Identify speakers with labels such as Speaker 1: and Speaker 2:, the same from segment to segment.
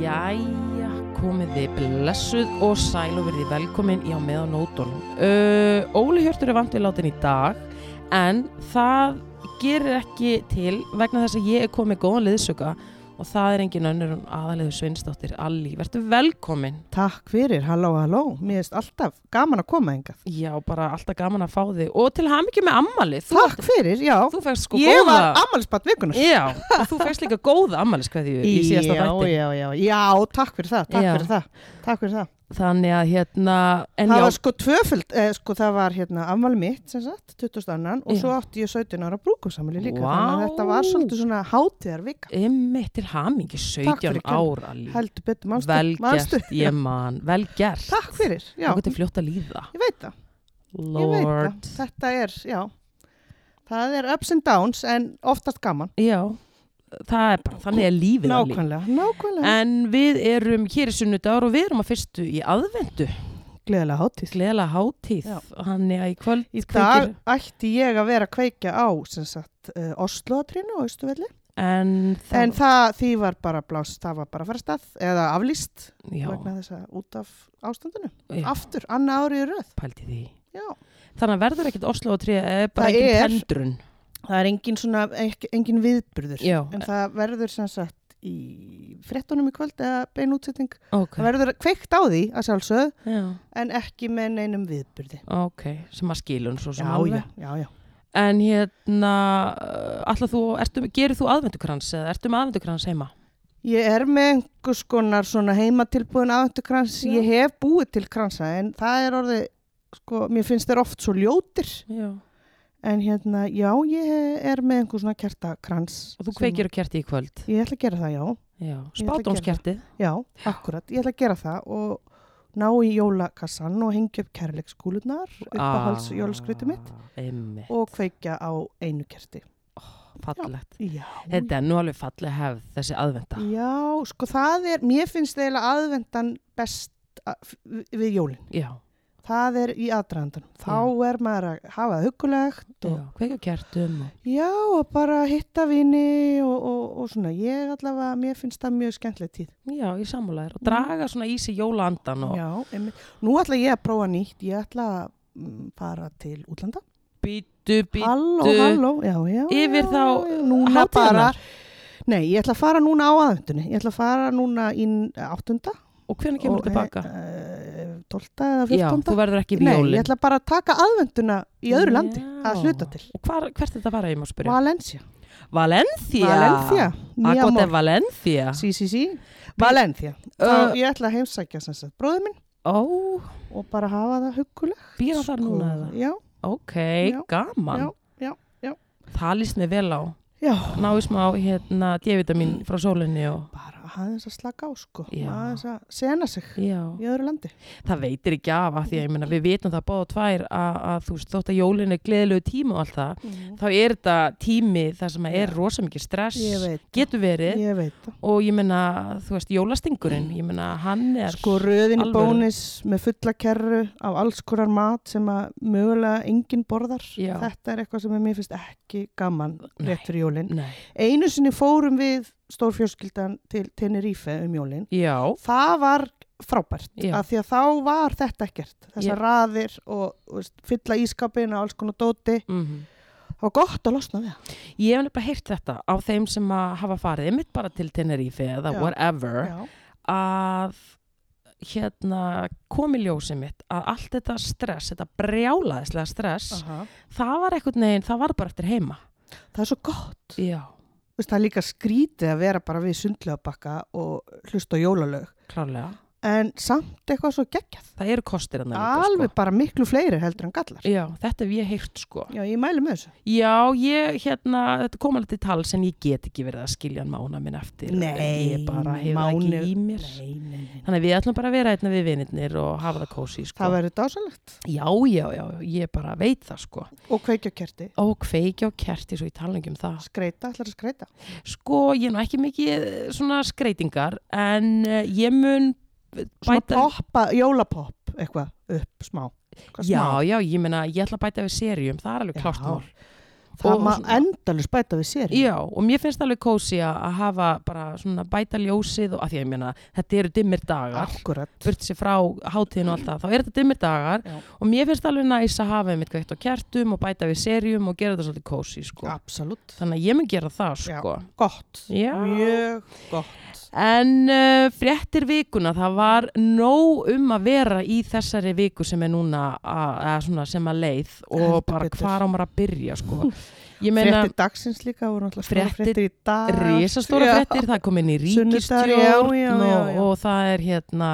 Speaker 1: Jæja, komið þið blessuð og sæl og verið velkomin í á meðan nótunum. Uh, Óli Hjörtur er vant við látin í dag en það gerir ekki til vegna þess að ég er komið góðan liðsöka og það er engin önnur en aðaliðu Sveinsdóttir Allí. Vertu velkomin.
Speaker 2: Takk fyrir, halló, halló. Mér erst alltaf gaman að koma engað.
Speaker 1: Já, bara alltaf gaman að fá þig og til hamingju með ammalið. Þú,
Speaker 2: Takk fyrir, já.
Speaker 1: þú fegst sko
Speaker 2: ég
Speaker 1: góða.
Speaker 2: var ammælisbatt vikunar.
Speaker 1: Já, og þú fegst líka góða ammaliðskveðju í síðasta
Speaker 2: já,
Speaker 1: þætti.
Speaker 2: já, já, já, takk fyrir það, takk
Speaker 1: Já.
Speaker 2: fyrir það, takk fyrir það.
Speaker 1: Þannig að hérna, en
Speaker 2: það
Speaker 1: já,
Speaker 2: var sko tvöföld, eh, sko það var hérna afmæli mitt, sem sagt, 22. og
Speaker 1: Já.
Speaker 2: svo átti ég 17 ára brúkumsamli líka,
Speaker 1: Vá.
Speaker 2: þannig að þetta var svolítið svona hátíðar vika,
Speaker 1: ymmið til hamingi
Speaker 2: Takk fyrir
Speaker 1: 17 ára líka.
Speaker 2: heldur betur mannstu.
Speaker 1: Vel
Speaker 2: manstu?
Speaker 1: gert, ég man, vel gert
Speaker 2: Takk fyrir, já,
Speaker 1: Okkur til fljótt að líða
Speaker 2: ég veit það, ég veit
Speaker 1: Lord
Speaker 2: það, þetta er, já, það er ups and downs en oftast gaman,
Speaker 1: Já, það er bara, þannig er lífið Allí.
Speaker 2: nákvæmlega, nákvæmlega.
Speaker 1: En við erum hér í sunnudagur og við erum að fyrstu í aðvendu
Speaker 2: Gleðilega hátíð.
Speaker 1: Gleðilega hátíð
Speaker 2: Já.
Speaker 1: Þannig að í kvöld
Speaker 2: Í dag
Speaker 1: kveikir-
Speaker 2: ætti ég að vera að kveikja á sem sagt uh, Osloatrínu á Ístuvelli
Speaker 1: En það,
Speaker 2: en það, því var bara blást, það var bara að fara af stað eða aflýst
Speaker 1: já,
Speaker 2: vegna þess að út af ástandinu
Speaker 1: já,
Speaker 2: aftur, annað árið í röð
Speaker 1: pældi því
Speaker 2: Já.
Speaker 1: Þannig að verður ekkert Oslo og tríða eða bara
Speaker 2: Það
Speaker 1: ekkert
Speaker 2: er-
Speaker 1: pendrun
Speaker 2: það er engin svona, ek- engin viðburður
Speaker 1: Já,
Speaker 2: en það verður sem sagt í frettunum í kvöld eða bein útsetting
Speaker 1: ok
Speaker 2: það verður kveikt á því að sjálfsög
Speaker 1: já,
Speaker 2: en ekki með neinum viðburði
Speaker 1: Ok, sem að skilun svo sem
Speaker 2: já,
Speaker 1: alveg.
Speaker 2: já, já, já
Speaker 1: En hérna, allar þú, ertu, gerir þú aðvendukrans eða ertu með aðvendukrans heima?
Speaker 2: Ég er með einhvers konar svona heimatilbúin aðvendukrans,
Speaker 1: Já.
Speaker 2: ég hef búið til kransa en það er orðið, sko, mér finnst þeir oft svo ljótir
Speaker 1: Já.
Speaker 2: en hérna, já, ég er með einhvers svona kertakrans.
Speaker 1: Og þú
Speaker 2: sem-
Speaker 1: kveikir um og kerti í kvöld?
Speaker 2: Ég ætla að gera það, já,
Speaker 1: Já.
Speaker 2: ætla að gera
Speaker 1: Spátumskertið?
Speaker 2: já, akkurat, ég ætla að gera það og ná í jólakassan og hengja upp kærleikskúlunar, uppáhalds jólaskrytið mitt
Speaker 1: Ah, Einmitt,
Speaker 2: og kveikja á einu kerti.
Speaker 1: fallegt.
Speaker 2: Já,
Speaker 1: Þetta er nú alveg falleg hefð, þessi aðvenda.
Speaker 2: já, sko, það er, mér finnst eiginlega aðvendan best að, við jólin.
Speaker 1: Já.
Speaker 2: það er í aðdraðandanum. Þá er maður að hafa það hugulegt
Speaker 1: Já.
Speaker 2: og já,
Speaker 1: Kveikja kertum og...
Speaker 2: og bara hitta vini og, og, og svona. Ég allavega, mér finnst það mjög skemmtileg tíð.
Speaker 1: Já, ég sammála þér. Og draga svona í sig jólaandan og...
Speaker 2: Mm. Já, einmitt. Nú ætla ég að prófa nýtt. Ég ætla að mm, fara til útlanda.
Speaker 1: Bítu, bítu.
Speaker 2: Halló, halló, já, já.
Speaker 1: Yfir
Speaker 2: já,
Speaker 1: þá
Speaker 2: já, núna
Speaker 1: hátíðarnar?
Speaker 2: bara. Nei, ég ætla að fara núna á aðvendunni. Ég ætla að fara núna í áttunda.
Speaker 1: Og hvernig kemur þú tilbaka?
Speaker 2: Uh, 12. eða
Speaker 1: Já, þú
Speaker 2: 14.
Speaker 1: verður ekki við
Speaker 2: Nei,
Speaker 1: jólinn.
Speaker 2: ég ætla bara að taka aðvenduna í öðru landi að
Speaker 1: Já.
Speaker 2: hluta til.
Speaker 1: Og hvar, hvert er þetta að fara, ég má spyrja?
Speaker 2: Valencia.
Speaker 1: Valencia. Ah,
Speaker 2: Valencia mi
Speaker 1: Akkurat er
Speaker 2: amor
Speaker 1: Valencia.
Speaker 2: sí, sí, sí. Valencia
Speaker 1: Uh,
Speaker 2: Þá, ég ætla að heimsækja sem sagt bróði minn
Speaker 1: Ó,
Speaker 2: og bara hafa það huggulegt
Speaker 1: býra þar núna eða?
Speaker 2: já,
Speaker 1: Ok,
Speaker 2: Sko. Já,
Speaker 1: gaman.
Speaker 2: já, já, já.
Speaker 1: Það líst mér vel á.
Speaker 2: já
Speaker 1: Náðu smá hérna D-vitamin frá sólinni og...
Speaker 2: bara aðeins að slaka á sko
Speaker 1: Já.
Speaker 2: aðeins að sena sig
Speaker 1: Já,
Speaker 2: í öðru landi
Speaker 1: það veitir ekki af að því að ég meina við vitum það báða tvær að, að þú veist þótt að jólin er gleðilegu tíma og allt það þá er þetta tími þar sem að er
Speaker 2: Já.
Speaker 1: rosa mikið stress
Speaker 2: ég veit,
Speaker 1: getur verið
Speaker 2: ég veit það
Speaker 1: og ég meina þú veist jólastingurinn ég meina hann er
Speaker 2: sko röðin í
Speaker 1: alvöru.
Speaker 2: bónis með fulla kerru af alls konar mat sem að mögulega enginn borðar
Speaker 1: Já.
Speaker 2: þetta er eitthvað sem er mér finnst ekki gaman
Speaker 1: Nei.
Speaker 2: rétt fyrir jólin
Speaker 1: Nei.
Speaker 2: einu sinni fórum við stórfjörskildan til Tenerife um jólin
Speaker 1: Já,
Speaker 2: það var frábært
Speaker 1: Já.
Speaker 2: af því að þá var þetta ekkert þessar
Speaker 1: Já.
Speaker 2: raðir og þú veist, fylla ískapin og alls konar dóti
Speaker 1: mhm
Speaker 2: það var gott að losna við það
Speaker 1: Ég hef nefnilega heyrt þetta á þeim sem að hafa farið mitt bara til Tenerife eða
Speaker 2: Já.
Speaker 1: whatever
Speaker 2: já,
Speaker 1: að hérna komi ljósið mitt að allt þetta stress, þetta brjálaðislega stress
Speaker 2: aha.
Speaker 1: það var eitthvað neginn, það var bara eftir heima
Speaker 2: það er svo gott
Speaker 1: Já,
Speaker 2: Þú veist, það er líka skrítið að vera bara við sundlega bakka og hlusta á jólalög
Speaker 1: klárlega
Speaker 2: en samt eitthvað svo geggjað
Speaker 1: það eru kostir hann
Speaker 2: alveg bara miklu fleiri heldur en gallar
Speaker 1: sko. já, þetta hef ég heyrt sko
Speaker 2: já, ég mæli með þessu
Speaker 1: já, ég hérna, þetta kom alveg til tals en ég get ekki verið að skilja hann mána minn eftir ég bara hef það
Speaker 2: mánu-
Speaker 1: ekki í mér
Speaker 2: nei, nei, nei.
Speaker 1: þannig að við ætlum bara að vera einna við vinnirnir og hafa það kósi sko
Speaker 2: það verður dásalegt
Speaker 1: já, já, já, ég bara veit það sko
Speaker 2: og kveikja kerti,
Speaker 1: og kveiki á kerti svo ég tala ekki um það
Speaker 2: skreita, ætlar að skreita
Speaker 1: Sko, ég er nú ekki mikið eh, svona skreitingar en eh, ég mun
Speaker 2: svona
Speaker 1: bæta...
Speaker 2: poppa, jólapopp eitthvað upp, smá, Eitthvað smá.
Speaker 1: Já, já, ég meina, ég ætla að bæta við serjum, það er alveg
Speaker 2: Já.
Speaker 1: klart mál.
Speaker 2: það
Speaker 1: og
Speaker 2: má
Speaker 1: svona-
Speaker 2: endalus bæta við sér
Speaker 1: Já, og mér finnst alveg kósi að að hafa bara svona bæta ljósið og að því að ég meina, þetta eru dimmir dagar,
Speaker 2: akkurat
Speaker 1: burt sér frá hátíðin og allt það, þá eru þetta dimmir dagar
Speaker 2: Já.
Speaker 1: og mér finnst alveg næs að hafa einmitt kveikt á kertum og bæta við serjum og gera þetta svolítið kósi, sko.
Speaker 2: absolutt,
Speaker 1: Þannig að ég mun gera það,
Speaker 2: Já.
Speaker 1: sko.
Speaker 2: gott
Speaker 1: Já.
Speaker 2: mjög gott
Speaker 1: En uh, fréttir vikuna, það var nóg um að vera í þessari viku sem er núna að, að svona, sem að leið og
Speaker 2: Heldur
Speaker 1: bara
Speaker 2: betur.
Speaker 1: hvar á maður að byrja sko. Ég meina,
Speaker 2: fréttir dagsins líka voru náttúrulega stóra
Speaker 1: Fréttir-
Speaker 2: fréttir í dag
Speaker 1: risastóra
Speaker 2: Já.
Speaker 1: fréttir, það er komin í ríkistjórn
Speaker 2: Sunnudagar, já, já, já,
Speaker 1: og,
Speaker 2: já.
Speaker 1: og það er hérna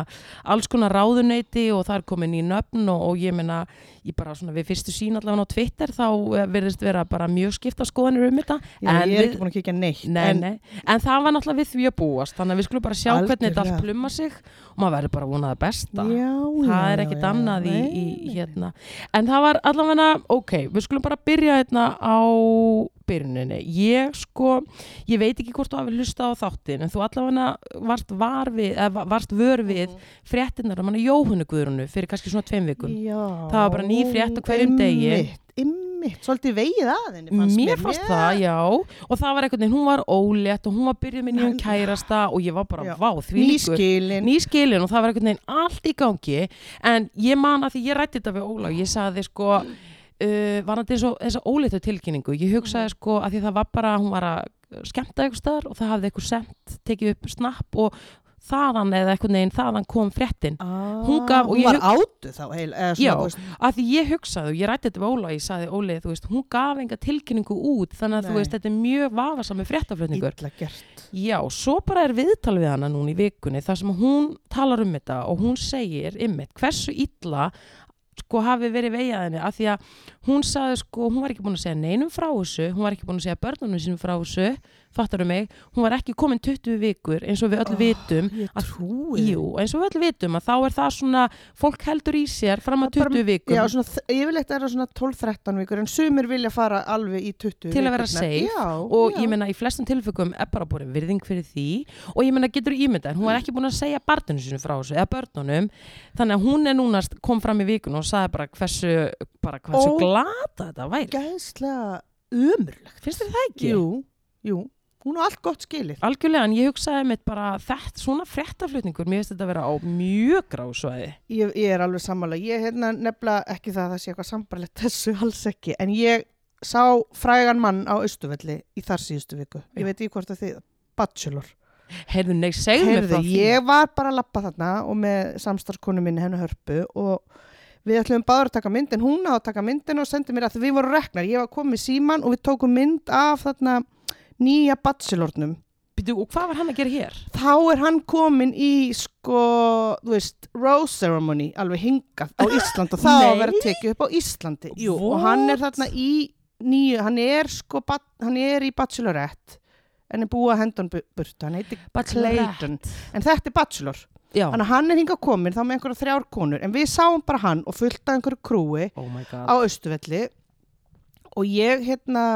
Speaker 1: alls konar ráðuneyti og það er komin í nöfn og, og ég meina, ég bara svona við fyrstu sín allavega á Twitter þá eh, virðist vera bara mjög skipta skoðanir um þetta
Speaker 2: Já,
Speaker 1: en
Speaker 2: ég er
Speaker 1: við-
Speaker 2: ekki búin að kíkja neitt
Speaker 1: Nei,
Speaker 2: en
Speaker 1: nei, en það var náttúrulega við því að búast þannig að við skulum bara sjá hvernig þetta allt
Speaker 2: Algjörlega.
Speaker 1: plumma sig og maður verður bara að vona það besta
Speaker 2: Já,
Speaker 1: það
Speaker 2: já,
Speaker 1: er
Speaker 2: já,
Speaker 1: ekkert
Speaker 2: já.
Speaker 1: annað í,
Speaker 2: Nei,
Speaker 1: í
Speaker 2: nei.
Speaker 1: hérna en það var allavega, ok, við skulum bara byrja hérna á byrjuninni ég sko, ég veit ekki hvort þú hafi hlusta á þáttin, en þú allavega varst var við, eða va- varst vör við
Speaker 2: Mhm.
Speaker 1: fréttinnar um hana Jóhunu Guðrunu fyrir kannski svona tveim vikum
Speaker 2: Já,
Speaker 1: Það var bara ný frétt á hverjum degi.
Speaker 2: Ymmit, ymmit, svolítið vegið að henni fannst
Speaker 1: Mér fannst það, já, og það var einhvern veginn, hún var ólétt og hún var byrjuð með nýjum kærasta og ég var bara,
Speaker 2: Já.
Speaker 1: vá, því líkur
Speaker 2: Nýskilin
Speaker 1: nýskilin og það var einhvern veginn allt í gangi en ég man að því ég rætti þetta við Óla og ég sagði sko uh, var þetta eins og þessa óleittu tilkynningu ég hugsaði sko að því það var bara hún var að skemmta eitthvað staðar og það hafði eitthvað sent tekið upp snapp og þaðan eða einhvern veginn þaðan kom fréttin Hún gaf- og ég
Speaker 2: Hún var
Speaker 1: hug-
Speaker 2: átu þá heil, eða,
Speaker 1: Já,
Speaker 2: svona, þú veist,
Speaker 1: að því ég hugsaði og ég rætti þetta við Óla og ég sagði Óli, þú veist, hún gaf enga tilkynningu út þannig að þú
Speaker 2: Nei.
Speaker 1: veist, þetta er mjög vafasami fréttaflutningur
Speaker 2: illa gert
Speaker 1: Já, svo bara er viðtal við hana núna í vikunni þar sem hún talar um þetta og hún segir ymmit hversu illa sko hafi verið vegið að henni af því að hún sagði sko, hún var ekki búin að segja neinum frá þessu, hún var ekki búin að segja börnunum sínum frá þessu, fattaru mig hún var ekki komin 20 vikur eins og við öll
Speaker 2: Oh,
Speaker 1: vitum
Speaker 2: Ég
Speaker 1: að-
Speaker 2: trúi
Speaker 1: Jú, eins og við öll vitum að þá er það svona fólk heldur í sér fram að
Speaker 2: Það er bara-
Speaker 1: 20 vikum
Speaker 2: Já, svona, þ- yfirleitt er það svona 12-13 vikur en sumir vilja fara alveg í
Speaker 1: Til
Speaker 2: 20
Speaker 1: að vera
Speaker 2: vikurnar.
Speaker 1: safe
Speaker 2: já,
Speaker 1: og
Speaker 2: já.
Speaker 1: ég meina í flestum tilfengum er bara búin virðing fyrir því og ég meina getur ímyndað en
Speaker 2: Mm.
Speaker 1: hún var ekki búin að segja barninu sinu frá þessu eða börnunum þannig að hún er núna st- kom fram í vikun og sagði bara hversu, bara hversu
Speaker 2: Ó.
Speaker 1: glata þetta væri
Speaker 2: Gæðslega ömurlegt
Speaker 1: finnst þér það ekki?
Speaker 2: Jú, jú, hún á allt gott skilið
Speaker 1: Algjörlega en ég hugsaði mitt bara þetta svona frettaflutningur mér finnst þetta vera á mjög grásvæði
Speaker 2: Ég, ég er alveg sammála. Ég hérna nefnilega ekki það að það sé eitthvað sambarlegt þessu alls ekki. En ég sá frægan mann á Östuvelli í þar síðustu viku.
Speaker 1: Já.
Speaker 2: Ég veit í hvort að þið, Bachelor.
Speaker 1: Heyrðu nei, segðu mér
Speaker 2: Heyrðu,
Speaker 1: frá því
Speaker 2: ég var bara að lappa þarna og með samstarfskonu minni hennu hörpu og við ætlum báður að taka mynd en hún á að taka myndin og sendi mér að því við vorum reknar. Ég var komið síman og við tókum mynd af þarna nýja Bachelornum.
Speaker 1: Býtu, og hvað var hann að gera hér?
Speaker 2: Þá er hann komin í sko, þú veist, Rose Ceremony alveg hingað á Ísland og það á að vera tekið upp á Íslandi Jú, og hann er
Speaker 1: What?
Speaker 2: þarna í nýju, hann er sko, ba- hann er í Bachelorette en er búið að henda hann bu- burtu, hann heitir
Speaker 1: Bachelorette.
Speaker 2: Clayton en þetta er Bachelor,
Speaker 1: Já,
Speaker 2: þannig að hann er hingað komin þá með einhverja þrjár konur, en við sáum bara hann og fullt af einhverju krúi
Speaker 1: oh my god
Speaker 2: á Östuvelli og ég hérna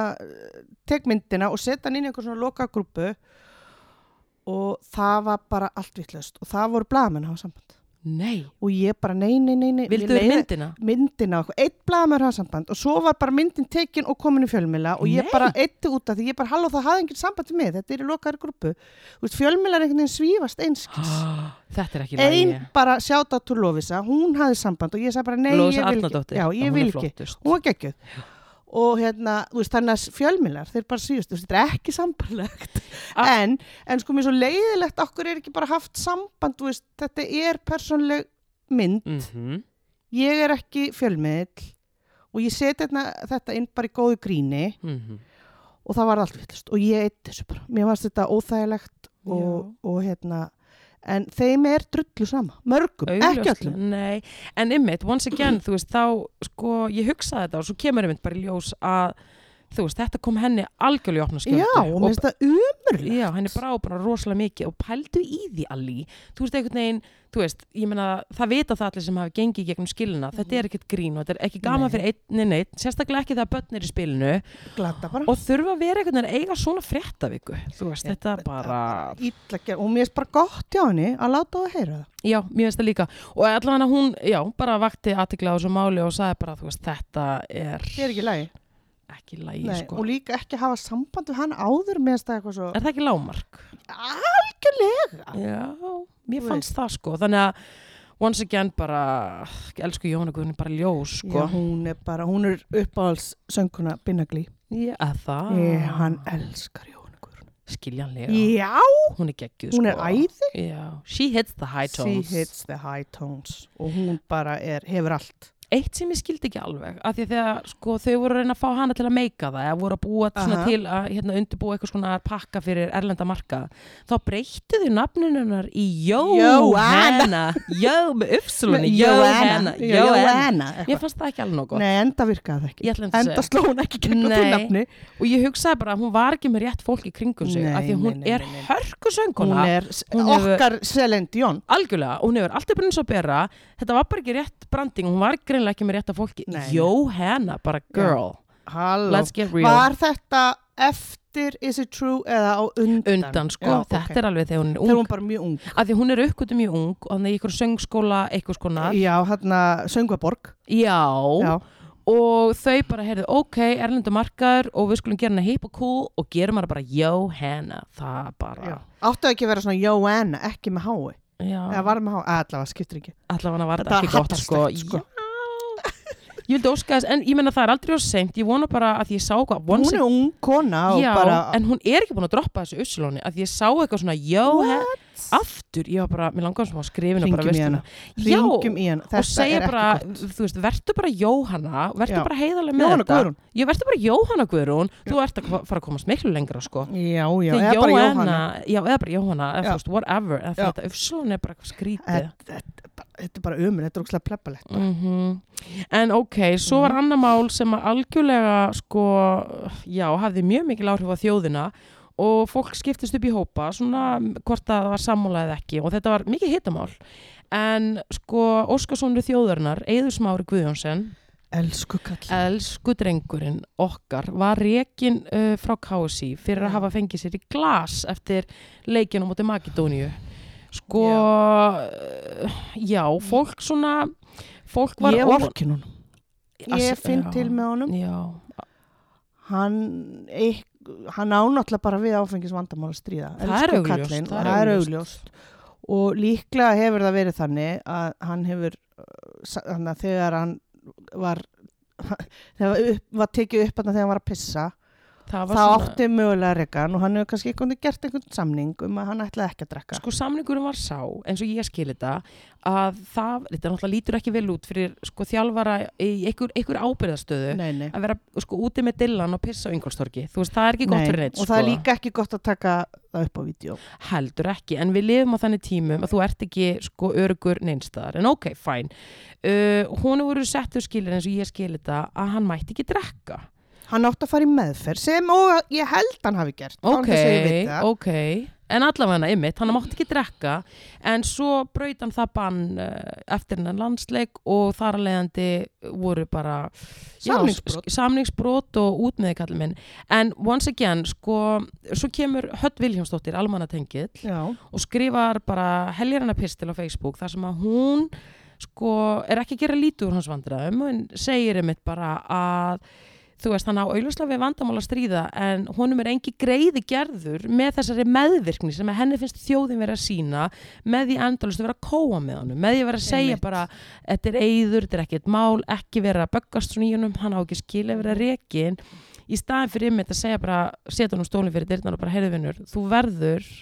Speaker 2: tek myndina og setja hann inn í einhver svona loka grúpu og það var bara allt vittlust og það voru blamenn á samband
Speaker 1: Nei,
Speaker 2: og ég bara nei, nei, nei, nei
Speaker 1: vildu
Speaker 2: mér
Speaker 1: þér
Speaker 2: leiði-
Speaker 1: myndina?
Speaker 2: myndina og eitthvað, eitt blaðamæður hafa samband og svo var bara myndin tekin og komin í fjölmila og ég
Speaker 1: Nei.
Speaker 2: bara eitti út af því ég bara halló það hafði enginn samband með, þetta er í lokaðar grúpu Þú veist, fjölmilar einhvern veginn svífast einskis
Speaker 1: Þetta er ekki
Speaker 2: ein
Speaker 1: lægi
Speaker 2: bara sjátt á Lofisa, hún hafði samband og ég sagði bara nei,
Speaker 1: Lóðis
Speaker 2: ég vil
Speaker 1: Arnaldóttir
Speaker 2: ekki já, ég vil ekki, hún var geggjöð og hérna, þú veist, þannig að fjölmilar þeir bara síðust, þú veist, þetta er ekki sambarlegt
Speaker 1: Ah.
Speaker 2: en, en sko mér er svo leiðilegt okkur er ekki bara haft samband þú veist, þetta er persónleg mynd
Speaker 1: mm -hmm.
Speaker 2: ég er ekki fjölmiðl og ég seti hérna, þetta inn bara í góðu gríni
Speaker 1: mhm.
Speaker 2: og það var allt vittlust og ég eitt þessu bara, mér varst þetta óþægilegt og, og hérna en þeim er drullu sama, mörgum, ekki
Speaker 1: Augljóslega,
Speaker 2: öllum
Speaker 1: Nei, en ymmit, once again, þú veist, þá, sko, ég hugsaði þetta og svo kemur ymmit bara í ljós að, þú veist, þetta kom henni algjörlega í opna skjöldu.
Speaker 2: já, og mér finnst það umurlega
Speaker 1: Já, henni brá bara rosalega mikið og pældu í því allí, þú veist, einhvern veginn, þú veist, ég meina, það vita það allir sem hafi gengið í gegnum skilina, þetta er ekkert grín og þetta er ekki gaman
Speaker 2: Mhm. Nei.
Speaker 1: fyrir einn en einn, sérstaklega ekki þegar börn er í spilinu
Speaker 2: glata bara
Speaker 1: og þurfa að vera einhvern veginn að eiga svona fréttaviku, þú veist,
Speaker 2: Já,
Speaker 1: þetta bara,
Speaker 2: ítla gerð og mér finnst bara gott hjá henni að láta það heyra það
Speaker 1: Já, mér finnst það líka og allavega hún, já, bara vakti aðtikla á þessu máli og sagði bara, þú veist, þetta er
Speaker 2: það er ekki lægi
Speaker 1: ekki lægi,
Speaker 2: Nei,
Speaker 1: sko
Speaker 2: og líka ekki hafa samband við hann áður mér finnst það eitthvað svo
Speaker 1: Er það ekki lágmark?
Speaker 2: algjörlega
Speaker 1: Já, mér
Speaker 2: Þú
Speaker 1: fannst það, sko þannig að, once again, bara elsku Jónu Guðni, bara ljós,
Speaker 2: sko.
Speaker 1: sko
Speaker 2: já, hún er bara, hún er uppáhalds sönguna Binnaglí
Speaker 1: Já, það
Speaker 2: ég, Eh, hann elskar Jónu Guðrún
Speaker 1: Skiljanlega,
Speaker 2: já,
Speaker 1: hún er geggjuð, sko
Speaker 2: hún er æði
Speaker 1: Já, she hits the high
Speaker 2: she
Speaker 1: tones
Speaker 2: hits the high tones og hún bara er, hefur allt
Speaker 1: Eitt sem ég skildi ekki alveg, af því að þegar, sko, þau voru að reyna að fá hana til að meika það, eða voru að búa svona
Speaker 2: Aha.
Speaker 1: til að hérna, undirbúa eitthvað svona pakka fyrir erlenda marka, þá breyttu þau nafninunar í Jóhanna, Jó, með uppslunni, Jóhanna, Jóhanna. Ég
Speaker 2: Jóhanna
Speaker 1: fannst það ekki alveg nóg gott.
Speaker 2: Nei, enda virkaði það
Speaker 1: Ég
Speaker 2: ekki.
Speaker 1: ætla einmitt að
Speaker 2: Enda sló hún ekki gegnum því
Speaker 1: Nei.
Speaker 2: nafni.
Speaker 1: Og ég hugsaði bara að hún var ekki með rétt fólk í kringum sig,
Speaker 2: Nei,
Speaker 1: af því að hún
Speaker 2: nei, nei,
Speaker 1: er
Speaker 2: nei, nei. Hún
Speaker 1: hörkusönguna.
Speaker 2: er
Speaker 1: hún hefur-
Speaker 2: okkar Selend Jón.
Speaker 1: Algjörlega, hún hefur alltaf brunns að bera, þetta var bara ekki rétt branding, hún var greinlega ekki með rétt af fólki.
Speaker 2: Nei, nei.
Speaker 1: Jóhanna, bara girl,
Speaker 2: Halló.
Speaker 1: let's get real.
Speaker 2: Var þetta eftir Is it true eða á undan?
Speaker 1: undan sko,
Speaker 2: Já,
Speaker 1: þetta
Speaker 2: ok.
Speaker 1: er alveg þegar hún er
Speaker 2: Þegar
Speaker 1: ung
Speaker 2: hún bara mjög ung.
Speaker 1: af því hún er aukvöldum mjög ung og þannig í ykkur söngskóla eitthvað skonar,
Speaker 2: Já, hérna Söngaborg.
Speaker 1: já
Speaker 2: Já.
Speaker 1: og þau bara heyrðu, ok, erlendu markaður og við skulum gera hana hip og cool og gerum hana bara Johanna, það bara
Speaker 2: Já. Áttu ekki að vera svona Jóanna, ekki með hái.
Speaker 1: já,
Speaker 2: Eða var með hái, allavega skiptir ekki.
Speaker 1: allavega var þetta
Speaker 2: Þetta
Speaker 1: ekki gott sko,
Speaker 2: hattarslegt, sko.
Speaker 1: já ég vildi óska þess, en ég menna það er aldrei á seint ég vona bara að ég sá hvað
Speaker 2: Hún er ung kona og
Speaker 1: já,
Speaker 2: bara...
Speaker 1: en hún er ekki búin að droppa þessu uslóni að ég sá eitthvað svona Johanna, aftur, ég var bara, mér langaði sem að skrifin og bara
Speaker 2: Hringjum í
Speaker 1: veistu
Speaker 2: hana.
Speaker 1: það. Já,
Speaker 2: Ringjum í hann.
Speaker 1: og
Speaker 2: Þetta
Speaker 1: segja
Speaker 2: er ekki
Speaker 1: bara,
Speaker 2: gott.
Speaker 1: þú veist, verður bara Jóhanna, verður
Speaker 2: Já.
Speaker 1: bara heiðarlega með
Speaker 2: Jóhanna
Speaker 1: þetta
Speaker 2: Guðrún.
Speaker 1: Já, verður bara Jóhanna Guðrún, þú ert að hva- fara að komast miklu lengra sko
Speaker 2: Já, já,
Speaker 1: Þegar
Speaker 2: eða bara
Speaker 1: Jóhanna-
Speaker 2: Jóhanna.
Speaker 1: Já, eða bara Jóhanna, eða
Speaker 2: Já.
Speaker 1: þú veist, whatever eða
Speaker 2: Já.
Speaker 1: þetta uppslun er bara eitthvað skrítið
Speaker 2: Þetta þetta er bara- þetta er bara umur, þetta er ógslag pleppalegt.
Speaker 1: mm En ok, svo
Speaker 2: Mhm.
Speaker 1: var annar mál sem að algjörlega sko, já, hafði mjög mikil áhrif á þjóðina og fólk skiptist upp í hópa svona hvort að það var sammúla eða ekki og þetta var mikið hitamál en sko Óskarsson þjóðarinnar, Eiður Smári Guðjónsson
Speaker 2: Elsku kall.
Speaker 1: Elsku drengurinn okkar var rekin uh, frá KSI fyrir að
Speaker 2: Já.
Speaker 1: hafa fengið sér í glas eftir leikinu mútið Makedóníu. Sko, já. já, fólk svona, fólk var...
Speaker 2: Ég
Speaker 1: ofan-
Speaker 2: vorkin hún. Ég
Speaker 1: Ass-
Speaker 2: finn
Speaker 1: já.
Speaker 2: til með honum.
Speaker 1: Já,
Speaker 2: Hann, ek, hann ánáttlega bara við áfengis vandamál að stríða.
Speaker 1: það
Speaker 2: Elsku
Speaker 1: er augljóst.
Speaker 2: kallinn, það er augljóst. og líklega hefur það verið þannig að hann hefur uh, sa- þannig að þegar hann var þegar upp, var tekið upp þarna þegar hann var að pissa
Speaker 1: Það
Speaker 2: þá
Speaker 1: var svona,
Speaker 2: átti mögulega rekan og hann hefur kannski einhvern veginn gert einhvern samning um að hann ætlaði ekki að drekka
Speaker 1: sko samningurinn var sá, eins og ég skil þetta, að það, þetta náttúrulega lítur ekki vel út fyrir sko þjálfara í einhver, einhver ábyrðastöðu.
Speaker 2: nei, nei.
Speaker 1: að vera sko úti með dillan og pissa á yngolstorki, þú veist, það er ekki gott
Speaker 2: Nei,
Speaker 1: fyrir neitt
Speaker 2: og
Speaker 1: sko.
Speaker 2: það er líka ekki gott að taka það upp á vídeo
Speaker 1: heldur ekki, en við lifum á þannig tímum að þú ert ekki sko örugur neinstæðar en ok, fæn uh, hún voru settur skilir eins og ég skilir þetta að hann mætti ekki drekka
Speaker 2: hann átti að fara í meðferð sem og ég held hann hafi gert án
Speaker 1: ok,
Speaker 2: þess að ég viti það.
Speaker 1: ok en allavega hann ymmit, hann mátti ekki drekka en svo braut hann það bann uh, eftir hennan landsleik og þar að leiðandi voru bara já,
Speaker 2: Samningsbrot.
Speaker 1: s- samningsbrot og út með kallum minn en once again, sko svo kemur Hött Vilhjámsdóttir, almannatengill
Speaker 2: já,
Speaker 1: og skrifar bara heljarna pistil á Facebook þar sem að hún sko er ekki að gera lítið úr hans vandræðum en segir einmitt bara að þú veist hann á auðvitað við vandamál að stríða en honum er engi greiði gerður með þessari meðvirkni sem að henni finnst þjóðin verið að sína með því endalust að vera að kóa með honum með því að vera að segja
Speaker 2: Einmitt.
Speaker 1: bara þetta er eiður, þetta er ekkert mál, ekki vera að böggast svona í honum, hann á ekki skil að vera rekin í staðin fyrir einmitt að segja bara setja honum stólinn fyrir dyrnar og bara heyrðu vinnur, þú verður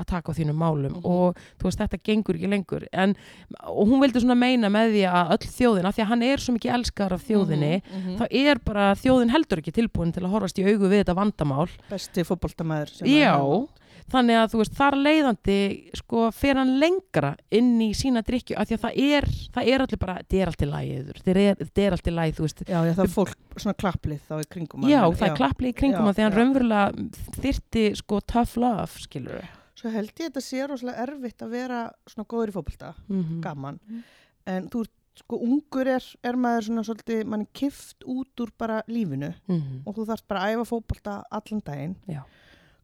Speaker 1: að taka á þínum málum
Speaker 2: Mhm.
Speaker 1: og þú veist þetta gengur ekki lengur en, og hún vildi svona meina með því að öll þjóðin, af því að hann er svo mikið elskar af þjóðinni,
Speaker 2: Mhm, mhm.
Speaker 1: þá er bara þjóðin heldur ekki tilbúin til að horfast í augu við þetta vandamál
Speaker 2: besti fótboltamæður sem
Speaker 1: já,
Speaker 2: hann-
Speaker 1: þannig að þú veist þar leiðandi sko fer hann lengra inn í sína drikju af því að það er, það er allir bara, þetta er allt í lagi Eiður, þetta er, þetta er allt í lagi, þú veist
Speaker 2: Já, já, það er fólk, svona klapplið þá í kringum
Speaker 1: já,
Speaker 2: hann.
Speaker 1: það er klapplið í kringum
Speaker 2: Já,
Speaker 1: hann þegar hann
Speaker 2: já.
Speaker 1: raunverulega þyrti sko tough love, skilur við
Speaker 2: Svo held ég þetta sé rosalega erfitt að vera svona góður í fótbolta, gaman.
Speaker 1: Mhm.
Speaker 2: En þú ert, sko, ungur er, er maður svona svolítið, mann er kift út úr bara lífinu og þú þarft bara að æfa fótbolta allan daginn.
Speaker 1: mhm. Já.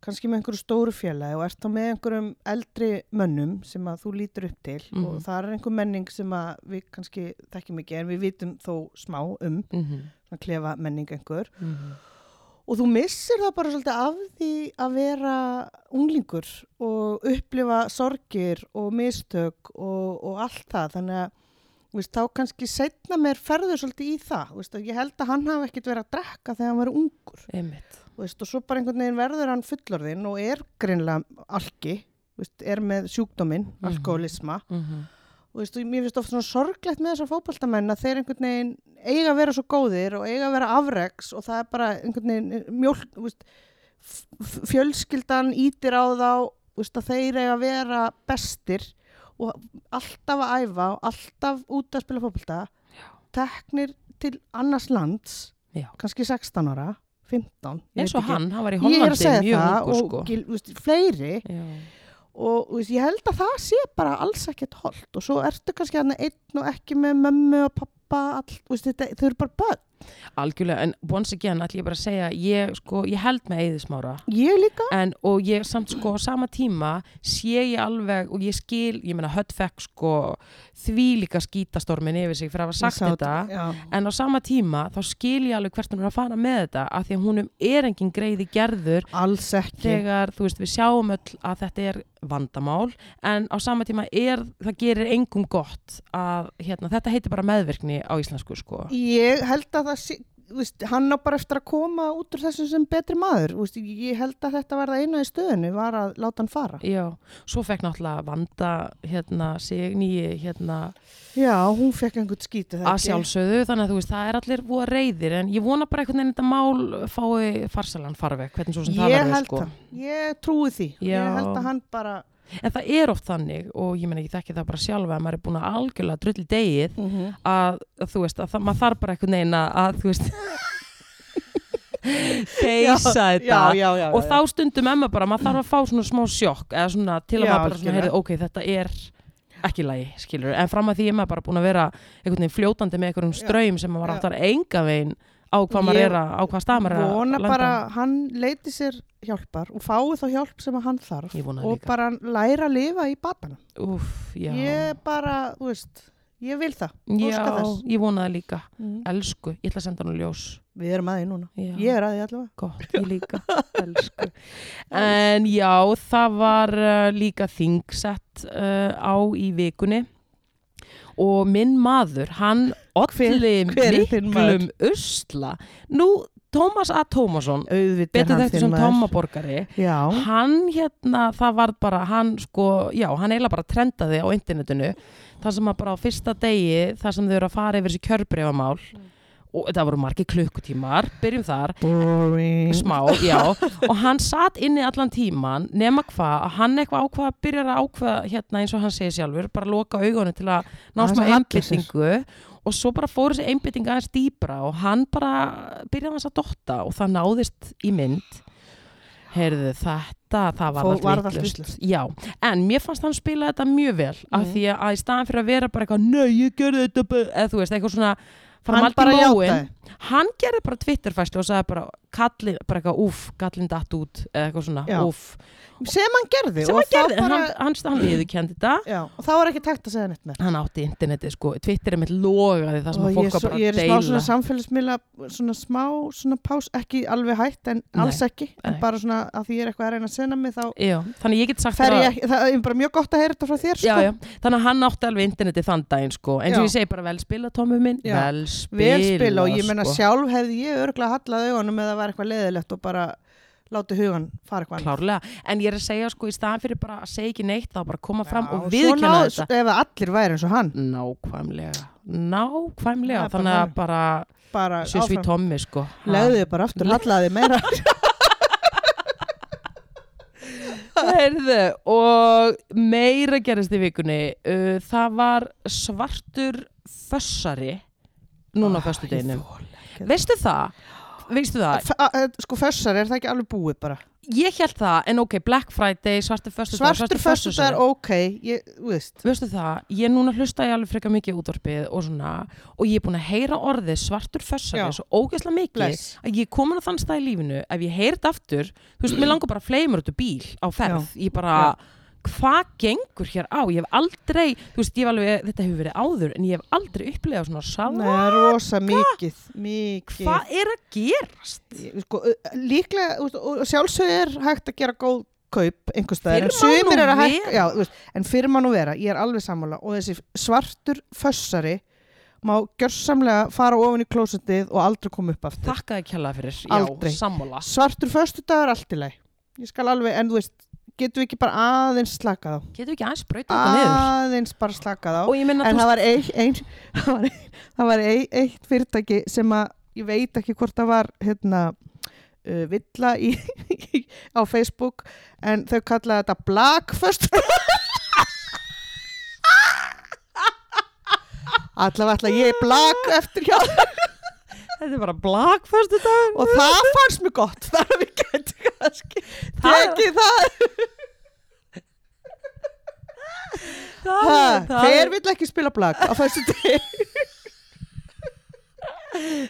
Speaker 2: Kannski með einhverju stóru félagi og ert þá með einhverjum eldri mönnum sem að þú lítur upp til
Speaker 1: Mhm.
Speaker 2: og það er einhver menning sem að við kannski þekkjum ekki en við vitum þó smá um,
Speaker 1: mhm,
Speaker 2: svona klefa menning einhver. og þú missir það bara svolítið af því að vera unglingur og upplifa sorgir og mistök og, og allt það þannig að þú veist, þá kannski setna mér ferður svolítið í það þú veist, og ég held að hann hafi ekkit verið að drekka þegar hann var ungur
Speaker 1: einmitt
Speaker 2: þú veist, og svo bara einhvern veginn verður hann fullorðinn og er greinlega alki þú veist, er með sjúkdóminn,
Speaker 1: Mhm.
Speaker 2: alkoholisma
Speaker 1: Mhm.
Speaker 2: og veist, og mér finnst ofta svona sorglegt með þessar fótballtamenn að þeir einhvern veginn eiga að vera svo góðir og eiga að vera afreks og það er bara einhvern veginn mjólk, þú veist, f- f- fjölskyldan ítir á þá þú veist, að þeir eiga að vera bestir og alltaf að æfa og alltaf út að spila fótballta teknir til annars lands
Speaker 1: Já.
Speaker 2: kannski 16 ára 15, ég
Speaker 1: eins
Speaker 2: veit
Speaker 1: og
Speaker 2: ekki.
Speaker 1: hann, hann var í
Speaker 2: ég er að
Speaker 1: Hollandi
Speaker 2: segja
Speaker 1: mjög
Speaker 2: það
Speaker 1: ungur
Speaker 2: og
Speaker 1: sko
Speaker 2: gil, þú veist, fleiri
Speaker 1: Já.
Speaker 2: og þú veist, ég held að það sé bara alls ekkert holdt og svo ertu kannski hann einn og ekki með mömmu og pappa all, þú veist, þetta, þau eru bara börn
Speaker 1: algjörlega, en once again ætlum ég bara að segja, ég sko, ég held með Eiðismára
Speaker 2: ég líka,
Speaker 1: en, og ég samt sko á sama tíma sé ég alveg og ég skil, ég meina hött fekk sko því líka skítastormin yfir sig fyrir að hafa sagt
Speaker 2: Ég sá
Speaker 1: þetta
Speaker 2: já.
Speaker 1: en á sama tíma þá skil ég alveg hvert hún er að fara með þetta af því að húnum er engin greiði gerður
Speaker 2: alls ekki
Speaker 1: þegar þú veist við sjáum öll að þetta er vandamál en á sama tíma er, það gerir engum gott að hérna, þetta heitir bara meðvirkni á íslensku sko
Speaker 2: ég held að það sé þú Veist, hann á bara eftir að koma út úr þessu sem betri maður þú veist, ég held að þetta var það eina í stöðinu var að láta hann fara
Speaker 1: Já, svo fekk náttúrulega vanda hérna sig nýji hérna
Speaker 2: já, hún fekk einhvern skítið
Speaker 1: að sjálfsögðu þannig að þú veist það er allir búa reyðir en ég vona bara einhvern veginn þetta mál fái farsalan farveg hvernig svo sem það
Speaker 2: ég
Speaker 1: verður
Speaker 2: held
Speaker 1: sko.
Speaker 2: það, ég trúi því
Speaker 1: Já.
Speaker 2: ég held að hann bara
Speaker 1: En það er oft þannig og ég menna ég þekki það bara sjálfa að maður er búin að algjörlega drulli degið
Speaker 2: Mhm.
Speaker 1: að, að þú veist að það, maður þarf bara einhvern veginn að, að þú veist peysa þetta
Speaker 2: já, já, já,
Speaker 1: og
Speaker 2: já.
Speaker 1: þá stundum emma bara maður þarf að fá svona smá sjokk eða svona til að
Speaker 2: Já,
Speaker 1: maður bara svona
Speaker 2: algjörlega.
Speaker 1: heyrði ok þetta er ekki lægi skilur en fram að því er maður bara búin að vera einhvern veginn fljótandi með einhverjum
Speaker 2: Já,
Speaker 1: ströym sem maður
Speaker 2: já.
Speaker 1: áttar enga veginn á hvað maður
Speaker 2: Ég
Speaker 1: er að á hvað stað maður er að
Speaker 2: vona
Speaker 1: lenda.
Speaker 2: bara að hann leiti sér hjálpar og fái þá hjálp sem að hann þarf
Speaker 1: Ég vona það
Speaker 2: og
Speaker 1: líka.
Speaker 2: bara læra að lifa í batanum
Speaker 1: Úff, já,
Speaker 2: ég bara, þú veist, ég vil það
Speaker 1: já
Speaker 2: óska þess.
Speaker 1: ég vona það líka
Speaker 2: Mm.
Speaker 1: elsku, ég ætla að senda hann ljós
Speaker 2: við erum að því núna,
Speaker 1: já.
Speaker 2: ég er að því allavega
Speaker 1: gott, ég líka elsku. en já, það var uh, líka þingsett uh, á í vikunni og minn maður hann olli
Speaker 2: hver er þinn
Speaker 1: miklum usla nú, Tómas A. Tómasson
Speaker 2: auðvitað
Speaker 1: betur
Speaker 2: hann
Speaker 1: þetta
Speaker 2: þinn
Speaker 1: sem
Speaker 2: maður.
Speaker 1: Tómaborgari
Speaker 2: já,
Speaker 1: hann hérna, það var bara hann sko, já, hann eiginlega bara trendaði á internetinu, þar sem að bara á fyrsta degi, þar sem þau eru að fara yfir þessi kjörbreyfamál og þetta voru margi klukkutímar, byrjum þar
Speaker 2: boring
Speaker 1: smá, já, og hann satt inni allan tíman, nema hvað að hann eitthvað ákvaða, byrjar að ákvaða hérna eins og hann segir sjálfur, bara loka augunum til að ná
Speaker 2: Aðeins
Speaker 1: smá
Speaker 2: að halla sér.
Speaker 1: einbyttingu og svo bara fór þessi einbytting aðeins dýbra og hann bara byrjaði aðeins að dotta og það náðist í mynd heyrðu þetta, það var
Speaker 2: Fó-
Speaker 1: allt
Speaker 2: varð allt
Speaker 1: vitlaust.
Speaker 2: vitlaust.
Speaker 1: Já, en mér fannst hann spila þetta mjög vel af
Speaker 2: Mhm.
Speaker 1: því að í staðan fyrir að vera bara eitthvað nei, ég gerði þetta, bara," eða þú veist, eitthvað svona fara
Speaker 2: hann
Speaker 1: maldi
Speaker 2: bara
Speaker 1: móin
Speaker 2: játaði
Speaker 1: hann gerði bara Twitterfæslu og sagði bara, kalli, bara eitthvað úf, kallin datt út eða eitthvað svona,
Speaker 2: Já.
Speaker 1: úf
Speaker 2: sem hann gerði
Speaker 1: sem
Speaker 2: og
Speaker 1: hann
Speaker 2: þá
Speaker 1: gerði,
Speaker 2: bara,
Speaker 1: hann, hann, hann viðurkenndi þetta
Speaker 2: já, og þá er ekki takt að segja neitt með
Speaker 1: hann átti internetið sko, Twitter er mitt logaði það sem
Speaker 2: Og
Speaker 1: að
Speaker 2: ég,
Speaker 1: fólk
Speaker 2: er
Speaker 1: var
Speaker 2: svo,
Speaker 1: bara
Speaker 2: ég er
Speaker 1: að
Speaker 2: í smá svona
Speaker 1: deila
Speaker 2: samfélagsmiðla svona smá svona pás, ekki alveg hætt en
Speaker 1: Nei.
Speaker 2: alls ekki, en
Speaker 1: Nei.
Speaker 2: bara svona að því ég er eitthvað að reyna að senna mig þá
Speaker 1: Já, þannig ég get sagt
Speaker 2: fer
Speaker 1: þér
Speaker 2: ég
Speaker 1: að-
Speaker 2: ekki, það er bara mjög gott að heyra þetta frá þér sko.
Speaker 1: já, já. þannig að hann átti alveg internetið þann daginn sko. eins og
Speaker 2: Já.
Speaker 1: ég segi bara vel spila Tommi minn
Speaker 2: Já.
Speaker 1: vel spila,
Speaker 2: vel spila og ég
Speaker 1: sko.
Speaker 2: menna sjálf hefði ég örglega hallað augunum eða það var eitthvað leðilegt og bara láti hugan fara eitthvað annað.
Speaker 1: klárlega, en ég er að segja sko í staðan fyrir bara að segja ekki neitt þá bara koma fram
Speaker 2: Já,
Speaker 1: og
Speaker 2: svo
Speaker 1: viðkjöna
Speaker 2: náð-
Speaker 1: þetta
Speaker 2: ef að allir væri eins og hann
Speaker 1: nákvæmlega
Speaker 2: Það
Speaker 1: nákvæmlega,
Speaker 2: er bara
Speaker 1: þannig að
Speaker 2: þannig.
Speaker 1: bara
Speaker 2: bara
Speaker 1: sjöss við
Speaker 2: áfram,
Speaker 1: Tommi sko
Speaker 2: legðu þig bara aftur hallaði meira
Speaker 1: Heyrðu, og meira gerist í vikunni uh, það var svartur fössari núna á föstudeginum veistu það? veistu það?
Speaker 2: F- a- e, Sko fössar, er það ekki alveg búið bara?
Speaker 1: Ég held það, en ok, Black Friday svartur föstudagur,
Speaker 2: Svartur fössar, ok, ég, þú veist.
Speaker 1: Veistu það, ég núna hlusta ég alveg frekar mikið á útvarpið og svona og ég er búin að heyra orðið svartur fössari
Speaker 2: Já.
Speaker 1: svo ógeðslega mikið
Speaker 2: Bless.
Speaker 1: að ég er komin að þann stað í lífinu ef ég heyri þetta aftur, þú veist, mér langar bara að fleimur út úr bíl á ferð, ég bara hvað gengur hér á, ég hef aldrei þú veist, ég hef alveg, þetta hefur verið áður en ég hef aldrei upplegað svona
Speaker 2: Nei,
Speaker 1: sáða
Speaker 2: það er rosa mikið, mikið.
Speaker 1: hvað er að gerast
Speaker 2: Ég- Sko, ö, líklega, þú veist, og sjálfsög er hægt að gera góð kaup einhvers staðar.
Speaker 1: Fyrr
Speaker 2: en
Speaker 1: má
Speaker 2: sumir
Speaker 1: nú
Speaker 2: eru að
Speaker 1: vera.
Speaker 2: hækka- Já, þú veist, en fyrir mann og vera, ég er alveg sammála og þessi svartur fössari má gjörsamlega fara ofan í klósetið og aldrei koma upp aftur.
Speaker 1: þakkaði kjallaði fyrir,
Speaker 2: Aldrei.
Speaker 1: já, sammála
Speaker 2: Svartur föstudagur allt í lagi. Ég skal alveg, en þú veist, getum við ekki bara aðeins slakað á?
Speaker 1: getur ekki aðeins breyta þetta niður
Speaker 2: Aðeins bara slakað á.
Speaker 1: og ég menna,
Speaker 2: Ah, en
Speaker 1: þú veist,
Speaker 2: það var eitt ein, það var, það var ein, eitt fyrirtæki sem að ég veit ekki hvort það var hérna uh, villa í, á Facebook en þau kallaði þetta Blackfest allavega ætla ég blag eftir hjá
Speaker 1: þetta er bara Black Friday
Speaker 2: og það fannst mér gott þar að við getum kannski
Speaker 1: Það-
Speaker 2: tekið það
Speaker 1: það, það,
Speaker 2: hver vill ekki spila blag á þessu degi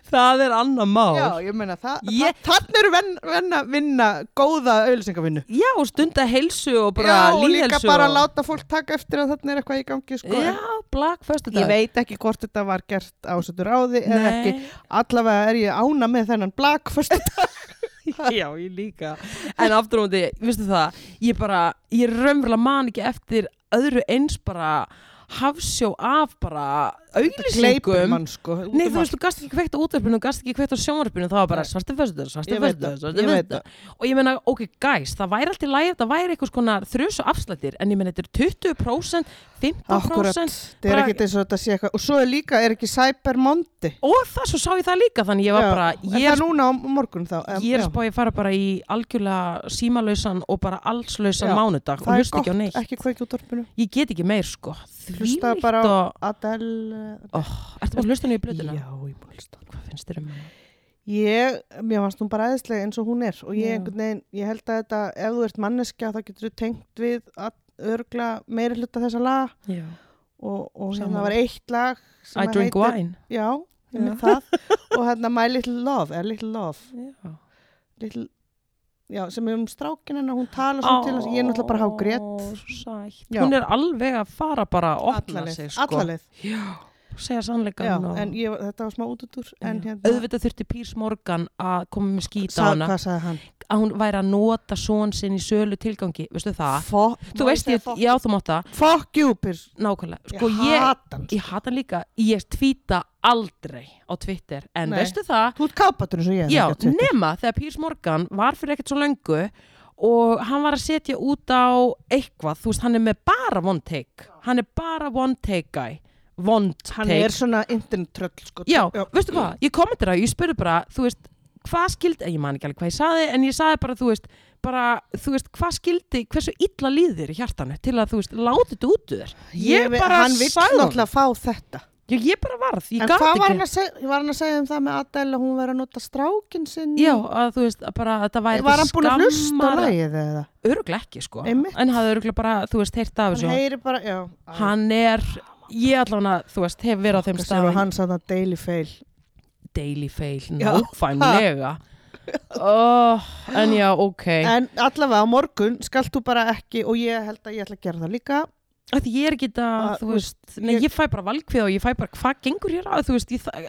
Speaker 1: það er annað mál
Speaker 2: já ég meina það
Speaker 1: Ég-
Speaker 2: ég... þannig eru venn, venn að vinna góða auðlýsingavinnu
Speaker 1: Já, stunda heilsu og bara
Speaker 2: Já, og
Speaker 1: líðhelsu
Speaker 2: líka bara
Speaker 1: og...
Speaker 2: láta fólk taka eftir að þarna er eitthvað í gangi sko.
Speaker 1: Já, blakk fyrstu dag
Speaker 2: Ég veit ekki hvort þetta var gert á þessu ráði eða ekki.
Speaker 1: Nei,
Speaker 2: Allavega er ég ána með þennan blak fyrstu dag.
Speaker 1: já, ég líka En aftur á því, viðstu það Ég bara, ég raunverulega man ekki eftir öðru eins bara hafsjó af bara
Speaker 2: Gleipur
Speaker 1: auglýsingum
Speaker 2: mann sko. út
Speaker 1: Nei,
Speaker 2: um
Speaker 1: þú
Speaker 2: allt.
Speaker 1: veist, þú gast ekki kveikt á útverfinu, þú gast ekki kveikt á sjónvarpinu, það var bara
Speaker 2: Nei.
Speaker 1: svartu föstudagur, svartu
Speaker 2: Ég veit
Speaker 1: föstudagur,
Speaker 2: það,
Speaker 1: svartu
Speaker 2: ég veit
Speaker 1: föstudagur. Og ég meina, ok, guys, það væri alltaf lægir, það væri einhvers konar þrjus og afslættir, en ég meina, þetta er 20%, 15%,
Speaker 2: Akkúrat. Þetta er
Speaker 1: bara-
Speaker 2: ekki eins og þetta sé eitthvað. Og svo er líka, er ekki Cyber Monday.
Speaker 1: og það, svo sá ég það líka, þannig ég var
Speaker 2: Já,
Speaker 1: bara,
Speaker 2: er
Speaker 1: ég er
Speaker 2: það núna á morgun þá? Em,
Speaker 1: ég er
Speaker 2: já.
Speaker 1: að spá ég fara bara í algjörlega símalausan og bara allslausan
Speaker 2: Já,
Speaker 1: mánudag og
Speaker 2: Það er
Speaker 1: hlusta ekki á
Speaker 2: gott,
Speaker 1: neitt
Speaker 2: ekki kveikja út orfinu.
Speaker 1: ég get ekki meir sko
Speaker 2: Hlusta
Speaker 1: Þvílíkt
Speaker 2: bara á
Speaker 1: og...
Speaker 2: Adele.
Speaker 1: oh, ertu bara að hlusta nýju blöðuna
Speaker 2: Já, ég búin að hlusta.
Speaker 1: hvað finnst þér um hana?
Speaker 2: Ég, mér fannst hún bara æðislega eins og hún er og ég,
Speaker 1: Já.
Speaker 2: einhvern veginn, ég held að þetta, ef þú ert manneskja þá getur þú tengt við all- örgla meiri hluta þessa laga
Speaker 1: Já.
Speaker 2: og, og
Speaker 1: Sammála.
Speaker 2: hérna var eitt lag sem
Speaker 1: I
Speaker 2: að
Speaker 1: drink
Speaker 2: heitir-
Speaker 1: wine
Speaker 2: Já, ég mynd
Speaker 1: Já.
Speaker 2: það og hérna My Little Love, er Little Love
Speaker 1: já.
Speaker 2: little, Já, sem er um strákin hennar, hún talar svo til hans, ég er náttúrulega bara
Speaker 1: Ó,
Speaker 2: hágrét
Speaker 1: svo sætt.
Speaker 2: Já.
Speaker 1: hún er alveg að fara bara að opna sig
Speaker 2: Allaleið,
Speaker 1: sko.
Speaker 2: allaleið
Speaker 1: já, segja sannleikan
Speaker 2: Já,
Speaker 1: og...
Speaker 2: en ég, þetta var smá út út úr en
Speaker 1: Já.
Speaker 2: hérna,
Speaker 1: auðvitað þurfti Pírs Morgan að koma með skýta á
Speaker 2: sa-
Speaker 1: hana
Speaker 2: hvað sagði hann?
Speaker 1: að hún væri að nota són sinn í sölu tilgangi veistu það?
Speaker 2: Fo-
Speaker 1: þú
Speaker 2: Má ég
Speaker 1: veist
Speaker 2: segja
Speaker 1: ég,
Speaker 2: fo-
Speaker 1: já þú mátt það
Speaker 2: Fuck you, Pirs
Speaker 1: Nákvæmlega,
Speaker 2: Ég
Speaker 1: sko ég,
Speaker 2: hata hann.
Speaker 1: ég hata hann líka, ég tvíta aldrei á Twitter, en
Speaker 2: Nei.
Speaker 1: veistu það,
Speaker 2: Þú ert kápatur eins og ég er
Speaker 1: já,
Speaker 2: ekki á Twitter.
Speaker 1: nema þegar Pírs Morgan var fyrir ekkert svo löngu og hann var að setja út á eitthvað, þú veist, hann er með bara one take, hann er bara one take guy, one take.
Speaker 2: hann er svona internet-tröll sko.
Speaker 1: Já, veistu hvað, ég kommentir að, ég spurði bara, þú veist, hvað skildi, ég man ekki alveg hvað ég saði, en ég saði bara, þú veist, bara, þú veist, hvað skildi, hversu illa líður þér í hjartanu til að, þú veist, láti þetta út úr þér. Ég,
Speaker 2: ve-
Speaker 1: bara
Speaker 2: hann vill
Speaker 1: sagði honum.
Speaker 2: náttúrulega fá þetta
Speaker 1: Já, ég bara varð, ég
Speaker 2: en
Speaker 1: gat
Speaker 2: hvað var hann,
Speaker 1: ekki
Speaker 2: að segja, var hann að segja um það með Adele að hún verið að nota strákin sinn
Speaker 1: Já, að þú veist, að bara að það væri
Speaker 2: var hann búin að hlusta á lagið eða
Speaker 1: Öruglega ekki, sko
Speaker 2: Einmitt.
Speaker 1: En hafði öruglega bara, þú veist, heyrt af
Speaker 2: hann
Speaker 1: þessu
Speaker 2: heyri bara, já
Speaker 1: Hann er, ég allan að, þú veist, hef verið á þeim
Speaker 2: Hvað
Speaker 1: stað
Speaker 2: segir hann sann að daily fail
Speaker 1: Daily fail,
Speaker 2: Já.
Speaker 1: nákvæmlega oh, En já, ok
Speaker 2: en allavega á morgun skalt þú bara ekki og ég held að ég ætla að gera það líka
Speaker 1: Af Því ég er ekki það,
Speaker 2: Að,
Speaker 1: þú
Speaker 2: Ah, þú
Speaker 1: veist Nei, ég fæ bara valkvið og ég fæ bara hvað gengur hér á Þú veist, ég það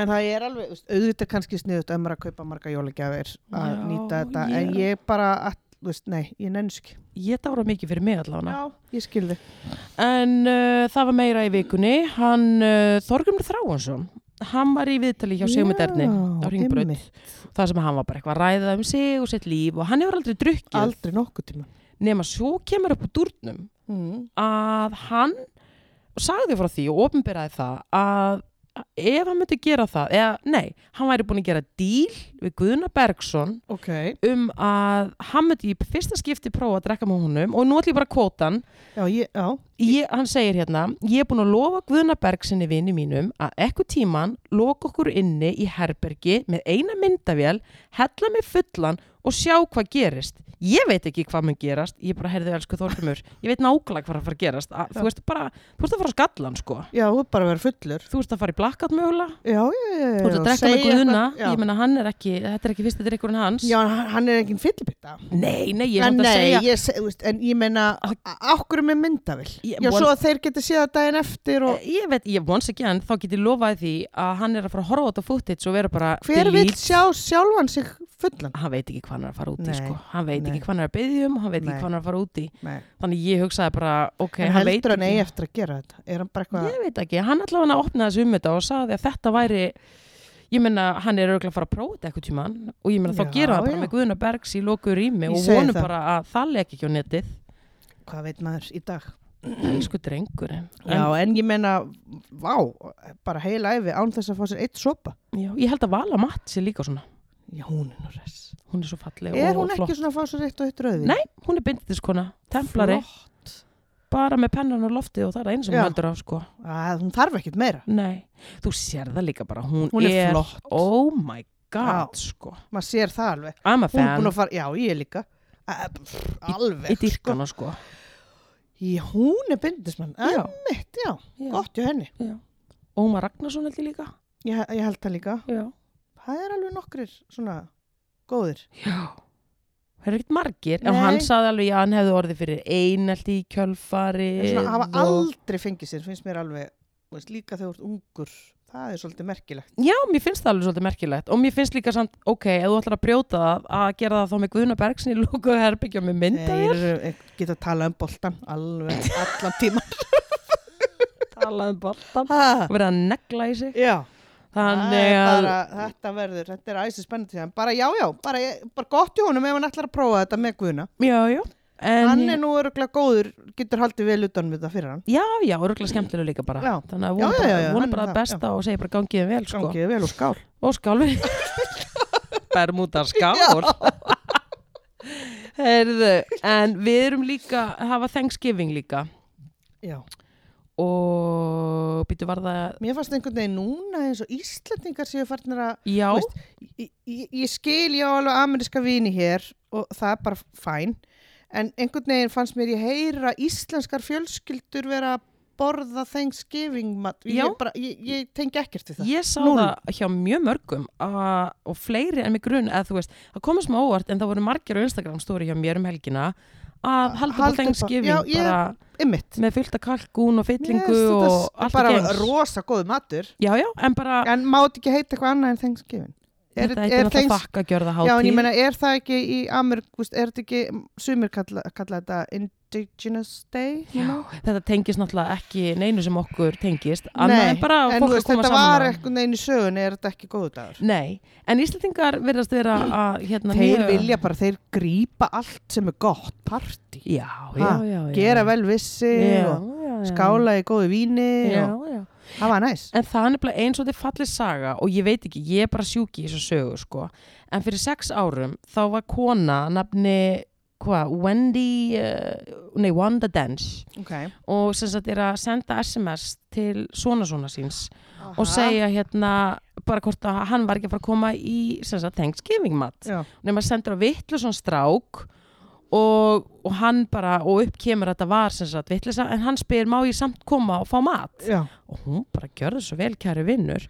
Speaker 2: en það er alveg, þú veist, auðvitað kannski sniðut ömur að kaupa marga jólagjafir að
Speaker 1: Já,
Speaker 2: nýta þetta en
Speaker 1: ég-
Speaker 2: ég bara, að, þú veist, nei, ég nennis ekki
Speaker 1: Ég dára mikið fyrir mig allan
Speaker 2: já, ég skil þig
Speaker 1: En uh, það var meira í vikunni Hann, uh, Þorgrumur Þráhansson Hann var í viðtali hjá Sigmund Erni á
Speaker 2: Já,
Speaker 1: Ringbraut
Speaker 2: einmitt.
Speaker 1: Það sem hann var bara eitthvað að ræða um sig og sitt líf og hann hefur aldrei drukkið
Speaker 2: aldrei nokkuð tíma
Speaker 1: nema svo kemur upp úr durnum
Speaker 2: mm.
Speaker 1: að hann sagði frá því og ofinberaði það að ef hann myndi gera það, eða nei, hann væri búin að gera díl við Guðna Bergson
Speaker 2: ok,
Speaker 1: um að hann myndi í fyrsta skipti prófa að drekka með honum og nú ætlum ég bara að kvóta hann
Speaker 2: já, ég, já,
Speaker 1: ég, hann segir hérna ég er búin að lofa Guðnaberg sinni vini mínum að ekkur tíman loka okkur inni í herbergi með eina myndavél hella mig fullan og sjá hvað gerist ég veit ekki hvað mun gerast ég bara heyrði elsku Þorfumur ég veit nákvæmlega hvað er að fara að gerast að, þú veist bara, þú ert að fara á skallan sko
Speaker 2: já, þú er bara að vera fullur
Speaker 1: þú ert að fara í blakkat mögulega
Speaker 2: já, já, já, já
Speaker 1: þú ert að drekka
Speaker 2: segja
Speaker 1: með Guðna
Speaker 2: eitthvað- já.
Speaker 1: ég meina hann er ekki, þetta er ekki fyrsti drikkurinn hans
Speaker 2: já, hann- hann er engin fyllibitta
Speaker 1: nei, nei, ég er
Speaker 2: en
Speaker 1: samt að
Speaker 2: nei,
Speaker 1: segja
Speaker 2: ég, seg, veist, en ég meina okkur með myndavill
Speaker 1: Ég-
Speaker 2: já,
Speaker 1: von-
Speaker 2: svo að þeir geta séð það daginn eftir og
Speaker 1: Eh, Ég veit, ég once again, þá get ég lofaði því að hann er að fara að horfa á þetta footage og vera bara
Speaker 2: hver vil
Speaker 1: delete. Ah,
Speaker 2: sjá sjálfan sig fullan
Speaker 1: hann veit ekki hvað hann er að fara út í
Speaker 2: Nei,
Speaker 1: sko. hann veit
Speaker 2: nei.
Speaker 1: ekki hvað hann er að byggja um hann veit
Speaker 2: Nei.
Speaker 1: ekki hvað hann er að fara út í
Speaker 2: Nei.
Speaker 1: þannig ég hugsaði bara, ok,
Speaker 2: en
Speaker 1: hann veit
Speaker 2: heldur hann eigi
Speaker 1: ekki
Speaker 2: eftir að gera þetta er hann bara eitthvað
Speaker 1: ég veit ekki, hann allavega hann opnaði þessu um þetta og sagði að þetta væri ég meina, hann er auðvitað að fara að prófa þetta eitthvað tímann og ég meina,
Speaker 2: Já,
Speaker 1: þá gera það bara
Speaker 2: já.
Speaker 1: með Guðuna Bergs í lokuðu rými
Speaker 2: Ég
Speaker 1: og
Speaker 2: segi
Speaker 1: vonum
Speaker 2: það.
Speaker 1: bara að það leik ekki á netið
Speaker 2: hvað veit maður í dag
Speaker 1: elsku drengurinn
Speaker 2: já, en ég meina, vá bara heila æfi án þess að fá sér eitt sopa
Speaker 1: já, ég held að Vala Matt sé líka svona
Speaker 2: já, hún er nú res
Speaker 1: hún er svo falleg
Speaker 2: er
Speaker 1: og
Speaker 2: hún
Speaker 1: flott
Speaker 2: ekki svona að fá sér eitt og eitt rauðin
Speaker 1: Nei, hún er bindindiskona, templari bara með pennan og lofti og það er einu sem
Speaker 2: Já.
Speaker 1: hún heldur á sko
Speaker 2: að, hún þarf ekkert meira
Speaker 1: Nei, þú sér það líka bara Hún,
Speaker 2: Hún er flott.
Speaker 1: Oh my god, sko
Speaker 2: maður sér það alveg
Speaker 1: I'm a
Speaker 2: hún er búin
Speaker 1: fan,
Speaker 2: að fara, já, ég líka Æ, pff, alveg
Speaker 1: ég dýrka hana sko
Speaker 2: Já, hún er bindismann,
Speaker 1: Já.
Speaker 2: emmitt, já,
Speaker 1: Já.
Speaker 2: gott hjá henni.
Speaker 1: Ómar Ragnarsson held ég líka
Speaker 2: Ég, ég held það líka.
Speaker 1: Já,
Speaker 2: Það er alveg nokkrir svona góðir.
Speaker 1: það er ekkert margir En
Speaker 2: Nei.
Speaker 1: hann saði alveg, já, hann hefði orðið fyrir einelti í kjölfari
Speaker 2: En svona hafa aldrei fengið sér, finnst mér alveg, þú veist, líka þegar þú ert ungur, það er svolítið merkilegt.
Speaker 1: Já, mér finnst það alveg svolítið merkilegt Og mér finnst líka samt, ok, ef þú ætlar að brjóta það að gera það þá með Guðna Bergsin í lókuðu herbyggja með myndaðir
Speaker 2: Þeir eru- geta að tala um boltan alveg allan tíma. um
Speaker 1: Talaðum boltan
Speaker 2: Ha,
Speaker 1: og verið að negla í sig
Speaker 2: já, það
Speaker 1: Þannig
Speaker 2: er
Speaker 1: að,
Speaker 2: bara, þetta verður, þetta er æsið spennandi tíma. Bara já, já, bara, ég- bara gott hjá honum ef hann ætlar að prófa þetta með guðuna.
Speaker 1: já, já en,
Speaker 2: Hann er nú öruglega góður, getur haldið vel utan við það fyrir hann.
Speaker 1: Já, já, örgulega skemmtilega líka bara
Speaker 2: Já.
Speaker 1: Þannig að
Speaker 2: Já,
Speaker 1: vona
Speaker 2: já,
Speaker 1: bara,
Speaker 2: já, já,
Speaker 1: vona
Speaker 2: hann
Speaker 1: bara
Speaker 2: er
Speaker 1: að
Speaker 2: það,
Speaker 1: besta og segja bara gangið þið vel sko.
Speaker 2: Gangiði vel og skál.
Speaker 1: Og skálfi Bermúta skál Heyrðu, En við erum líka að hafa Thanksgiving líka
Speaker 2: Já.
Speaker 1: Og býtu var það
Speaker 2: Mér fannst einhvern veginn núna eins og Íslandingar séu farnir að
Speaker 1: Já,
Speaker 2: Þú veist, ég, ég, ég skil ég á alveg ameríska vini hér og það er bara fæn en einhvern veginn fannst mér ég heyra íslenskar fjölskyldur vera að borða Thanksgiving mat
Speaker 1: Já.
Speaker 2: ég, bara, ég, ég tengi ekkert við það
Speaker 1: ég sá
Speaker 2: Núll.
Speaker 1: það hjá mjög mörgum a, og fleiri en mig grun eða þú veist, það komið smá óvart en það voru margir á Instagram stóri hjá mér um helgina að halda
Speaker 2: Halda upp
Speaker 1: upp
Speaker 2: á-
Speaker 1: á Thanksgiving
Speaker 2: Já, ég-
Speaker 1: bara
Speaker 2: Einmitt.
Speaker 1: með fullt af kalkún og
Speaker 2: Mér
Speaker 1: fyllingu
Speaker 2: finnst þetta
Speaker 1: og
Speaker 2: s-
Speaker 1: allt
Speaker 2: bara
Speaker 1: í gengs
Speaker 2: rosa góð matur
Speaker 1: Já, já, en bara
Speaker 2: en má þetta ekki heita eitthvað annað en Thanksgiving er,
Speaker 1: þetta heitir
Speaker 2: Thanks-
Speaker 1: náttúrulega þakka að gjörða
Speaker 2: Já, en ég
Speaker 1: hátíð
Speaker 2: meina, er það ekki í Amerík, er þetta ekki, sumir kalla, kalla þetta Indigenous Day? you know?
Speaker 1: þetta tengist náttúrulega ekki neinu sem okkur tengist
Speaker 2: Nei,
Speaker 1: annað en bara fólk
Speaker 2: en þú
Speaker 1: að
Speaker 2: veist,
Speaker 1: koma
Speaker 2: þetta var
Speaker 1: saman
Speaker 2: eitthvað neginn í sögunni, er þetta ekki góðu dagur?
Speaker 1: Nei, en Íslandingar verðast vera að hérna
Speaker 2: Þeir
Speaker 1: mjög-
Speaker 2: vilja bara, þeir grípa allt sem er gott, partí,
Speaker 1: Já, já,
Speaker 2: Ha,
Speaker 1: já, já
Speaker 2: gera vel vissi
Speaker 1: Já,
Speaker 2: og
Speaker 1: já, já.
Speaker 2: skála í góðu víni
Speaker 1: Já,
Speaker 2: og
Speaker 1: já
Speaker 2: það var næs.
Speaker 1: En það er nefnilega eins og þetta er fallið saga og ég veit ekki, ég er bara sjúki í þessu sögu sko. En fyrir sex árum þá var kona nafni, hvað, Wendy, uh, nei, Wanda Dench
Speaker 2: Ok.
Speaker 1: og sem sagt er að senda SMS til svona svona síns og segja hérna bara hvort að hann var ekki að fara að koma í sem sagt Thanksgiving mat
Speaker 2: Já,
Speaker 1: nema sendur á vitlu svona strák og, og hann bara og upp kemur að þetta var sem sagt vitlisa en hann spyr má ég samt koma og fá mat
Speaker 2: já,
Speaker 1: og hún bara gjörði svo vel kæri vinnur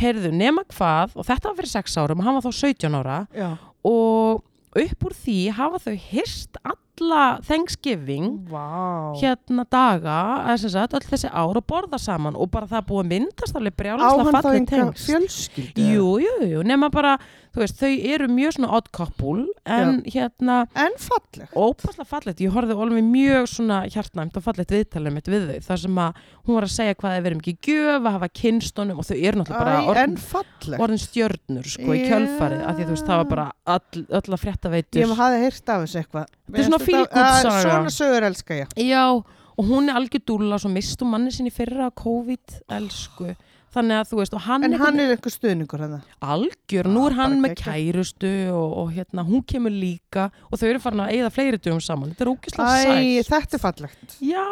Speaker 1: heyrðu nema hvað og þetta var fyrir 6 árum og hann var þá 17 ára
Speaker 2: já.
Speaker 1: og upp úr því hafa þau hyrst alla Thanksgiving
Speaker 2: Vá.
Speaker 1: hérna daga, eða sem sagt, öll þessi ár og borða saman og bara það er búið að myndast alveg
Speaker 2: Á
Speaker 1: brjálagslega
Speaker 2: hann þá
Speaker 1: fallið
Speaker 2: einhver
Speaker 1: tengst.
Speaker 2: fjölskyldu?
Speaker 1: Jú, jú, jú, nema bara, þú veist, þau eru mjög svona odd couple en hérna,
Speaker 2: En falleg.
Speaker 1: ópaslega fallegt, ég horfði alveg mjög svona hjartnæmt og fallegt viðtalið mitt við þau þar sem að hún var að segja hvað það verið mikið gjöf að hafa kynstunum og þau eru náttúrulega bara
Speaker 2: Æ, en
Speaker 1: orðin,
Speaker 2: falleg.
Speaker 1: orðin stjörnur sko í
Speaker 2: Já.
Speaker 1: kjölfarið, af því að þú veist, það var bara all, öll að frétta
Speaker 2: Ég
Speaker 1: veitur.
Speaker 2: hafði heyrt af þessu eitthvað.
Speaker 1: er svona
Speaker 2: Mér finnst
Speaker 1: feel good
Speaker 2: þetta- að
Speaker 1: saga.
Speaker 2: Svona sögur elska ég.
Speaker 1: Já, og hún er algjör dúlla svo mistum manni sinni fyrra á COVID, elsku þannig að þú veist og hann,
Speaker 2: en hann er einhver stuðningur hann
Speaker 1: algjör, nú
Speaker 2: Já,
Speaker 1: er hann
Speaker 2: bara
Speaker 1: með
Speaker 2: geggjað.
Speaker 1: kærustu og, og hérna, hún kemur líka og þau eru farin að eigða fleiri dögum saman þetta er ógislega
Speaker 2: Æ,
Speaker 1: sæl
Speaker 2: þetta er fallegt
Speaker 1: já,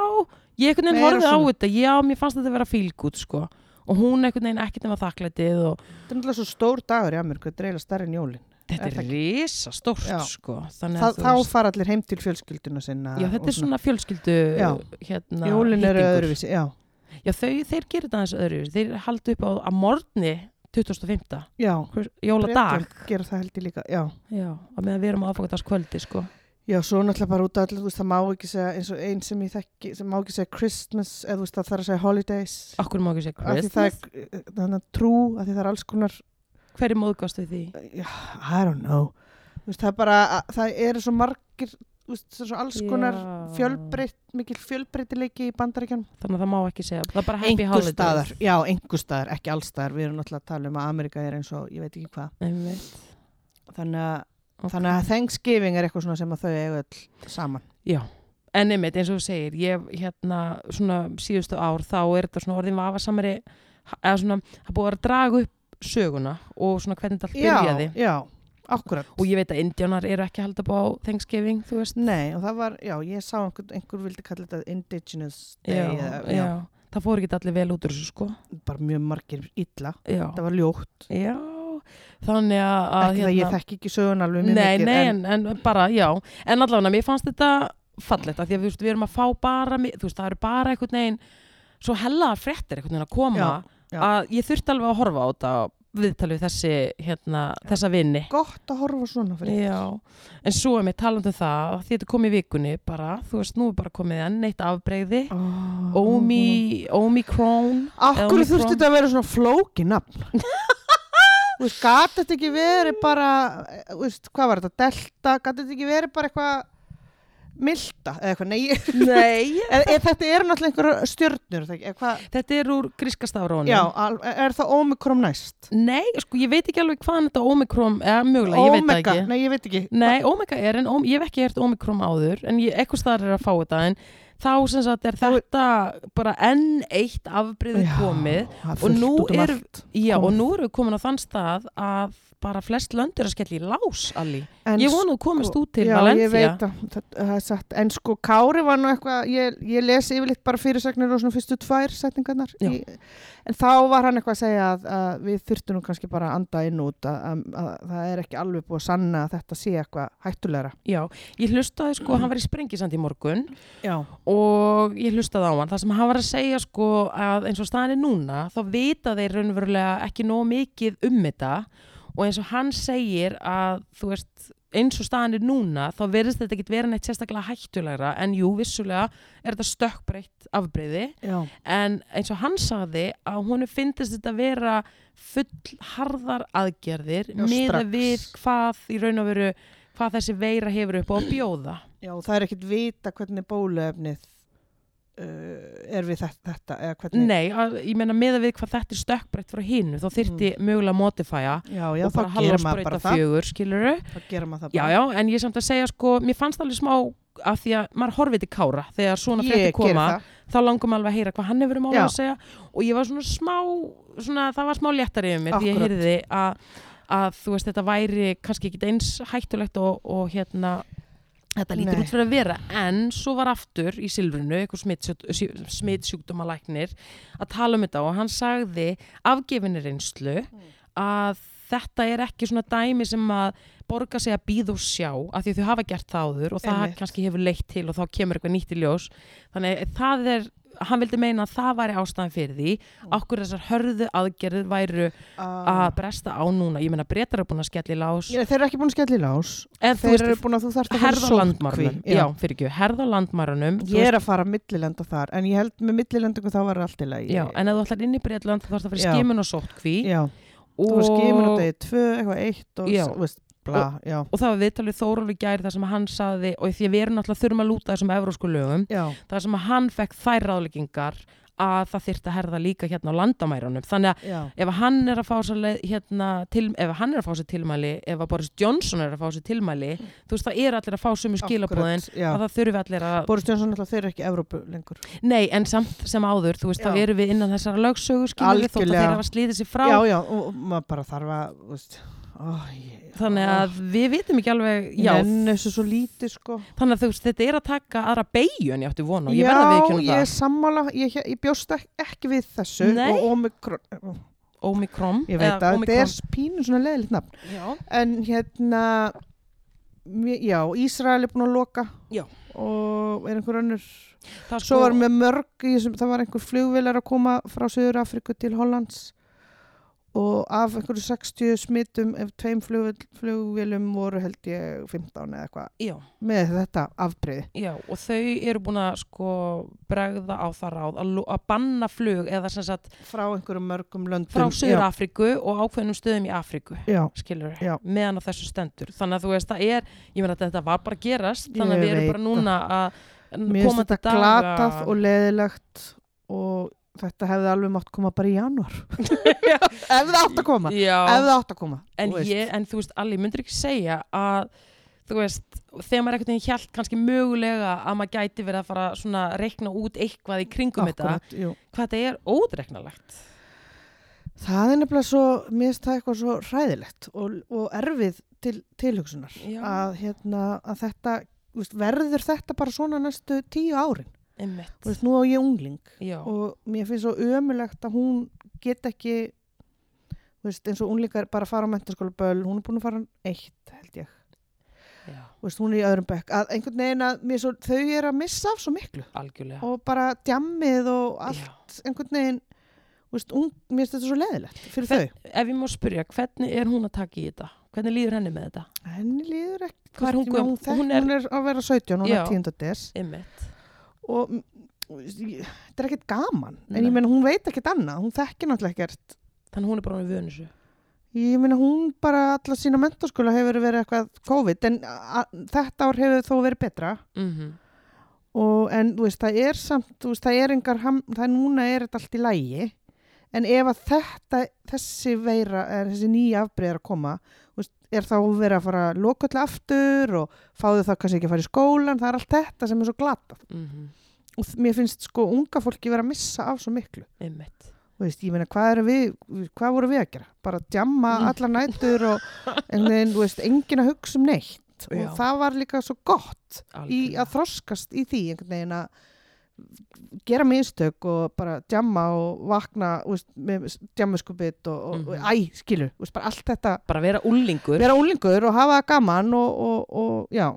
Speaker 1: ég einhvern veginn
Speaker 2: Meira
Speaker 1: horfið á
Speaker 2: svona.
Speaker 1: þetta já, mér fannst þetta að vera fílgút sko og hún einhvern veginn ekkert nema þakklætið og
Speaker 2: Þetta er náttúrulega svo stór dagur í Ameríku þetta er eiginlega starri en jólin
Speaker 1: þetta
Speaker 2: Er
Speaker 1: er
Speaker 2: það
Speaker 1: risastórt
Speaker 2: Já.
Speaker 1: sko þannig
Speaker 2: Þa,
Speaker 1: að þú
Speaker 2: þá
Speaker 1: veist-
Speaker 2: fara allir heim til fjölskylduna sinna
Speaker 1: já, þetta
Speaker 2: og
Speaker 1: er svona fjölskyldu
Speaker 2: Já.
Speaker 1: hérna,
Speaker 2: jólin eru
Speaker 1: hýtingur.
Speaker 2: öðruvísi já,
Speaker 1: Já, þau, þeir gerir þetta aðeins öðru. Þeir haldi upp á að morgni 25.
Speaker 2: já
Speaker 1: hvers- jóladag.
Speaker 2: Bretar gera það held ég líka já.
Speaker 1: Já, að meðan við erum á aðfokkataskvöldi, sko.
Speaker 2: já, svo náttúrulega bara út af allir þú veist, það má ekki segja eins og einn sem ég þekki sem má ekki segja Christmas eða þú veist það þarf að segja holidays
Speaker 1: Akkur má ekki segja
Speaker 2: Af því
Speaker 1: Christmas.
Speaker 2: það er, þannig að trú að því það er alls konar
Speaker 1: Hverju móðgast við því?
Speaker 2: I don't know Þú veist, það, er bara, það eru svo margir þú veist, það er svo alls konar
Speaker 1: Já.
Speaker 2: fjölbreytt, mikil fjölbreytileiki í bandaríkjanum
Speaker 1: Þannig að það má ekki segja. Það er bara happy
Speaker 2: Einhvers
Speaker 1: holidays.
Speaker 2: staðar, já, einhver staðar, ekki allstaðar við erum náttúrulega að tala um að Amerika er eins og ég veit ekki hvað
Speaker 1: Einmitt.
Speaker 2: þannig að,
Speaker 1: Ok.
Speaker 2: þannig að Thanksgiving er eitthvað svona sem að þau eiga öll saman
Speaker 1: Já. En einmitt, eins og þú segir, ég hérna svona síðustu ár þá er þetta svona orðin vafasamari eða svona, það er búið að draga upp söguna og svona hvernig þetta allt byrjaði.
Speaker 2: Já, já, akkurat
Speaker 1: Og ég veit að indjónar eru ekki að halda upp á Thanksgiving, þú veist.
Speaker 2: Nei, og það var, já, ég sá einhver, einhver vildi kalla þetta Indigenous Day
Speaker 1: já,
Speaker 2: eða-
Speaker 1: já. það fór ekki allir vel út úr þessu sko
Speaker 2: bara mjög margir illa
Speaker 1: já,
Speaker 2: það var ljótt,
Speaker 1: já. þannig að að, hérna,
Speaker 2: ekki það ég þekki ekki sögun alveg mjög
Speaker 1: nei,
Speaker 2: mikið
Speaker 1: nei, en, en, bara, já en allavega, mér fannst þetta fallegt að því að þú veist, við erum að fá bara mi- þú veist, það eru bara einhvern veginn svo hellaðar fréttir einhvern veginn að koma
Speaker 2: Já, já.
Speaker 1: að ég þurfti alveg að horfa á þetta viðtalið við þessi, hérna, þessa vinni
Speaker 2: gott að horfa svona fyrir
Speaker 1: Já, en svo er mér talandi um það að því þetta kom í vikunni bara, þú veist, nú er bara komið enn eitt afbreyði
Speaker 2: oh.
Speaker 1: Omi, Omicron
Speaker 2: Akkur
Speaker 1: Omicron.
Speaker 2: þurfti þetta að vera svona flóki nafn Þú veist, gat þetta ekki verið bara þú veist, hvað var þetta, delta gat þetta ekki verið bara eitthvað milda eða eitthvað, nei ég-
Speaker 1: Nei,
Speaker 2: eða eða þetta eru náttúrulega einhverja stjörnur er það ekki? eða hvað,
Speaker 1: Þetta er úr gríska stafrónu.
Speaker 2: já, al- er það omikrom næst
Speaker 1: Nei, sko, ég veit ekki alveg hvaðan þetta omikrom, eða mögulega, ég veit það
Speaker 2: omega,
Speaker 1: ekki.
Speaker 2: nei ég veit ekki
Speaker 1: Nei, omega er, en om, ég hef ekki hert omikrom áður, en ég, eitthvað staðar er að fá þetta, en þá sem sagt er þetta bara enn eitt afbriðið
Speaker 2: Já,
Speaker 1: komið.
Speaker 2: það er
Speaker 1: Og
Speaker 2: fullt
Speaker 1: nú
Speaker 2: út um
Speaker 1: er-
Speaker 2: allt.
Speaker 1: Já, og
Speaker 2: Komið.
Speaker 1: nú erum við komin á þann stað að bara flest löndur að skella í lás, Alli.
Speaker 2: En sko,
Speaker 1: Ég vonu að þú komist út til
Speaker 2: já,
Speaker 1: Valencia.
Speaker 2: ég veit að, það, það er satt en sko Kári var nú eitthvað ég, ég lesi yfirleitt bara fyrirsagnir og svona fyrstu tvær setningarnar
Speaker 1: Já.
Speaker 2: í, en þá var hann eitthvað að segja að, að við þurftum nú kannski bara að anda inn út að, að, að það er ekki alveg búið að sanna að þetta sé eitthvað hættulegra
Speaker 1: Já, ég hlustaði sko, hann var í sprengisandi í morgun
Speaker 2: já,
Speaker 1: og ég hlustaði á hann það sem hann var að segja sko að eins og staðan er núna þá vita þeir raunverulega ekki nóg mikið um þetta og eins og hann segir að þú veist eins og staðan er núna þá verðist þetta ekki vera neitt sérstaklega hættulegra en jú vissulega er þetta stökkbreytt afbreyði
Speaker 2: já,
Speaker 1: en eins og hann sagði að hún finnist þetta vera full harðar aðgerðir
Speaker 2: Já, strax.
Speaker 1: miða við hvað í raun og veru hvað þessi veira hefur upp á að bjóða
Speaker 2: það er ekkit vita hvernig bóluefnið uh, er við þetta, þetta eða hvernig
Speaker 1: Nei, að, ég meina meða við hvað þetta er stökkbreytt frá hinu, þá þyrfti mögulega að modifæja
Speaker 2: Mm. já, já,
Speaker 1: og
Speaker 2: þá
Speaker 1: bara halva
Speaker 2: gerir maður
Speaker 1: spröyta
Speaker 2: bara það
Speaker 1: fjögur, skiluru.
Speaker 2: þá gerir maður það
Speaker 1: Já, já, en ég er samt að segja sko, mér fannst alveg smá að því að maður horfið til Kára þegar svona
Speaker 2: ég
Speaker 1: frétti
Speaker 2: gerir
Speaker 1: koma,
Speaker 2: það
Speaker 1: þá langum alveg að heyra hvað hann hefur um ála
Speaker 2: Já.
Speaker 1: að segja og ég var svona smá, svona, það var smá léttar yfir mér því ég
Speaker 2: Akkúrat.
Speaker 1: heyrði að, að þú veist, þetta væri kannski ekki eins hættulegt og, og hérna þetta lítur
Speaker 2: Nei.
Speaker 1: út fyrir að vera en svo var aftur í silfrinu einhver smitsjúk- smitsjúkdómalæknir að tala um þetta og hann sagði afgefinni reynslu að þetta er ekki svona dæmi sem að borga sig að býða og sjá af því að þau hafa gert það áður og það
Speaker 2: Einmitt.
Speaker 1: kannski hefur leitt til og þá kemur eitthvað nýtt í ljós þannig að það er, hann vildi meina að það væri ástæðan fyrir því
Speaker 2: Mm.
Speaker 1: okkur þessar hörðu aðgerðir væru
Speaker 2: Ah.
Speaker 1: að bresta á núna, ég meina breytar eru búin að skella í lás
Speaker 2: Já, þeir eru ekki búin að skella í lás
Speaker 1: en þú
Speaker 2: Þeir eru
Speaker 1: veist,
Speaker 2: búin að þú þarft að fara í
Speaker 1: herða
Speaker 2: sóttkví.
Speaker 1: landmarunum já, fyrir ekki, herða landmarunum þú
Speaker 2: Ég er að fara að millilenda þar, en ég held með millilendingu þá var allt í lagi.
Speaker 1: Já, en ef þú ætlar inn í Breitland þá þarfst að fara í
Speaker 2: Já.
Speaker 1: skimun og sótkví
Speaker 2: Já,
Speaker 1: og,
Speaker 2: þú var skimur á degi tvö, eitthvað eitt og,
Speaker 1: Já.
Speaker 2: s- þú veist, bla, já.
Speaker 1: og það var viðtalið Þórólu gæri þar sem hann saði og því að við erum náttúrulega þurfum að lúta þessum evrósku lögum
Speaker 2: Já,
Speaker 1: þar sem að hann fekk þær ráðleggingar að það þyrfti að herða líka hérna á landamærunum þannig að
Speaker 2: já,
Speaker 1: ef að hann er að fá sér leið- hérna, til, ef að hann er að fá sér tilmæli ef að Boris Johnson er að fá sér tilmæli þú veist það er allir að fá sumu skilabóðin
Speaker 2: akkurat, já.
Speaker 1: að það þurfi allir að
Speaker 2: Boris Johnson alltaf þeir eru ekki Evrópu lengur
Speaker 1: nei en samt sem áður þú veist
Speaker 2: Já.
Speaker 1: þá eru við innan þessara lögsögu skilur þótt að
Speaker 2: Algjörlega.
Speaker 1: þeir hafa slítið sér frá
Speaker 2: já, já, og, og maður bara þarf að þú veist, ó, ég,
Speaker 1: þannig að við vitum ekki alveg já,
Speaker 2: en þessu svo lítið sko
Speaker 1: þannig að þú veist þetta er að taka aðra beigju en ég átti vona og ég
Speaker 2: já,
Speaker 1: verða við ekki um
Speaker 2: ég er
Speaker 1: það
Speaker 2: sammála ég, ég bjóst ek- ekki við þessu
Speaker 1: Nei.
Speaker 2: og Omikron
Speaker 1: Omikron
Speaker 2: ég veit
Speaker 1: eða
Speaker 2: að þetta
Speaker 1: Omikron.
Speaker 2: er pínu svona leðilegt nafn
Speaker 1: Já.
Speaker 2: en hérna mér- já, Ísrael er búin að loka
Speaker 1: Já.
Speaker 2: og er einhver önnur
Speaker 1: Það
Speaker 2: svo
Speaker 1: sko-
Speaker 2: var með mörg í þessum, það var einhver flugvilar að koma frá Suður Afriku til Hollands og af einhverju 60 smittum ef tveim flugvil, flugvilum voru held ég 15 eða eitthvað
Speaker 1: já,
Speaker 2: með þetta afbreyði
Speaker 1: já, og þau eru búin að sko bregða á það ráð að, lo- að banna flug eða sem sagt
Speaker 2: frá einhverjum mörgum löndum
Speaker 1: frá Suður
Speaker 2: já,
Speaker 1: Afriku og ákveðnum stöðum í Afriku
Speaker 2: já,
Speaker 1: skilur,
Speaker 2: Já.
Speaker 1: meðan að þessu stendur þannig að þú veist, það er, ég meina að þetta var bara að gerast þannig að
Speaker 2: Ég
Speaker 1: við erum
Speaker 2: veit
Speaker 1: bara núna að
Speaker 2: mér finnst
Speaker 1: komandi
Speaker 2: þetta glatað og leðilegt og þetta hefði alveg mátt koma bara í janúar ef það átt að koma ef
Speaker 1: já,
Speaker 2: það átt að koma
Speaker 1: en,
Speaker 2: þú veist.
Speaker 1: ég, en þú veist, allir myndir ekki segja að þú veist, þegar maður einhvern veginn hjælt kannski mögulega að maður gæti verið að fara svona að reikna út eitthvað í kringum um þetta,
Speaker 2: Akkurat, jú.
Speaker 1: hvað þetta er ódreiknalegt
Speaker 2: Það er nefnilega svo, mér finnst það eitthvað svo ræðilegt og, og erfið til, tilhugsunar
Speaker 1: Já.
Speaker 2: að, hérna, að þetta, þú veist, verður þetta bara svona næstu tíu árin. Þú
Speaker 1: einmitt,
Speaker 2: Veist, nú á ég ungling
Speaker 1: já,
Speaker 2: og mér finnst svo ömulegt að hún get ekki, þú veist, eins og unglingar bara fara á mentarskóla böl, hún er búin að fara um eitt held ég,
Speaker 1: já,
Speaker 2: Þú veist, hún er í öðrum bekk, að einhvern veginn að mér svo, þau er að missa af svo miklu
Speaker 1: algjörlega
Speaker 2: og bara djammið og allt
Speaker 1: já.
Speaker 2: einhvern veginn, þú veist, ung, mér finnst þetta svo leðilegt fyrir þau.
Speaker 1: ef ég má spyrja, hvernig er hún að taka í þetta hvernig líður henni með þetta
Speaker 2: henni líður ekki
Speaker 1: Hvað er hún
Speaker 2: Ég meina,
Speaker 1: gömul?
Speaker 2: þekk-
Speaker 1: Hún
Speaker 2: hún,
Speaker 1: er-
Speaker 2: er... að vera 17, hún
Speaker 1: Já.
Speaker 2: er 10. des
Speaker 1: einmitt,
Speaker 2: og mm, ég- þetta er ekkert gaman en
Speaker 1: Nei.
Speaker 2: ég meina hún veit ekkert annað, hún þekkir náttúrulega ekkert
Speaker 1: þannig hún er bara með vönusu
Speaker 2: ég meina hún bara alla sína mentaskóla hefur verið eitthvað COVID en a- þetta ár hefur þó verið betra
Speaker 1: mm
Speaker 2: Mhm, og, en þú veist það er samt þú veist, það er engar, ham- það er núna er þetta allt í lægi en ef að þetta þessi veira, er, þessi nýja afbreyðar að koma, þú veist, er þá verið að fara að loka öllu aftur og fáðu það kannski ekki að fara í skólan, það er allt þetta sem er svo glata og þ- mér finnst sko unga fólki vera að missa af svo miklu
Speaker 1: einmitt
Speaker 2: Þú veist, ég meina, hvað, erum við, hvað voru við að gera? Bara djamma
Speaker 1: Mm.
Speaker 2: allar nætur og en, en, veist, engin að hugsa um neitt og
Speaker 1: Já.
Speaker 2: það var líka svo gott í
Speaker 1: Algjörlega.
Speaker 2: að þroskast í því einhvern veginn að gera mistök og bara djamma og vakna þú veist, með djammuskubit og, og,
Speaker 1: Mhm.
Speaker 2: og æ, skilu, þú veist, bara allt þetta
Speaker 1: bara vera úlingur
Speaker 2: vera úlingur og hafa það gaman og, og, og já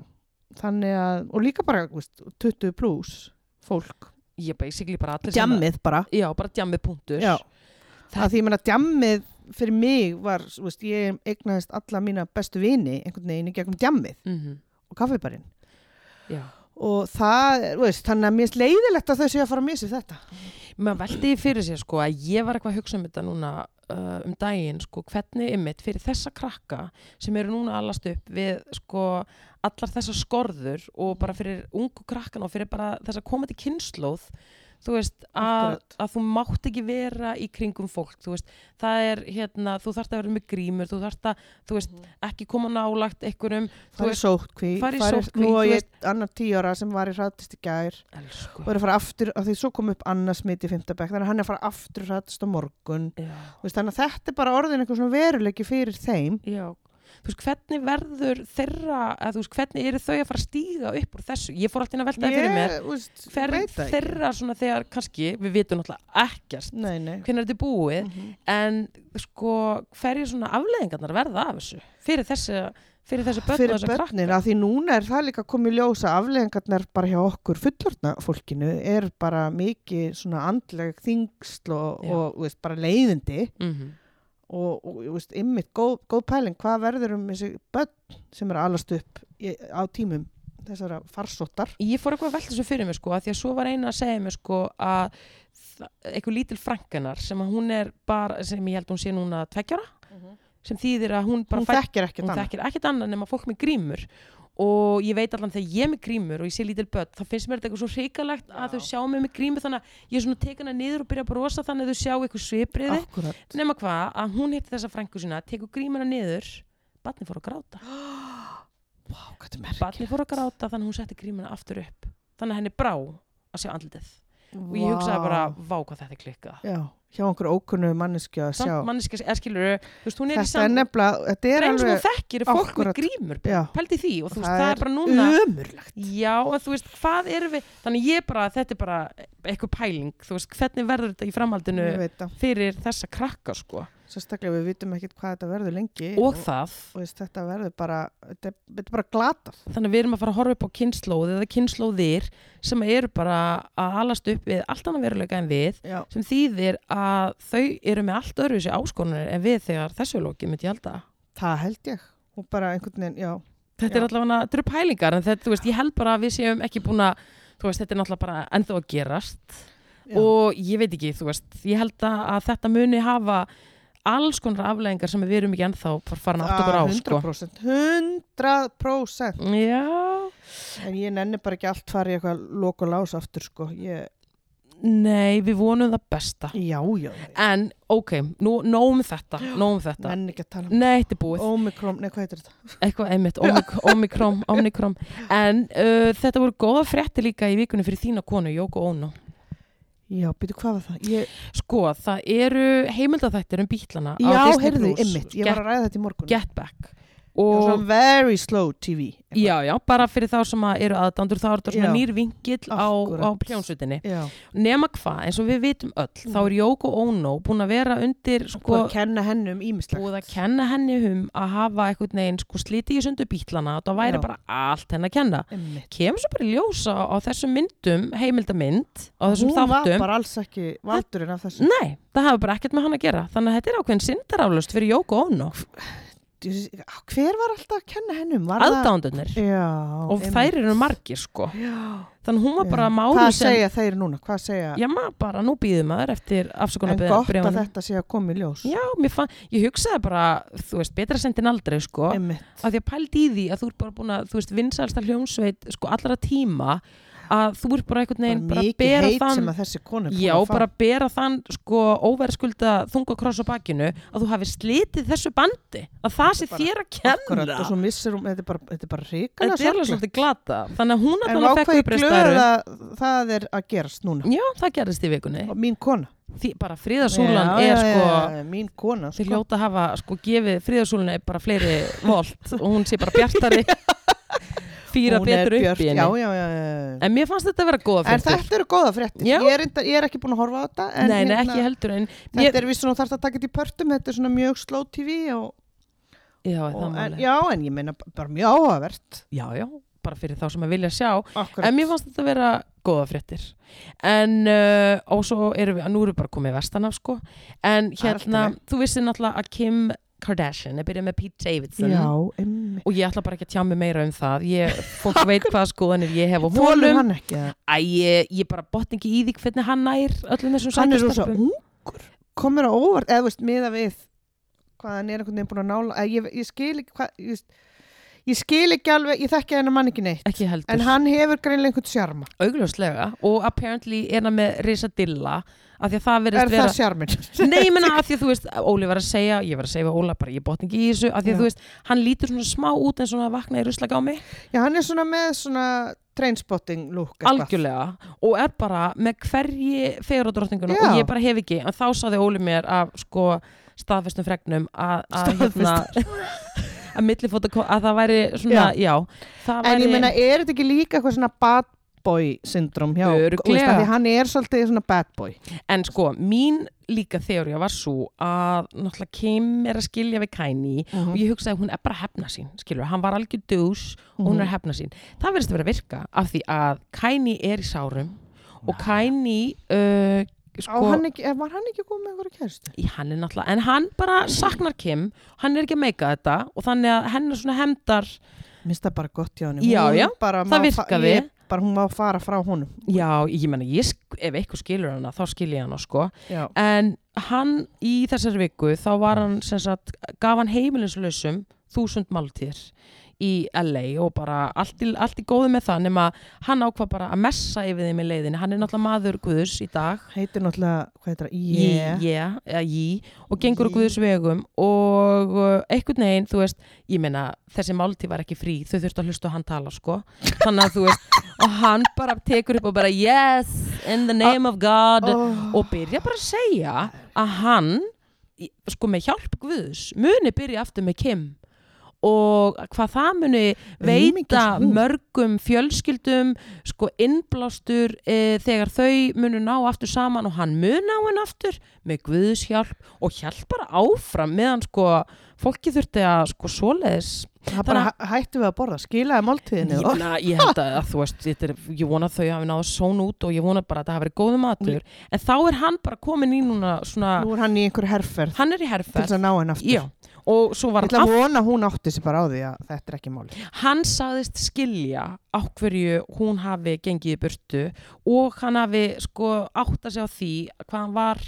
Speaker 2: þannig að, og líka bara þú veist, 20 plus fólk
Speaker 1: ég basically bara allir sem að-
Speaker 2: djammið bara
Speaker 1: já, bara djammið punktur
Speaker 2: já,
Speaker 1: Það-
Speaker 2: að því ég meina djammið fyrir mig var, þú veist, ég eignaðist alla mína bestu vini einhvern veginn í gegnum djammið
Speaker 1: Mhm.
Speaker 2: og kaffibarinn
Speaker 1: já.
Speaker 2: og það, þú veist, þannig að mér er leiðilegt að þau séu að fara að missa þetta
Speaker 1: maður veldi því fyrir sér sko að ég var eitthvað að hugsa um þetta núna uh, um daginn sko hvernig ymmit fyrir þessa krakka sem eru núna að allast upp við sko allar þessar skorður og bara fyrir ungu krakkan og fyrir bara þessa komandi kynnslóð þú veist að,
Speaker 2: Akkurat.
Speaker 1: að þú mátt ekki vera í kringum fólk þú veist það er hérna þú þarft að vera með grímur þú þarft að þú veist ekki koma nálagt einhverjum þú
Speaker 2: Mhm. fara í
Speaker 1: veist
Speaker 2: sótkví,
Speaker 1: fara í sóttkví,
Speaker 2: nú
Speaker 1: þú
Speaker 2: og ég
Speaker 1: veist-
Speaker 2: annar tíu ára sem var í hrættist í gær
Speaker 1: elsku
Speaker 2: og er að fara aftur, af því svo kom upp annars mitt í fimmtabæk, þannig að hann er að fara aftur hrættist á morgun,
Speaker 1: já,
Speaker 2: Þú veist, þannig að þetta er bara orðin eitthvað svona veruleiki fyrir þeim
Speaker 1: já þú veist hvernig verður þeirra að þú veist hvernig eru þau að fara að stíga upp úr þessu ég fór alltaf inn að velta það fyrir mér
Speaker 2: þú veist,
Speaker 1: hver
Speaker 2: veit það ekki.
Speaker 1: þeirra svona þegar kannski, við vitum náttúrulega ekkert
Speaker 2: nei, nei. Mhm.
Speaker 1: hvernig þetta er búið en sko hverju svona afleðingarnar verða af þessu fyrir þessi, fyrir þessi börn og
Speaker 2: fyrir
Speaker 1: þessi
Speaker 2: börnin, af því núna er það líka komið ljósa afleðingarnar bara hjá okkur fullorðna fólkinu er bara mikið svona andleg þingsl og,
Speaker 1: Já.
Speaker 2: og þú veist, bara leiðindi
Speaker 1: mm -hmm.
Speaker 2: og, og þú veist, ymmit góð, góð pæling, hvað verður um þessi börn sem er að alast upp í, á tímum þessara farsóttar
Speaker 1: ég fór eitthvað að velta þessu fyrir mig sko af því að svo var eina að segja mér sko að þa- einhver lítil frankanar sem að hún er bara, sem ég held hún sé núna tveggjara, sem þýðir að hún bara
Speaker 2: hún
Speaker 1: fædd-
Speaker 2: þekkir ekkert
Speaker 1: hún
Speaker 2: annað
Speaker 1: þekkir ekkert annað nema fólk með grímur og ég veit allan þegar ég er með grímur og ég sé lítil börn þá finnst mér þetta eitthvað svo hrikalegt að
Speaker 2: Já.
Speaker 1: þau sjá mig með grímur þannig að ég er svona tekana niður og byrja að brosa þannig að þau sjá eitthvað svipriði
Speaker 2: Akkurat.
Speaker 1: nema hvað að hún hitti þessa frængu sína tekur grímuna niður barni fór að gráta
Speaker 2: Vá, hvað þetta er merkilegt.
Speaker 1: barni fór að gráta þannig að hún setti grímuna aftur upp þannig að henni brá að sjá andlitið og ég
Speaker 2: Vá.
Speaker 1: hugsaði bara vá hvað þetta er klikkað
Speaker 2: Já, hjá einhverju ókunnu mannesku að sjá.
Speaker 1: samt manneska er skilur þú veist hún er í
Speaker 2: Þetta er
Speaker 1: samt
Speaker 2: nefnilega, þetta
Speaker 1: það
Speaker 2: er
Speaker 1: er eins og
Speaker 2: alveg
Speaker 1: þú þekkir er fólk
Speaker 2: Akkúrat.
Speaker 1: með grímur
Speaker 2: já,
Speaker 1: pældi því og þú veist
Speaker 2: Það
Speaker 1: það
Speaker 2: er
Speaker 1: er bara núna
Speaker 2: umurlegt.
Speaker 1: Já, en þú veist, hvað erum við þannig ég bara, þetta er bara eitthvað pæling þú veist, hvernig verður þetta í framhaldinu
Speaker 2: Ég veit það.
Speaker 1: fyrir þessa krakka, sko
Speaker 2: Sérstaklega við vitum ekkert hvað þetta verður lengi.
Speaker 1: og það,
Speaker 2: og veist, þetta verður bara, þetta er þetta er bara glatað.
Speaker 1: þannig að við erum að fara að horfa upp á kynnslóð eða kynnslóðir sem eru bara að alast upp við allt annað veruleika en við
Speaker 2: Já.
Speaker 1: sem þýðir að þau eru með allt öðru þessi áskonur en við þegar þessu er lokið myndi ég halda.
Speaker 2: Það held ég. Og bara einhvern veginn, já.
Speaker 1: Þetta er
Speaker 2: Já.
Speaker 1: allavega, þetta eru pælingar en þetta, þú veist, ég held bara að við séum ekki búin að þú veist, þetta er náttúrulega bara ennþá að gerast
Speaker 2: já.
Speaker 1: og ég veit ekki, þú veist, ég held að, að þetta muni hafa alls konar afleðingar sem við erum ekki ennþá far- farin aftur bara á,
Speaker 2: Ah,
Speaker 1: sko.
Speaker 2: 100%. 100%.
Speaker 1: Já,
Speaker 2: En ég nenni bara ekki allt farið eitthvað lok og lás aftur, sko. Ég,
Speaker 1: nei, við vonum það besta.
Speaker 2: já, já. já.
Speaker 1: En, ok, nú, nóg um þetta, nóg um þetta.
Speaker 2: Nenni ekki að tala um
Speaker 1: Nei, þetta er búið.
Speaker 2: Omikron, nei, hvað heitir þetta?
Speaker 1: Eitthvað einmitt, ómik- ómikróm, ómikróm. En uh, þetta voru góða frétti líka í vikunni fyrir þína konu, Jóko Óno.
Speaker 2: Já, býtu, hvað var það? Ég,
Speaker 1: Sko, það eru heimildaþættir um bítlana á
Speaker 2: já,
Speaker 1: Disney+.
Speaker 2: heyrðu, ymmit, ég var að ræða þetta í morgun.
Speaker 1: Get Back.
Speaker 2: Ég var
Speaker 1: Og
Speaker 2: svona very slow TV.
Speaker 1: Já, já, bara fyrir þá sem að eru aðdandur þá er þetta svona
Speaker 2: Já.
Speaker 1: nýr vingill á, á
Speaker 2: Akkúrat.
Speaker 1: pljónsutinni.
Speaker 2: Já.
Speaker 1: Nema hvað, eins og við vitum öll, þá er Jóko Ono búin að vera undir sko,
Speaker 2: Mm. Búið að kenna henni um ímislegt.
Speaker 1: búið að kenna henni um að hafa einhvern veginn sko slitið í sundu bítlana og það væri
Speaker 2: Já.
Speaker 1: bara allt henni að kenna.
Speaker 2: Einmitt.
Speaker 1: Kemur svo bara í ljósa á þessum myndum, heimildamind, á þessum
Speaker 2: Hún var
Speaker 1: þáttum.
Speaker 2: bara alls ekki valdurinn af þessu.
Speaker 1: Nei, það hafi bara ekkert með hann að gera. Þannig að þetta er ákveðin sindaraflust fyrir Jóko Ono,
Speaker 2: Hver var alltaf að kenna henni um? Var það-
Speaker 1: aðdándunir.
Speaker 2: Já.
Speaker 1: Og
Speaker 2: einmitt.
Speaker 1: þær eru margir sko.
Speaker 2: Já.
Speaker 1: Þannig hún var bara
Speaker 2: Já.
Speaker 1: málu
Speaker 2: Hvað
Speaker 1: sem...
Speaker 2: segja þeir núna? Hvað segja?
Speaker 1: Já maður bara, nú býðum maður eftir
Speaker 2: en
Speaker 1: afsökunar
Speaker 2: gott að þetta sé að koma í ljós.
Speaker 1: Já, mér fann, ég hugsaði bara, þú veist, betra sendin aldrei, sko
Speaker 2: Einmitt.
Speaker 1: að því að pældi í því að þú ert bara búin að þú veist, vinsalsta hljómsveit, sko, allra tíma að þú ert bara einhvern veginn
Speaker 2: Bara
Speaker 1: bara að
Speaker 2: mikið
Speaker 1: bera
Speaker 2: heit sem
Speaker 1: þann,
Speaker 2: að þessi konu er búin
Speaker 1: já,
Speaker 2: að fá.
Speaker 1: bara að bera þann sko, óverskulda þungakross á bakinu að þú hafi slitið þessu bandi að það sé
Speaker 2: bara
Speaker 1: þér að
Speaker 2: Akkurat,
Speaker 1: kenna
Speaker 2: og svo missir hún, þetta er bara, þetta er bara ríkala
Speaker 1: Þetta er alveg svolítið glata þannig að hún
Speaker 2: En
Speaker 1: allavega fekk
Speaker 2: ákveði glöð
Speaker 1: uppreistæru
Speaker 2: að það er að gerast núna.
Speaker 1: Já, það gerðist í vikunni
Speaker 2: Og mín kona.
Speaker 1: Því bara friðarsúlan
Speaker 2: Já,
Speaker 1: er
Speaker 2: já,
Speaker 1: sko
Speaker 2: já, já, Mín kona,
Speaker 1: Þeir
Speaker 2: sko.
Speaker 1: hljóta að hafa sko gefið friðarsúlunni bara fleiri volt og hún sé bara bjartari fýra
Speaker 2: Hún er
Speaker 1: betur upp
Speaker 2: björt,
Speaker 1: í henni.
Speaker 2: Já, já, já, já. já.
Speaker 1: En mér fannst þetta vera góða
Speaker 2: En
Speaker 1: fyrir
Speaker 2: þetta eru góða fréttir.
Speaker 1: Já.
Speaker 2: Ég er, enda, ég er ekki búin að horfa á þetta. En
Speaker 1: Nei, nei,
Speaker 2: hérna,
Speaker 1: ekki heldur en
Speaker 2: Þetta
Speaker 1: ég-
Speaker 2: er við svona þarf að taka þetta í pörtum, þetta er svona mjög slow TV og,
Speaker 1: Já,
Speaker 2: og,
Speaker 1: það
Speaker 2: en,
Speaker 1: máli.
Speaker 2: já, en ég meina b- bara mjög áhugavert.
Speaker 1: Já, já, bara fyrir þá sem að vilja sjá.
Speaker 2: Akkurat.
Speaker 1: En mér fannst þetta vera góða fréttir. En, uh, og svo erum við, nú erum við bara komið vestanaf, sko. En
Speaker 2: Það er allt í
Speaker 1: hérna,
Speaker 2: lagi.
Speaker 1: þú vissir náttúrulega að Kim Kardashian er byrjað með Pete Davidson.
Speaker 2: Já, emmi.
Speaker 1: Og ég ætla bara ekki að tjá mig meira um það. Ég, fólk veit hvað skoðanir ég hef á
Speaker 2: Þólum
Speaker 1: honum.
Speaker 2: hann ekki það.
Speaker 1: Æ, ég, ég bara botn ekki í því hvernig hann nær öllum þessum
Speaker 2: Hann er rosa
Speaker 1: sækjastelpum.
Speaker 2: ungur. Komur á óvart, eða veist, miða við hvað hann er einhvern veginn búin að nála. Að ég, ég skil ekki hvað, ég, veist, ég skil ekki alveg, ég þekki hennar mann ekki neitt.
Speaker 1: Ekki heldur.
Speaker 2: En hann hefur greinlega einhvern sjarma.
Speaker 1: Augljóslega. Og apparently er hann með risadilla. Af því að það
Speaker 2: Er
Speaker 1: verðist
Speaker 2: það
Speaker 1: vera...
Speaker 2: sjarmin?
Speaker 1: Nei, ég menna af því að þú veist, Óli var að segja, ég var að segja við Óla bara, ég botn ekki í þessu. Af því að
Speaker 2: Já.
Speaker 1: þú veist, hann lítur svona smá út en svona vakna í ruslagámi.
Speaker 2: Já, hann er svona með svona trainspotting lúk.
Speaker 1: Algjörlega. Og er bara með hverji fegurðardrottninguna
Speaker 2: Já.
Speaker 1: og ég bara hef ekki. En þá saði Óli mér af sko staðfestum fregnum að, að hérna... að millifóta, að það væri svona, já, það væri...
Speaker 2: En ég meina, er þetta ekki líka eitthvað svona bad boy syndrom hjá?
Speaker 1: Örugglega.
Speaker 2: Þú veist, af Því hann er svolítið svona bad boy.
Speaker 1: En sko, mín líka þeóriða var svo að náttúrulega Kim er að skilja við Kanye og
Speaker 2: Mhm.
Speaker 1: ég hugsaði að hún er bara að hefna sín, skilur, hann var algjör dús og hún er
Speaker 2: Mhm.
Speaker 1: að hefna sín. Það verðist að vera að virka af því að Kanye er í sárum og Kanye, uh,
Speaker 2: Á,
Speaker 1: sko,
Speaker 2: hann ekki, eh, var hann ekki komið með einhverju kæristu?
Speaker 1: í- hann er náttúrulega, en hann bara saknar Kim, hann er ekki að meika þetta og þannig að henn er svona hefndar,
Speaker 2: Minnst það bara gott hjá hann.
Speaker 1: Já, já,
Speaker 2: bara
Speaker 1: það
Speaker 2: má fa-
Speaker 1: virkaði.
Speaker 2: Ég, bara hún má fara frá honum.
Speaker 1: já, ég menna, ég, sk- ef eitthvað skilur hana, þá skil ég hana, sko.
Speaker 2: Já.
Speaker 1: en hann í þessari viku þá var hann sem sagt, gaf hann heimilislausum þúsund máltíðir í LA og bara allt í, allt í góðu með það nema hann ákvað bara að messa yfir þeim í leiðinni hann er náttúrulega maður Guðs í dag
Speaker 2: heitir náttúrulega, hvað heitir það,
Speaker 1: Jí,
Speaker 2: ég
Speaker 1: yeah, eða jí og gengur á
Speaker 2: Jí.
Speaker 1: Guðs vegum og uh, einhvern veginn, þú veist, ég meina þessi máltíð var ekki frí, þau þurftu að hlusta á hann tala sko, þannig að þú veist og hann bara tekur upp og bara yes, in the name of God
Speaker 2: oh,
Speaker 1: og byrja bara að segja að hann í- sko með hjálp Guðs muni byrja aftur með Kim og hvað það muni veita
Speaker 2: Aumingjast hún.
Speaker 1: mörgum fjölskyldum sko innblástur e, þegar þau munu ná aftur saman og hann mun ná henn aftur með Guðs hjálp og hjálp bara áfram meðan sko fólki þurfti að sko svoleiðis
Speaker 2: það bara hæ- hættu við að borða, skilaði máltíðinu
Speaker 1: ég,
Speaker 2: og
Speaker 1: na, ég held að, að þú veist þetta er, ég vona að þau hafi náðu són út og ég vona bara að það hafi verið góðu matur en þá er hann bara komin í núna svona,
Speaker 2: nú er hann í einhver herferð
Speaker 1: hann er í
Speaker 2: til
Speaker 1: herrferð
Speaker 2: þess að ná henn aftur
Speaker 1: já, og svo
Speaker 2: ég
Speaker 1: var
Speaker 2: ætla
Speaker 1: hann
Speaker 2: að vona að hún átti sig bara á því að þetta er ekki mál
Speaker 1: hann sagðist skilja á hverju hún hafi gengið í burtu og hann hafi sko átt að segja á því hvað hann var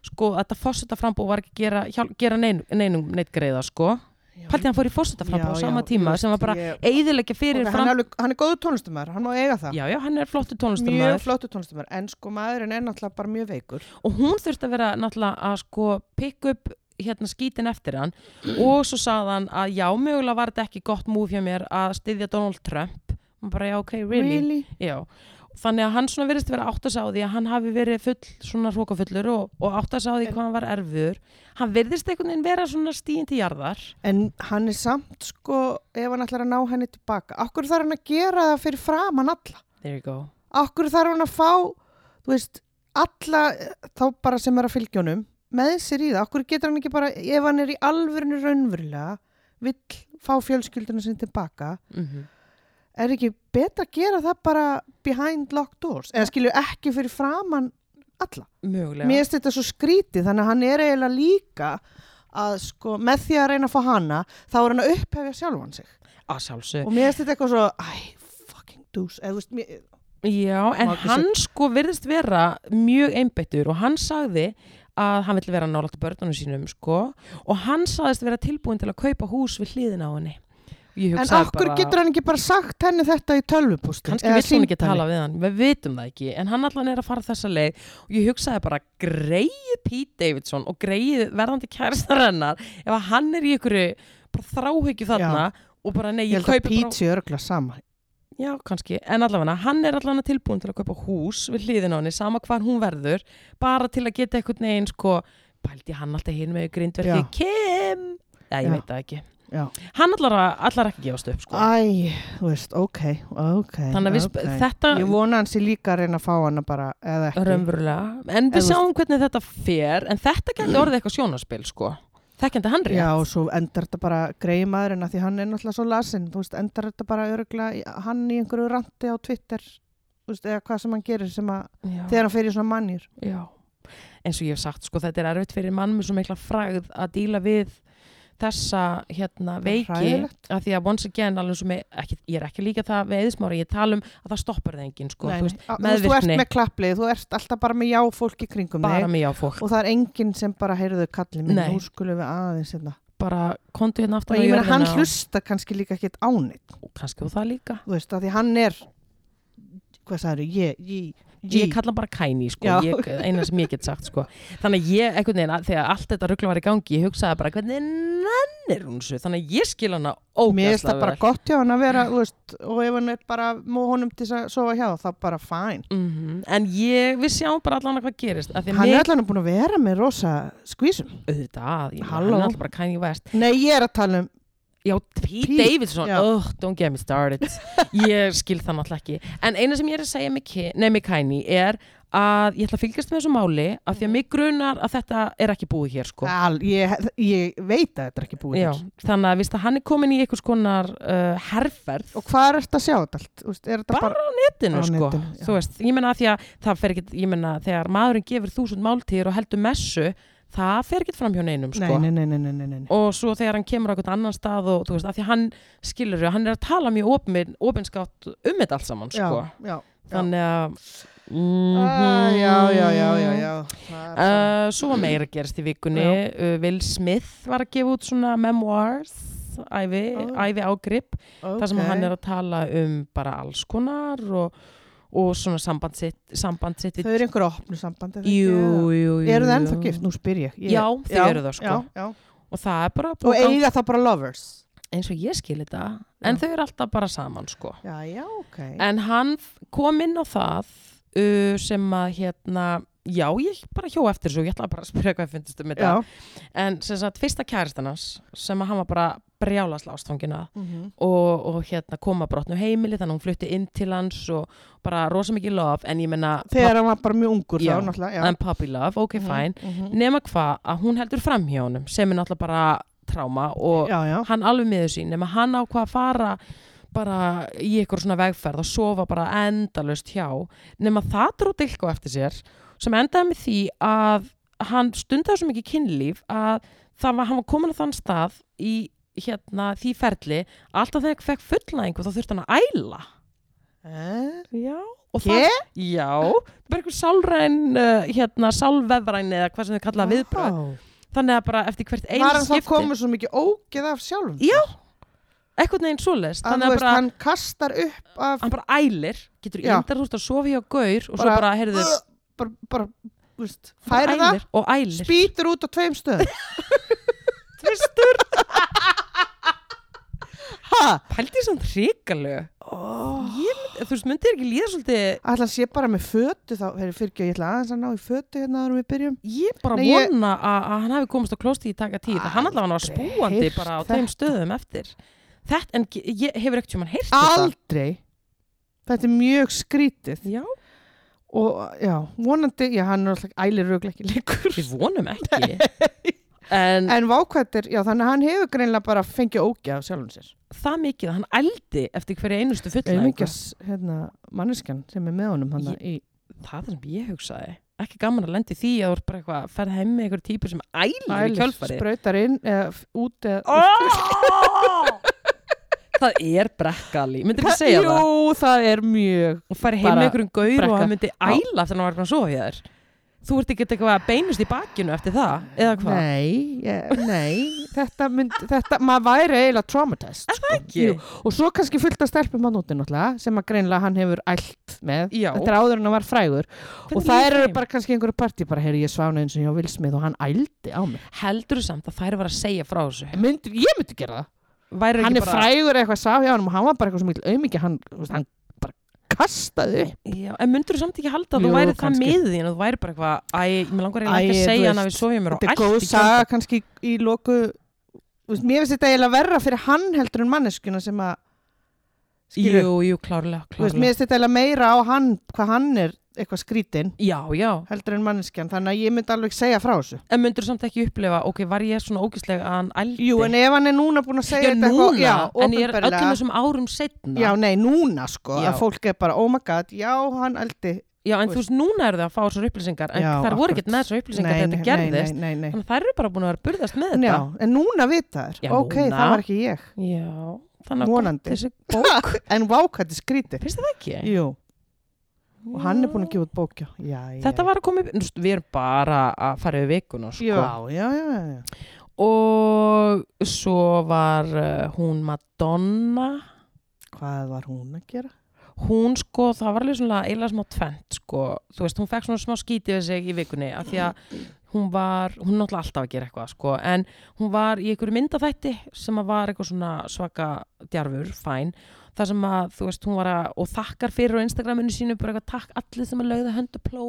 Speaker 1: sko að þetta fórseta frambúð var ekki að gera, hjál, gera nein, neinum neitt greiða sko pælti hann fór í fórseta frambúð á
Speaker 2: Já,
Speaker 1: sama
Speaker 2: já,
Speaker 1: tíma
Speaker 2: þú veist,
Speaker 1: sem var bara
Speaker 2: ég-
Speaker 1: eiðilegja fyrir
Speaker 2: Ok, hann,
Speaker 1: fram
Speaker 2: er alveg, hann er góðu tónlistumæður, hann má eiga það
Speaker 1: já, já, hann er flottu
Speaker 2: mjög
Speaker 1: tónlistamæður
Speaker 2: flottu tónlistumæður, en sko maðurinn er náttúrulega bara mjög veikur
Speaker 1: og hún þurfti að vera náttúrulega að sko pikk upp hérna skítin eftir hann og svo sagði hann að já, mögulega var þetta ekki gott múf hjá mér að styðja Donald Trump og bara já, ok, really, Já. þannig að hann svona verðist vera átt að sá því að hann hafi verið full, svona hrókafullur og, og átt að sá því hvað hann var erfur hann verðist einhvern veginn vera svona stíin til jarðar
Speaker 2: en hann er samt sko ef hann ætlar að ná henni tilbaka okkur þarf hann að gera það fyrir framann alla
Speaker 1: there you go
Speaker 2: okkur þarf hann að fá þú veist, alla eh, þá bara sem er að fylgja honum með sér í það, okkur getur hann ekki bara ef hann er í alvörinu raunverulega vill fá fjölskyldunum sinni tilbaka
Speaker 1: mm
Speaker 2: er ekki betra að gera það bara behind locked doors, eða skilju ekki fyrir framann alla
Speaker 1: mögulega
Speaker 2: Mér finnst þetta svo skrítið, þannig að hann er eiginlega líka að sko, með því að reyna að fá hana, þá er hann að upphefja sjálfan sig.
Speaker 1: að sjálfsög
Speaker 2: Og mér finnst þetta eitthvað svo, æ, fucking dús, eða þú veist, mér,
Speaker 1: Já, en
Speaker 2: Má ekki
Speaker 1: hann sko virðist vera mjög einbeittur og hann sagði að hann vill vera nálægt börnunum sínum sko og hann sagðist vera tilbúin til að kaupa hús við hliðin á henni. Ég
Speaker 2: en
Speaker 1: hugsaði
Speaker 2: okkur
Speaker 1: bara,
Speaker 2: getur hann ekki bara sagt henni þetta í tölvupústi?
Speaker 1: kannski vill hún ekki tala við hann, við vitum það ekki, en hann allan er að fara þessa leið og ég hugsaði bara greið Pete Davidson og greið verðandi kæristar hennar ef að hann er í einhverju bara þráhyggju þarna og bara nei, ég,
Speaker 2: Ég held að
Speaker 1: kaupi bara
Speaker 2: Pete sé örgla sama.
Speaker 1: Já, kannski, en allavega, hann er allavega tilbúin til að kaupa hús við hliðin á henni, sama hvar hún verður, bara til að geta einhvern veginn, sko, pældi hann alltaf hinn með grindverði,
Speaker 2: Já.
Speaker 1: Kim! Já, ég
Speaker 2: Já.
Speaker 1: veit það ekki.
Speaker 2: Já.
Speaker 1: Hann allavega, allavega ekki að gefast upp, sko.
Speaker 2: Æ, þú veist, ok, ok.
Speaker 1: Þannig að við,
Speaker 2: ok.
Speaker 1: okay. þetta,
Speaker 2: Ég vona hann sé líka að reyna að fá hana bara, eða ekki.
Speaker 1: raunverulega, en
Speaker 2: Ef
Speaker 1: við
Speaker 2: þú-
Speaker 1: sjáum hvernig þetta fer, en þetta gæti orðið eitthvað sjónaspil, sko. Þekkjandi hann rétt.
Speaker 2: Já, og svo endar þetta bara greiði maðurinn að því hann er náttúrulega svo lasinn, þú veist, endar þetta bara öruglega, hann í einhverju ranti á Twitter, þú veist, eða hvað sem hann gerir sem að,
Speaker 1: Já.
Speaker 2: þegar hann fer í svona mannjur.
Speaker 1: Já, eins og ég hef sagt sko þetta er erfitt fyrir mann með svo mikla fræð að díla við þessa hérna veiki
Speaker 2: Hræðilegt.
Speaker 1: að því að once again alveg svo með, ekki, ég er ekki líka það við eðismára, ég tala um að það stoppar það enginn sko, þú veist,
Speaker 2: þú veist, þú ert
Speaker 1: meðvirkni
Speaker 2: með klapplið, þú ert alltaf bara með já fólk í kringum
Speaker 1: bara
Speaker 2: þig
Speaker 1: mig á fólk,
Speaker 2: og það er enginn sem bara heyrðu kallið minn,
Speaker 1: Nei.
Speaker 2: nú skulum við aðeins hérna.
Speaker 1: bara kontu hérna
Speaker 2: Og
Speaker 1: aftan á
Speaker 2: ég meina, hann
Speaker 1: jörðina
Speaker 2: hlusta kannski líka ekkit ánit,
Speaker 1: og kannski og það líka
Speaker 2: þú veist, að því hann er, hvað sagður, ég, ég,
Speaker 1: ég kalla hann bara kæni sko,
Speaker 2: Já.
Speaker 1: ég, eina sem ég get sagt sko. þannig að ég, einhvern veginn, að- þegar allt þetta ruggla var í gangi, ég hugsaði bara hvernig nennir hún svo, þannig að ég skil hana
Speaker 2: Mér finnst
Speaker 1: ógæslega
Speaker 2: það bara gott hjá hann að vera, þú veist, og ef hann er bara móð honum til þess að sofa hjá, þá bara fæn.
Speaker 1: -hmm. En ég, við sjáum bara allan að hvað gerist af Því
Speaker 2: Hann
Speaker 1: mig,
Speaker 2: er allan búin að vera með rosa skvísum.
Speaker 1: auðvitað, ég, meina, hann
Speaker 2: Halló.
Speaker 1: er alltaf bara Kanye West
Speaker 2: Nei, ég er að tala um,
Speaker 1: Já, Pete,
Speaker 2: Pete,
Speaker 1: Davidson,
Speaker 2: já.
Speaker 1: oh, don't get me started Ég skil það náttúrulega ekki En eina sem ég er að segja með, Ki- nei, með Kanye er að ég ætla að fylgjast með þessu máli af
Speaker 2: Mhm.
Speaker 1: því að mig grunar að þetta er ekki búið hér sko.
Speaker 2: al, ég, ég veit að þetta er ekki búið.
Speaker 1: Já,
Speaker 2: til.
Speaker 1: þannig að, víst að hann er komin í einhvers konar uh, herferð
Speaker 2: Og hvað er þetta að sjá þetta allt? Þú veist, er þetta
Speaker 1: Bara
Speaker 2: bara,
Speaker 1: netinu,
Speaker 2: á
Speaker 1: sko.
Speaker 2: netinu, já.
Speaker 1: þú veist, ég menna að því að það fer ekki, ég menna þegar maðurinn gefur þúsund máltíðir og heldur messu það fer ekki fram hjá neinum sko.
Speaker 2: nei, nei, nei, nei, nei, nei, nei.
Speaker 1: og svo þegar hann kemur á einhvern annan stað og þú veist, af því hann skilur hann er að tala mjög opin, opinskátt um þetta allt saman, sko
Speaker 2: Já, já, já.
Speaker 1: þannig að
Speaker 2: Æ,
Speaker 1: mm
Speaker 2: já, já, já, já, já. Það er
Speaker 1: Eh,
Speaker 2: svona-
Speaker 1: svo var meira gerst í vikunni
Speaker 2: Já.
Speaker 1: uh, Will Smith var að gefa út svona memoirs ævi,
Speaker 2: Ó.
Speaker 1: ævi ágrip
Speaker 2: okay.
Speaker 1: þar sem hann er að tala um bara alls konar og, og svona samband sitt, samband sitt við-
Speaker 2: Þau eru einhver opnu samband er það ekki?
Speaker 1: jú, jú, jú,
Speaker 2: Eru það
Speaker 1: jú.
Speaker 2: ennþá gift? Nú spyr ég, ég
Speaker 1: Já, þau eru það, sko.
Speaker 2: já, já.
Speaker 1: og það er bara
Speaker 2: Og eiga það bara lovers
Speaker 1: eins og ég skil þetta en
Speaker 2: Já.
Speaker 1: þau eru alltaf bara saman sko
Speaker 2: Já, já, ok
Speaker 1: en hann f- kom inn á það uh, sem að hérna já, ég bara hjó eftir þessu og ég ætla bara að spyrja hvað finnst um þetta
Speaker 2: Já
Speaker 1: en sem sagt, fyrsta kæristan hans sem að hann var bara brjálasla ástfangina
Speaker 2: Mhm.
Speaker 1: og, og hérna koma brotnu heimili þannig að hún flutti inn til hans og bara rosa mikið love en ég menna
Speaker 2: Þegar hann var bara mjög ungur
Speaker 1: Já.
Speaker 2: þá náttúrulega já.
Speaker 1: en puppy love, ok
Speaker 2: Mhm,
Speaker 1: fine
Speaker 2: mhm.
Speaker 1: nema hvað að hún heldur fram hjá honum sem er náttúrulega bara tráma og
Speaker 2: Já, já
Speaker 1: hann alveg miður sín nema hann ákvað að fara bara í eitthvað svona vegferð og sofa bara endalaust hjá nema það dró dilko eftir sér sem endaði með því að hann stundaði svo mikið kynlíf að það var, hann var komin á þann stað í hérna því ferli að alltaf þegar hann fekk fullnæðingu þá þurfti hann að æla
Speaker 2: Er-
Speaker 1: já og það,
Speaker 2: Ég?
Speaker 1: já, bara einhver sálræn uh, hérna, sálvefræn eða hvað sem þau kalla viðbröð,
Speaker 2: Vá.
Speaker 1: þannig að bara eftir hvert einu
Speaker 2: Var hann þá
Speaker 1: skipti
Speaker 2: komið svo mikið ógeð af sjálfum sér?
Speaker 1: Já, eitthvað neginn svoleiðist
Speaker 2: að
Speaker 1: þannig
Speaker 2: þú
Speaker 1: að
Speaker 2: veist,
Speaker 1: bara,
Speaker 2: hann kastar upp af
Speaker 1: hann bara ælir getur
Speaker 2: Já.
Speaker 1: índar út að sofa hjá gaur og
Speaker 2: Bara-
Speaker 1: svo bara, heyrðu,
Speaker 2: bara, bara, þú veist,
Speaker 1: bara
Speaker 2: færi það
Speaker 1: ælir og ælir
Speaker 2: spýtur út á tveim stöðum
Speaker 1: tvistur
Speaker 2: ha,
Speaker 1: pældi samt hrikalög
Speaker 2: oh.
Speaker 1: þú veist, myndi þér ekki líða svolítið
Speaker 2: allan sé bara með fötu þá fyrir fyrirgjöð, ég ætla aðeins að ná í fötu hérna árum við byrjum
Speaker 1: ég bara
Speaker 2: Nei, ég-
Speaker 1: vona að, að hann hafi komast á klósti í taka tíð að hann allavega var
Speaker 2: Aldrei
Speaker 1: spúandi
Speaker 2: heyrt
Speaker 1: bara á
Speaker 2: þetta.
Speaker 1: þeim stöðum eftir þetta, en ge- ég hefur ekkert sem hann heyrt þetta
Speaker 2: aldrei þetta er mjög skrítið
Speaker 1: já,
Speaker 2: og já, vonandi, já hann er alltaf ælir röglega ekki leikur
Speaker 1: við vonum ekki en
Speaker 2: en vákvættir, já þannig að hann hefur greinlega bara fengið ógeð af sjálfum sér
Speaker 1: það mikið að hann ældi eftir hverja einustu fullnæðingu
Speaker 2: auðvitað, hérna, manneskjan sem er með honum hann í
Speaker 1: það er það sem ég hugsaði ekki gaman að lendi því að þú ert bara eitthvað ferð heim með einhver típur sem ælir í
Speaker 2: ælir,
Speaker 1: kjölfarið
Speaker 2: sprautar inn eða f- út eða
Speaker 1: oh! það er brekkali myndir ekki segja
Speaker 2: Jú,
Speaker 1: það
Speaker 2: það er mjög
Speaker 1: og færi heim
Speaker 2: Bara
Speaker 1: með einhverjum gaur og
Speaker 2: brekka.
Speaker 1: hann myndi æla þegar hann var eitthvað svo hjá þér þú ert ekki eitthvað að beinust í bakinu eftir það eða hvað
Speaker 2: Nei, ég, nei þetta mynd, þetta, maður væri eiginlega traumatist sko.
Speaker 1: ekki?
Speaker 2: Jú, Og svo kannski fullt að stelpum hann úti náttúrulega sem að greinlega hann hefur ælt með
Speaker 1: Já.
Speaker 2: Þetta er áður en hann var frægur
Speaker 1: Hvernig
Speaker 2: Og það
Speaker 1: líður
Speaker 2: eru
Speaker 1: þeim?
Speaker 2: bara kannski einhverju partí bara heyri ég svána eins og ég á vilsmið og hann ældi á mig
Speaker 1: heldur þú samt að þær var að segja frá þessu
Speaker 2: myndi, Ég myndi gera það
Speaker 1: væri
Speaker 2: Hann
Speaker 1: ekki
Speaker 2: er frægur eða eitthvað sá hjá hann og hann var bara eitthvað svo mikil aumingi hann, þú veist, hann bara kastaði upp
Speaker 1: Já, en myndur þú samt ekki halda að
Speaker 2: Jú,
Speaker 1: þú væri það
Speaker 2: kannski.
Speaker 1: miðið þín og þú væri bara eitthvað æ, mér langar eiginlega
Speaker 2: Æ,
Speaker 1: ekki
Speaker 2: þú
Speaker 1: að segja hann
Speaker 2: veist,
Speaker 1: að við sofjum mér og ælt
Speaker 2: þetta er
Speaker 1: í
Speaker 2: góð
Speaker 1: kjölfarið."
Speaker 2: saga kannski í loku þú veist, mér finnst þetta eiginlega verra fyrir hann heldur en manneskuna sem að skilur,
Speaker 1: Jú, jú, klárlega,
Speaker 2: þú veist, mér
Speaker 1: klárlega.
Speaker 2: finnst þetta eiginlega meira á hann hvað hann er eitthvað skrítin
Speaker 1: Já, já,
Speaker 2: heldur en manneskjan, þannig að ég myndi alveg segja frá þessu
Speaker 1: en myndur samt ekki upplefa, ok, var ég svona ógíslega að hann ældi?
Speaker 2: Jú, en ef hann er núna búin að segja
Speaker 1: Já,
Speaker 2: þetta
Speaker 1: núna, en ég
Speaker 2: já,
Speaker 1: er
Speaker 2: opinberlega.
Speaker 1: öllum þessum árum setna.
Speaker 2: Já, nei, núna sko,
Speaker 1: Já.
Speaker 2: að fólk er bara, oh my god, já, hann eldi
Speaker 1: Já, en þú veist, núna eru það að fá þessar upplýsingar, en
Speaker 2: Já,
Speaker 1: þær voru ekkert
Speaker 2: akkurat.
Speaker 1: með þessar upplýsingar þegar þetta gerðist,
Speaker 2: nei, nei, nei,
Speaker 1: þannig að þær eru bara búin að vera að burðast með
Speaker 2: nei. Já,
Speaker 1: þetta.
Speaker 2: en núna vita þær,
Speaker 1: Já,
Speaker 2: ok,
Speaker 1: núna.
Speaker 2: það var ekki ég
Speaker 1: Já, þannig að
Speaker 2: Vonandi.
Speaker 1: gott þessi bók,
Speaker 2: En vákvætti skríti
Speaker 1: finnst það ekki?
Speaker 2: Jú, og hann er búin
Speaker 1: Já.
Speaker 2: að gefa út bókja já, já,
Speaker 1: Þetta var að koma upp, Þú veist, við erum bara að fara yfir vikuna, sko.
Speaker 2: Já, já, já, já, já.
Speaker 1: Og svo var uh, hún Madonna,
Speaker 2: Hvað var hún að gera?
Speaker 1: hún sko, það var alveg svona eiginlega smá tvent sko, þú veist, hún fekk svona smá skítið við sig í vikunni af því að hún var, hún er náttúrulega alltaf að gera eitthvað sko, en hún var í einhverju myndafætti sem að var eitthvað svona svaka djarfur, fæn, þar sem að þú veist, hún var að, og þakkar fyrir á Instagraminu sínu, bara eitthvað takk allir sem að lögðu höndu pló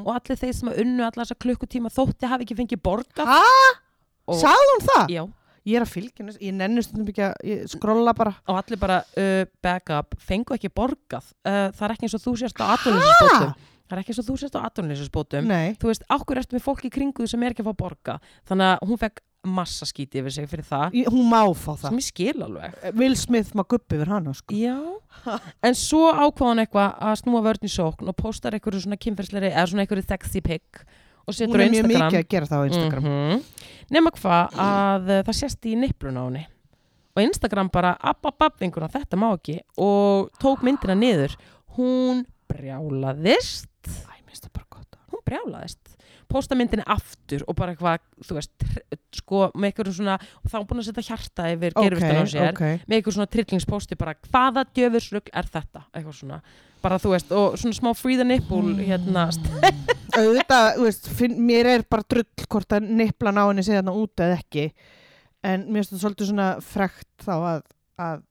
Speaker 1: og allir þeir sem að unnu allar þessa klukkutíma þótti hafi ekki fengið borga
Speaker 2: Hæ?
Speaker 1: Og-
Speaker 2: Sagði hún það?
Speaker 1: Já,
Speaker 2: Ég er að fylgja henni, ég nenni stundum ekki að ég skrolla bara.
Speaker 1: og allir bara uh, back up, fengu ekki borgað uh, það er ekki eins og þú sérst á atvinnulisbótum það er ekki eins og þú sérst á atvinnulisbótum
Speaker 2: Nei.
Speaker 1: þú veist, ákveður ertu með fólk í kringu sem er ekki að fá borga þannig að hún fekk massa skíti yfir sig fyrir það,
Speaker 2: Ég, hún má fá það.
Speaker 1: sem ég skil alveg
Speaker 2: Will Smith má guppi yfir hana, sko.
Speaker 1: já, en svo ákvað hún eitthvað að snúa vörn í sókn og postar einhverju svona kynferðsleiri eða svona einhverju sexy pic og
Speaker 2: Hún
Speaker 1: setur á
Speaker 2: er mjög
Speaker 1: Instagram,
Speaker 2: mikið að gera það á Instagram.
Speaker 1: Mhm. nema hvað að uh, það sést í nipplun á henni og Instagram bara app app app vinguna, þetta má ekki og tók myndina niður hún brjálaðist
Speaker 2: Æ, mér finnst það bara gott.
Speaker 1: hún brjálaðist posta myndinni aftur og bara eitthvað, þú veist, tr- sko, með einhverjum svona, og þá búin að setja hjarta yfir okay, á sér,
Speaker 2: okay.
Speaker 1: með einhverjum svona trillingspósti bara, hvaða djöfusrugl er þetta? Eitthvað svona, bara þú veist, og svona smá free the nipple,
Speaker 2: Mm.
Speaker 1: hérna,
Speaker 2: auðvitað, þú veist, finn, mér er bara drull hvort að nipplan á henni sé þarna út eða ekki en mér finnst það svolítið svona frekt þá að, að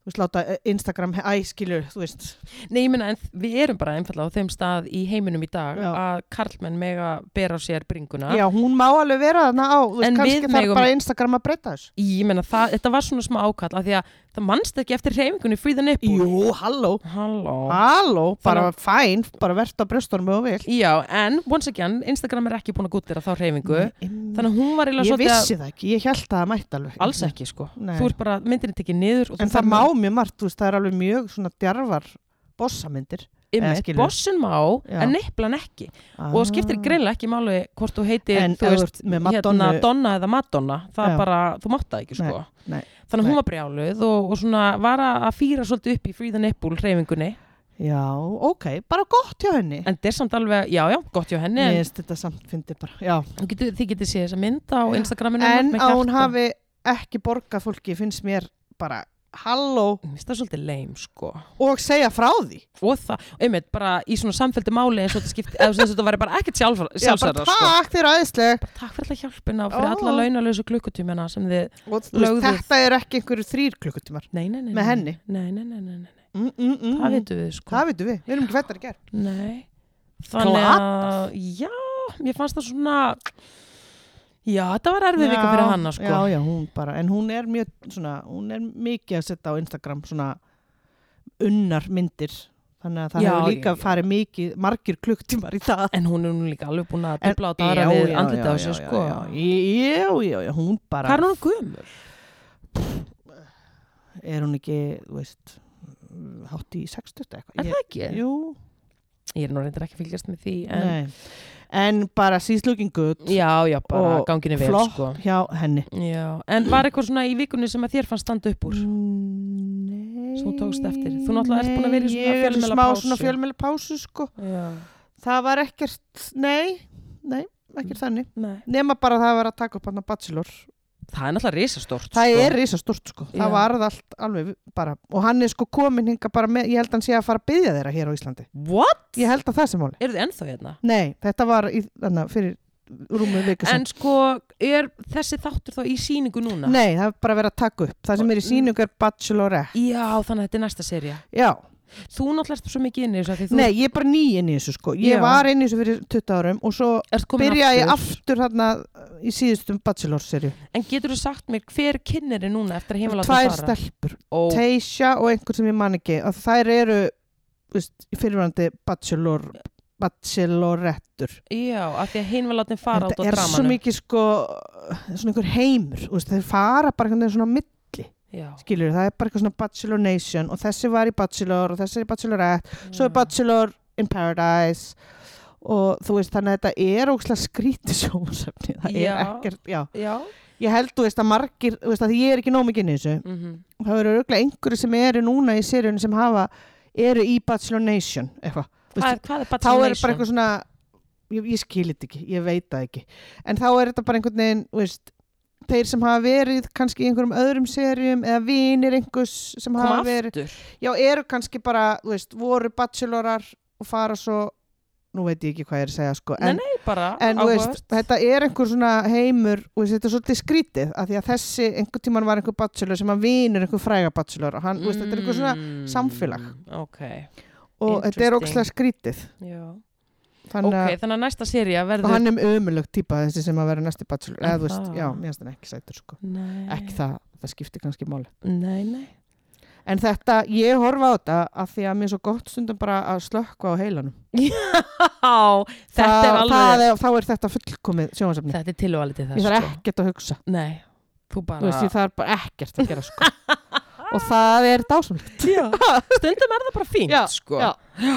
Speaker 2: þú veist, láta Instagram æskilu, þú veist
Speaker 1: Nei, ég minna, en þ- við erum bara einfallega á þeim stað í heiminum í dag
Speaker 2: Já.
Speaker 1: að karlmenn mega bera á sér bringuna.
Speaker 2: já, hún má alveg vera þarna á,
Speaker 1: En
Speaker 2: þú
Speaker 1: við
Speaker 2: veist, kannski þarf
Speaker 1: megum-
Speaker 2: bara Instagram að breyta þessu
Speaker 1: Ég meina, það, þetta var svona smá ákall af því að það mannst ekki eftir hreyfingunni free the nipple.
Speaker 2: jú, halló
Speaker 1: Halló.
Speaker 2: halló, bara fæn, bara verðt á brjóstunum og vil
Speaker 1: Já, en once again, Instagram er ekki búin að gútira þá hreyfingu.
Speaker 2: þannig
Speaker 1: Þannig að hún var eiginlega
Speaker 2: ég
Speaker 1: svolítið
Speaker 2: vissi það ekki, ég held það að mætt alveg
Speaker 1: að alls ekki, sko.
Speaker 2: Nei.
Speaker 1: Þú ert bara myndinni tekið niður. og þú
Speaker 2: en það
Speaker 1: ferð
Speaker 2: má
Speaker 1: með-
Speaker 2: mjög margt, þú veist, það er alveg mjög svona djarfar bossamyndir eða
Speaker 1: Einmitt,
Speaker 2: skilur.
Speaker 1: bossin má,
Speaker 2: Já. Ah.
Speaker 1: en nipplan ekki. Og skiptir greinlega ekki máli hvort þú heitir,
Speaker 2: en
Speaker 1: þú
Speaker 2: ef þú ert með Madonna
Speaker 1: hérna, Donna eða Madonna það
Speaker 2: Já.
Speaker 1: bara, þú mátt það ekki sko
Speaker 2: nei,
Speaker 1: þannig að
Speaker 2: nei.
Speaker 1: hún var brjáluð og, og svona var að að fýra svolítið upp í Free the Nipple reyfingunni,
Speaker 2: já, ok, bara gott hjá henni
Speaker 1: en þetta er samt alveg já, já, gott hjá henni,
Speaker 2: mér
Speaker 1: en
Speaker 2: finnst þetta samt fyndi bara já.
Speaker 1: þú getur, þið getið séð þessa mynd á
Speaker 2: Já.
Speaker 1: Instagraminu
Speaker 2: en
Speaker 1: með
Speaker 2: að hún
Speaker 1: hjarta.
Speaker 2: hafi ekki borgað fólki finnst mér bara halló
Speaker 1: Mér finnst það svolítið leim sko
Speaker 2: og segja frá því
Speaker 1: og það, einmitt, bara í svona samféldi máli eins og þetta skipti, eða þess að þetta væri bara ekkert sjálf,
Speaker 2: já, bara
Speaker 1: sjálfsæra sko
Speaker 2: takk þér aðeinsleg
Speaker 1: Takk fyrir alltaf hjálpina og fyrir
Speaker 2: Ó.
Speaker 1: alla launalösu klukkutímina sem þið,
Speaker 2: og þú veist,
Speaker 1: Lögðuð.
Speaker 2: þetta er ekki einhverju þrýr klukkutímar
Speaker 1: nei, nei, nei, nei
Speaker 2: Með henni?
Speaker 1: Nei, nei, nei, nei, nei,
Speaker 2: mm, mm, mm,
Speaker 1: það
Speaker 2: mm.
Speaker 1: vitum við sko
Speaker 2: það vitum við, við erum ekki fættar í gerð
Speaker 1: Nei Þannig að, já, mér fannst það svona Já, þetta var erfið vika fyrir hana sko
Speaker 2: já, já, hún bara, en hún er mjög svona, hún er mikið að setja á Instagram svona unnar myndir þannig að það
Speaker 1: Já,
Speaker 2: hefur
Speaker 1: já,
Speaker 2: líka
Speaker 1: já.
Speaker 2: farið mikið, margir klukktímar í það
Speaker 1: En hún er nú líka alveg búin að
Speaker 2: En-
Speaker 1: dubla á dara
Speaker 2: já,
Speaker 1: við
Speaker 2: já,
Speaker 1: andlita á
Speaker 2: já,
Speaker 1: sér
Speaker 2: já,
Speaker 1: sko
Speaker 2: já, já, já, já, hún bara
Speaker 1: Hvað er hún gömur?
Speaker 2: er hún ekki, þú veist hátt í 60
Speaker 1: Er
Speaker 2: eða eitthvað
Speaker 1: það ekki?
Speaker 2: Ég- Jú,
Speaker 1: Ég er nú reyndar ekki að fylgjast með því en,
Speaker 2: en, en bara she's looking good
Speaker 1: Já, já, bara
Speaker 2: Og
Speaker 1: ganginni vel
Speaker 2: flott
Speaker 1: sko
Speaker 2: hjá henni
Speaker 1: Já, en var eitthvað svona í vikunni sem að þér fannst standa upp úr?
Speaker 2: Mm, Nei,
Speaker 1: Svo tókst eftir. Þú náttúrulega ert búin að vera í
Speaker 2: nei,
Speaker 1: svona
Speaker 2: ég er
Speaker 1: fjölmiðla
Speaker 2: smá
Speaker 1: pásu.
Speaker 2: svona fjölmjöla pásu sko.
Speaker 1: Já,
Speaker 2: það var ekkert, nei nei, ekkert þannig
Speaker 1: nei
Speaker 2: nema bara það var að taka upp hann að bachelor
Speaker 1: Það er náttúrulega risastórt
Speaker 2: það
Speaker 1: sko.
Speaker 2: er risastort sko,
Speaker 1: Já.
Speaker 2: það varð allt alveg bara, og hann er sko komin hinga bara með, ég held að hann sé að fara að byggja þeirra hér á Íslandi
Speaker 1: What?
Speaker 2: ég held að það sem máli
Speaker 1: Eru þið ennþá hérna?
Speaker 2: Nei, þetta var í, þannig, fyrir rúmið viku
Speaker 1: En
Speaker 2: sem.
Speaker 1: sko, er þessi þáttur þá í síningu núna?
Speaker 2: Nei, það er bara verið að taka upp. Það sem er í síningu er Bachelorette.
Speaker 1: Já, þannig að þetta er næsta serja.
Speaker 2: Já,
Speaker 1: Þú náttúrulega ert svo mikið inn í þessu af því þú
Speaker 2: nei, ég er bara nýinn í þessu sko. Ég
Speaker 1: Já.
Speaker 2: var inn í þessu fyrir 20 árum og svo
Speaker 1: ert komin
Speaker 2: byrjaði ég
Speaker 1: aftur.
Speaker 2: aftur þarna í síðustum Bachelor-serju.
Speaker 1: En getur þú sagt mér hver kynneri núna eftir að heima láta
Speaker 2: Tvær
Speaker 1: fara?
Speaker 2: stelpur,
Speaker 1: Og
Speaker 2: Teisha og einhver sem ég man ekki. Og þær eru, þú veist, fyrirvændi Bachelor, Bachelorettur.
Speaker 1: já, af því að heima láta fara út á
Speaker 2: Þetta er svo
Speaker 1: dramanu.
Speaker 2: mikið sko, svona einhver heimur. þú Veist, þeir fara bara einhvern veginn svona mitt
Speaker 1: Já,
Speaker 2: skilur það er bara eitthvað svona Bachelor Nation og þessi var í Bachelor og þessi er í Bachelorette svo er
Speaker 1: já.
Speaker 2: Bachelor in Paradise og þú veist þannig að þetta er ógslag skríti sjónsefni það
Speaker 1: Já.
Speaker 2: er ekkert, já
Speaker 1: Já.
Speaker 2: ég held þú veist að margir, þú veist að því ég er ekki nóg mikið inn í þessu,
Speaker 1: Mm
Speaker 2: það eru auðvitað einhverju sem eru núna í seríunum sem hafa eru í Bachelor Nation eitthvað, Þú
Speaker 1: Hvað
Speaker 2: veist,
Speaker 1: er, hvað er
Speaker 2: þá er bara
Speaker 1: Bachelor
Speaker 2: eitthvað
Speaker 1: Nation?
Speaker 2: svona ég, ég skilir þetta ekki, ég veit það ekki en þá er þetta bara einhvern veginn þú veist, þeir sem hafa verið kannski í einhverjum öðrum serjum eða vinir einhvers sem hafa
Speaker 1: Koma
Speaker 2: verið
Speaker 1: aftur.
Speaker 2: já, eru kannski bara, þú veist, voru bachelorar og fara svo nú veit ég ekki hvað ég er að segja sko en,
Speaker 1: Nei, nei, bara
Speaker 2: en þú veist,
Speaker 1: áhugavert.
Speaker 2: þetta er einhver svona heimur og þetta er svolítið skrítið af því að þessi, einhver tíman var einhver bachelor sem að vinur einhver fræga bachelor og hann, þú veist, þetta er einhver svona
Speaker 1: Mm,
Speaker 2: samfélag.
Speaker 1: Ok,
Speaker 2: og þetta er
Speaker 1: Mm, Interesting.
Speaker 2: ókslega skrítið
Speaker 1: já.
Speaker 2: þannig
Speaker 1: Ok,
Speaker 2: að
Speaker 1: þannig að næsta serja
Speaker 2: og
Speaker 1: verður...
Speaker 2: hann er um ömulög típa þessi sem að vera næsti bachelor
Speaker 1: Er
Speaker 2: eða þú veist,
Speaker 1: það?
Speaker 2: já, mér finnst hann ekki sætur sko
Speaker 1: Nei,
Speaker 2: ekki það, það skiptir kannski máli
Speaker 1: Nei, nei.
Speaker 2: en þetta, ég horfa á þetta af því að mér er svo gott stundum bara að slökka á heilanum
Speaker 1: Á, þetta er
Speaker 2: Þa- það
Speaker 1: alveg...
Speaker 2: er, þá er þetta fullkomið sjónvarsefni
Speaker 1: Þetta er tilvalitið það,
Speaker 2: ég þarf ekkert að hugsa,
Speaker 1: sko. Nei, þú bara...
Speaker 2: þú veist, ég þarf bara ekkert að gera sko og það er dásamlegt
Speaker 1: Já, stundum er það bara fínt
Speaker 2: Já,
Speaker 1: sko.
Speaker 2: já.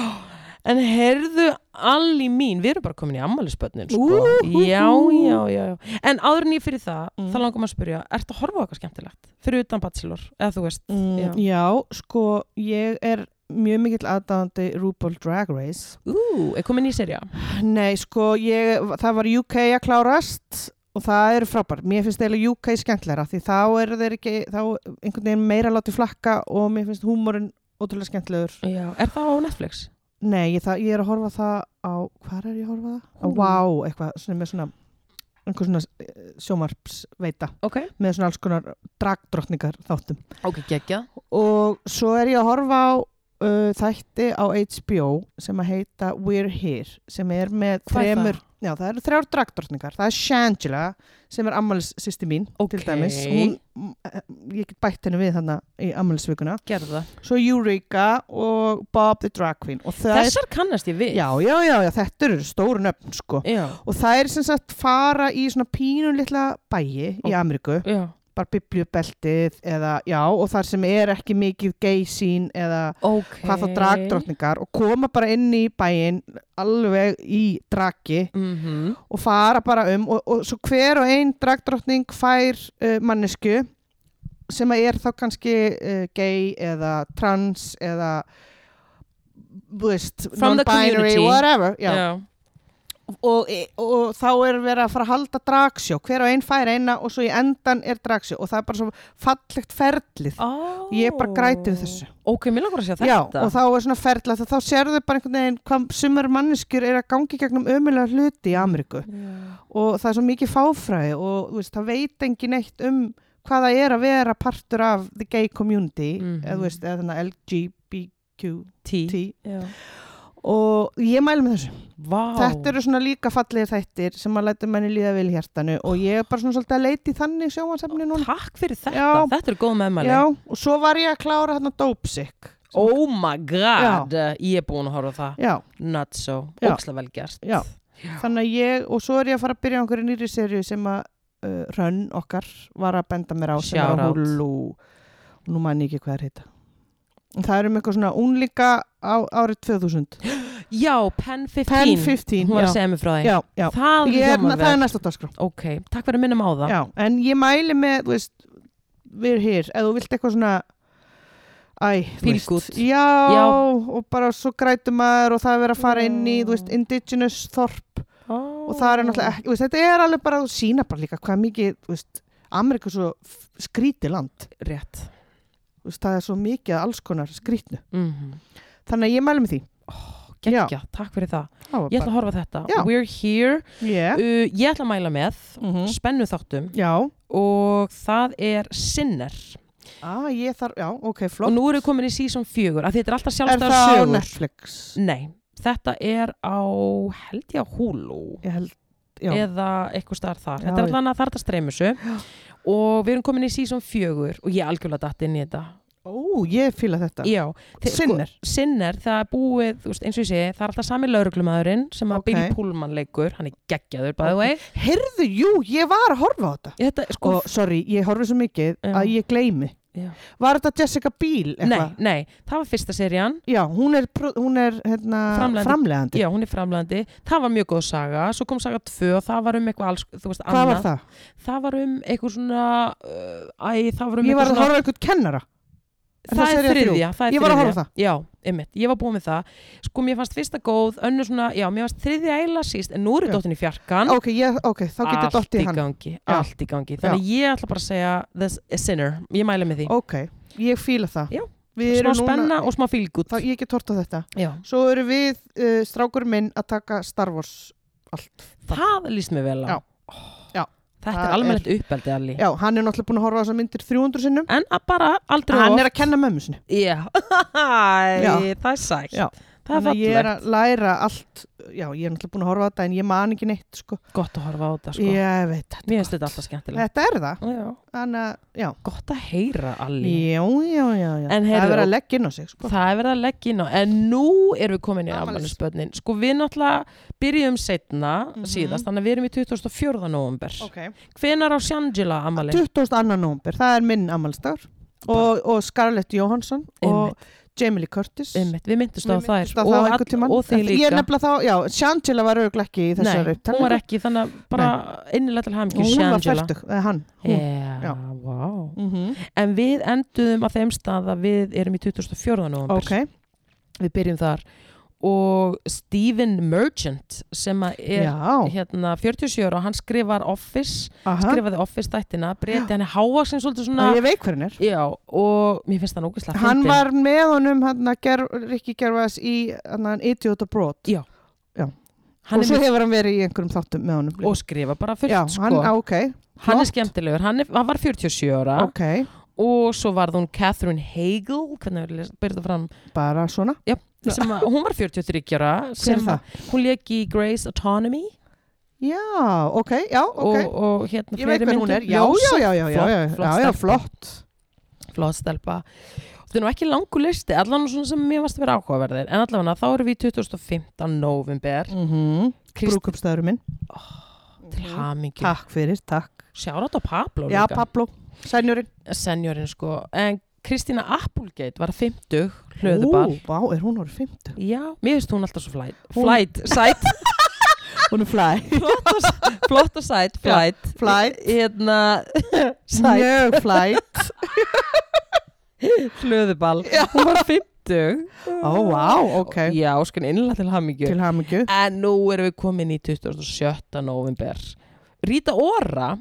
Speaker 1: En heyrðu allir mín, við erum bara komin í ammælisbönnin sko.
Speaker 2: Úhúhú.
Speaker 1: já, já, já, já En áður en ég fyrir það,
Speaker 2: Mm.
Speaker 1: þá langum að spyrja Ertu að horfa á eitthvað skemmtilegt? Fyrir utan Bachelor, eða þú veist
Speaker 2: mm,
Speaker 1: Já.
Speaker 2: já. sko, ég er mjög mikill aðdáðandi RuPaul Drag Race
Speaker 1: Ú, er komin í serja
Speaker 2: Nei, sko, ég, það var UK að klárast og það er frábært. Mér finnst eiginlega UK skemmtilegra því þá er þeir ekki, þá einhvern veginn meira látið flakka og mér finnst húmorinn ótrúlega skemmtilegur.
Speaker 1: Já, er það á Netflix?
Speaker 2: Nei, ég, það, ég er að horfa það á, hvað er ég að horfa það? Á
Speaker 1: Hulu.
Speaker 2: Wow, eitthvað, svona með svona, einhver svona eh, sjómarpsveita
Speaker 1: Ok,
Speaker 2: með svona alls konar dragdrottningar þáttum.
Speaker 1: ok, geggjað
Speaker 2: Og svo er ég að horfa á uh, þætti á HBO sem að heita We're Here sem er með
Speaker 1: Hvað er
Speaker 2: þremur, já það eru þrjár dragdrottningar, það er Shangela sem er ammælis sýsti mín
Speaker 1: Ok.
Speaker 2: til dæmis, hún, m- eh, ég get bætt henni við þannig í ammælisvikuna,
Speaker 1: Gerðu það
Speaker 2: svo Eureka og Bob the Drag Queen og það
Speaker 1: Þessar kannast ég við
Speaker 2: er, já, já, já, já, þetta eru stóru nöfn sko
Speaker 1: Já,
Speaker 2: og það er sem sagt fara í svona pínun litla bæi í
Speaker 1: Ó.
Speaker 2: Ameríku
Speaker 1: já,
Speaker 2: bara bibliubeltið eða já og þar sem er ekki mikið geysín eða
Speaker 1: ok
Speaker 2: hvað þá dragdrottningar og koma bara inn í bæinn alveg í draki
Speaker 1: Mhm.
Speaker 2: og fara bara um og, og svo hver og ein dragdrottning fær uh, mannesku sem að er þá kannski uh, gay eða trans eða þú veist,
Speaker 1: From the
Speaker 2: non-binary,
Speaker 1: community.
Speaker 2: whatever já.
Speaker 1: Já,
Speaker 2: Og, e, og þá er verið að fara að halda dragsjó hver og ein fær eina og svo í endan er dragsjó og það er bara svo fallegt ferlið
Speaker 1: Ó.
Speaker 2: Ég er bara græti við þessu.
Speaker 1: Ok, mér langar að sjá þetta
Speaker 2: Já, og þá er svona ferla þá, þá sérðu bara einhvern veginn hvað sumar manneskjur er að gangi gegnum ömulega hluti í Ameríku og það er svo mikið fáfræði og þú veist, það veit engin eitt um hvað það er að vera partur af the gay community
Speaker 1: Mhm.
Speaker 2: eða þú veist, eða þannig LGBTQT
Speaker 1: Tí Já.
Speaker 2: og ég mælu með þessu
Speaker 1: Vá
Speaker 2: þetta eru svona líka fallegir þættir sem að læta manni líða vel í hjartanu og ég er bara svona svolítið að leiti þannig sjóhansefni núna
Speaker 1: Takk fyrir þetta,
Speaker 2: Já.
Speaker 1: þetta er góð meðmæli
Speaker 2: Já, og svo var ég að klára hérna Dope Sick
Speaker 1: Oh my god, ég er búin að horfa á það
Speaker 2: Já,
Speaker 1: Not so,
Speaker 2: Já.
Speaker 1: ókslega vel gert
Speaker 2: Já. þannig að ég, og svo er ég að fara að byrja á einhverju nýri serju sem að uh, Rönn okkar var að benda mér á sem er á
Speaker 1: Shoutout.
Speaker 2: Hulu og nú man ég ekki hvað er heita En það er um eitthvað svona unlíka á, árið 2000
Speaker 1: Já, Pen 15
Speaker 2: Pen 15,
Speaker 1: Hún var
Speaker 2: já,
Speaker 1: að segja mig frá því
Speaker 2: já, já.
Speaker 1: Það
Speaker 2: Ég, er-
Speaker 1: hljómar
Speaker 2: það er
Speaker 1: vel.
Speaker 2: næsta dagskrá
Speaker 1: Ok, takk fyrir að minnum á það
Speaker 2: já, en ég mæli með, þú veist við erum hér, ef þú vilt eitthvað svona Æ, þú
Speaker 1: Feel
Speaker 2: veist,
Speaker 1: good.
Speaker 2: já,
Speaker 1: Já.
Speaker 2: og bara svo grætum maður og það er verið að fara inn í, þú veist,
Speaker 1: Mm.
Speaker 2: indigenous þorp
Speaker 1: oh.
Speaker 2: og það er náttúrulega ekki, þú veist, þetta er alveg bara að sína bara líka hvað mikið, þú veist, Amerika er svo f- skrítið land,
Speaker 1: ekki Rétt
Speaker 2: þú veist, það er svo mikið af alls konar skrítnu,
Speaker 1: mm
Speaker 2: þannig að ég mælu með því
Speaker 1: Gekkja, takk fyrir það
Speaker 2: Já,
Speaker 1: Ég ætla að horfa á þetta
Speaker 2: Já.
Speaker 1: We're here
Speaker 2: yeah.
Speaker 1: uh, Ég ætla að mæla með
Speaker 2: Mm.
Speaker 1: Spennu þáttum
Speaker 2: Já,
Speaker 1: Og það er Sinner
Speaker 2: ah, ég þarf, já, ok,
Speaker 1: Og
Speaker 2: flott
Speaker 1: nú eru við komin í season 4 Af því þetta er alltaf
Speaker 2: Er
Speaker 1: sjálfstæðar
Speaker 2: það á
Speaker 1: sögur
Speaker 2: Netflix?
Speaker 1: Nei, þetta er á Held ég á Hulu
Speaker 2: Ég held, já,
Speaker 1: eða eitthvað starf þar
Speaker 2: Já,
Speaker 1: þetta er
Speaker 2: já.
Speaker 1: allan að þarta streymusu og við erum komin í season 4 og ég er algjörlega datt inn í þetta
Speaker 2: ó, ég fíla þetta
Speaker 1: Já, þe-
Speaker 2: Sinner?
Speaker 1: sko, Sinner, það er búið, þú veist, eins og ég segi það er alltaf sami lauruglumæðurinn sem að
Speaker 2: Ok.
Speaker 1: Bill Pullman leikur, hann er geggjaður by the
Speaker 2: Ok.
Speaker 1: way
Speaker 2: Heyrðu, jú, ég var að horfa á þetta
Speaker 1: Þetta, er sko,
Speaker 2: Og, sorry, ég horfi svo mikið
Speaker 1: Já.
Speaker 2: að ég gleymi
Speaker 1: Já.
Speaker 2: Var þetta Jessica Biel?
Speaker 1: nei,
Speaker 2: eitthvað?
Speaker 1: nei, það var fyrsta serían
Speaker 2: Já, hún er, pro- hún er hérna,
Speaker 1: Framleiðandi.
Speaker 2: framlegandi
Speaker 1: Já, hún er framlandi, það var mjög góð saga svo kom saga 2 og það var um eitthvað alls, þú veist,
Speaker 2: Hvað var
Speaker 1: annað,
Speaker 2: það?
Speaker 1: var um eitthvað svona uh, æ, það var um
Speaker 2: Ég var
Speaker 1: eitthvað
Speaker 2: að horfa á eitthvað kennara Er
Speaker 1: það er
Speaker 2: sería þrjú?
Speaker 1: þriðja, það er
Speaker 2: Ég var að
Speaker 1: þriðja.
Speaker 2: horfa á það.
Speaker 1: Já, einmitt, ég var búin með það Sko, mér fannst fyrsta góð, önnur svona Já, mér fannst þriðja eila síst, en nú er
Speaker 2: Já.
Speaker 1: dóttin í fjarkan
Speaker 2: Ok, ég, ok, þá getur
Speaker 1: Allt
Speaker 2: dottið
Speaker 1: í
Speaker 2: hann
Speaker 1: gangi,
Speaker 2: Já.
Speaker 1: allt í gangi Þannig ég ætla bara að segja The Sinner, ég mæli með því
Speaker 2: Ok, ég fíla það
Speaker 1: Já.
Speaker 2: Við
Speaker 1: Smá
Speaker 2: erum núna-
Speaker 1: spenna og smá fylgut
Speaker 2: þá, Ég get hort á þetta
Speaker 1: Já,
Speaker 2: Svo eru við, uh, strákur minn, að taka Star Wars
Speaker 1: það líst mér vel á
Speaker 2: Já. Já.
Speaker 1: Þetta
Speaker 2: Það
Speaker 1: er
Speaker 2: er-
Speaker 1: almennlegt uppeldi allir
Speaker 2: Já, hann er náttúrulega búin að horfa á þessar myndir 300 sinnum
Speaker 1: En að bara aldrei
Speaker 2: Hann er að kenna mömmu sinni
Speaker 1: Já, Æ, það er sætt
Speaker 2: Já.
Speaker 1: Það er
Speaker 2: að ég er
Speaker 1: fallegt,
Speaker 2: að læra allt Já, ég er náttúrulega búin að horfa á þetta en ég man ekki neitt sko.
Speaker 1: gott að horfa á þetta sko
Speaker 2: Ég veit þetta
Speaker 1: Mér finnst þetta alltaf skemmtilegt
Speaker 2: Þetta er það
Speaker 1: Já.
Speaker 2: Þannig að, já
Speaker 1: Gott að heyra allir
Speaker 2: Já, já, já, já
Speaker 1: En
Speaker 2: Það
Speaker 1: heyrðu-
Speaker 2: er verið að leggja inn á sig sko.
Speaker 1: Það er verið að leggja inn á, en nú erum við komin í
Speaker 2: Afmælis. Mhm.
Speaker 1: afmælisbönnin. Sko við náttúrulega byrjum setna síðast, þannig að við erum í 24. november.
Speaker 2: okay.
Speaker 1: Hvenar á Shangela afmæli?
Speaker 2: 22. nóvumber, það er minn ammálsdagur og, og Scarlett Johansson og Jamie Lee Curtis
Speaker 1: Einmitt, Við myndist á
Speaker 2: Mér
Speaker 1: þær
Speaker 2: minntist á
Speaker 1: og,
Speaker 2: það
Speaker 1: all-
Speaker 2: einhvern tímann.
Speaker 1: og þig
Speaker 2: En
Speaker 1: líka.
Speaker 2: Ég er nefnilega þá, já, Shangela var auðvitað ekki í þessari
Speaker 1: Nei, hún var
Speaker 2: upptalningu.
Speaker 1: ekki, þannig að bara innilega til
Speaker 2: Og
Speaker 1: hæmkjum
Speaker 2: hún var
Speaker 1: Shangela.
Speaker 2: færtug, eða hann hún.
Speaker 1: Já,
Speaker 2: já.
Speaker 1: vá.
Speaker 2: Mm
Speaker 1: En við enduðum á þeim stað að við erum í 24. november.
Speaker 2: Ok,
Speaker 1: við byrjum þar og Stephen Merchant sem að er
Speaker 2: já,
Speaker 1: hérna 47 ára og hann skrifar Office,
Speaker 2: aha
Speaker 1: skrifaði Office þættina breyti hann er hávaxin svolítið svona
Speaker 2: Að ég veik hvernig er
Speaker 1: já og mér finnst hann ógeðslega
Speaker 2: hann
Speaker 1: fyndinn.
Speaker 2: var með honum hann að ger, Rikki Gervas í hann Idiot Abroad
Speaker 1: Já. hann
Speaker 2: og
Speaker 1: er
Speaker 2: svo
Speaker 1: mjög-
Speaker 2: hefur hann verið í einhverjum þáttum með honum
Speaker 1: og skrifa bara fullt
Speaker 2: já,
Speaker 1: sko
Speaker 2: hann,
Speaker 1: hann,
Speaker 2: á, ok,
Speaker 1: er skemmtilegur, hann, er, hann var 47 ára
Speaker 2: ok
Speaker 1: og svo varð hún Catherine Hagel hvernig er byrjuð fram
Speaker 2: bara svona,
Speaker 1: sem að, hún var 43 ára
Speaker 2: hver
Speaker 1: sem
Speaker 2: er
Speaker 1: að-
Speaker 2: það?
Speaker 1: hún leik í Grey's Autonomy
Speaker 2: já, ok, já, ok
Speaker 1: og, og hérna
Speaker 2: ég veit
Speaker 1: fleiri
Speaker 2: hver hún
Speaker 1: myndum.
Speaker 2: er, já, já,
Speaker 1: Ljósa,
Speaker 2: já já, já,
Speaker 1: flott,
Speaker 2: já, já,
Speaker 1: flott
Speaker 2: já,
Speaker 1: stelpa.
Speaker 2: flott
Speaker 1: flott stelpa þetta er nú ekki langu listi, allan svona sem mér varst að vera áhugaverðir en allavega þá erum við í 2015 november
Speaker 2: mm -hmm.
Speaker 1: Mhm. Krist-
Speaker 2: brúkupstæðurinn minn Mhm.
Speaker 1: til hamingi,
Speaker 2: takk fyrir, takk
Speaker 1: sjárat á Pablo
Speaker 2: já,
Speaker 1: líka,
Speaker 2: Pablo, sænjurinn
Speaker 1: senjorinn sko en Kristína Applegate var 50 hlöðubar,
Speaker 2: Ó, vá, er hún orðið 50
Speaker 1: já, mér finnst hún alltaf svo flæt
Speaker 2: Hún-
Speaker 1: flæt, sæt,
Speaker 2: hún er flæ,
Speaker 1: flott og, s- flott og sæt flæt,
Speaker 2: flæ,
Speaker 1: hérna sæt,
Speaker 2: mjög flæ
Speaker 1: hlöðubal hún var 50
Speaker 2: ó, vá, ok
Speaker 1: já, skan innlega til hamingju
Speaker 2: til hamingju
Speaker 1: En nú erum við komin í 27. november Rita Ora,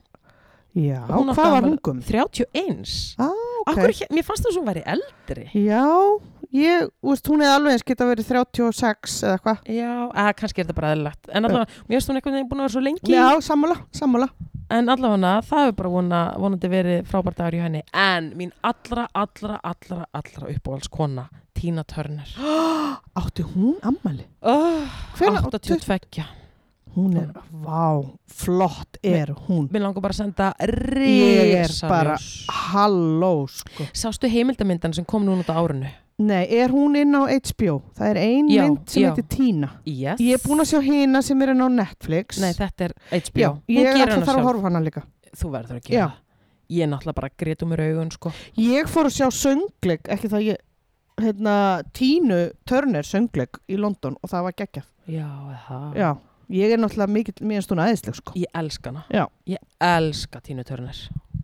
Speaker 2: já,
Speaker 1: Hún átti
Speaker 2: hvað var
Speaker 1: afmæli-
Speaker 2: hún gum?
Speaker 1: 31
Speaker 2: Ah, ok.
Speaker 1: Akkur, ekki- Mér fannst það svo hún væri eldri
Speaker 2: já, ég, þú veist, hún hefði alveg eins geta verið 36 eða hvað
Speaker 1: Já, eða kannski er þetta bara eðlilegt En allavega, mér finnst hún einhvern veginn búin að vera svo lengi
Speaker 2: já, sammála, sammála
Speaker 1: En allavega, það hefur bara vona, vonandi verið frábært dagur í henni En mín allra, allra, allra, allra uppáhalds kona Tina Turner
Speaker 2: átti hún ammali?
Speaker 1: oh,
Speaker 2: Hvenær-
Speaker 1: 82
Speaker 2: hún er, vá, flott er hún
Speaker 1: Mér langar bara að senda
Speaker 2: Ég er bara-
Speaker 1: risaljós
Speaker 2: halló, sko
Speaker 1: Sástu heimildamindan sem kom núna út á árinu?
Speaker 2: nei, er hún inn á HBO? það er ein
Speaker 1: Já,
Speaker 2: mynd sem
Speaker 1: já.
Speaker 2: heitir Tina
Speaker 1: Yes
Speaker 2: ég er búin að sjá hina sem er inn á Netflix
Speaker 1: Nei, þetta er HBO.
Speaker 2: já,
Speaker 1: Hún
Speaker 2: ég
Speaker 1: gerir
Speaker 2: ætla
Speaker 1: hana
Speaker 2: þar að
Speaker 1: sjálf.
Speaker 2: horfa á hana líka
Speaker 1: Þú verður að gera
Speaker 2: Já.
Speaker 1: það. Ég er náttúrulega bara grétum mér augun, sko.
Speaker 2: Ég fór að sjá söngleik, ekki það ég, hérna, Tínu Turner söngleik í London og það var geggjað.
Speaker 1: Já, það.
Speaker 2: Já, ég er náttúrulega mikill, mér finnst hún aðeinsleg sko.
Speaker 1: Ég elska hana.
Speaker 2: Já.
Speaker 1: Ég elska Tínu Turner.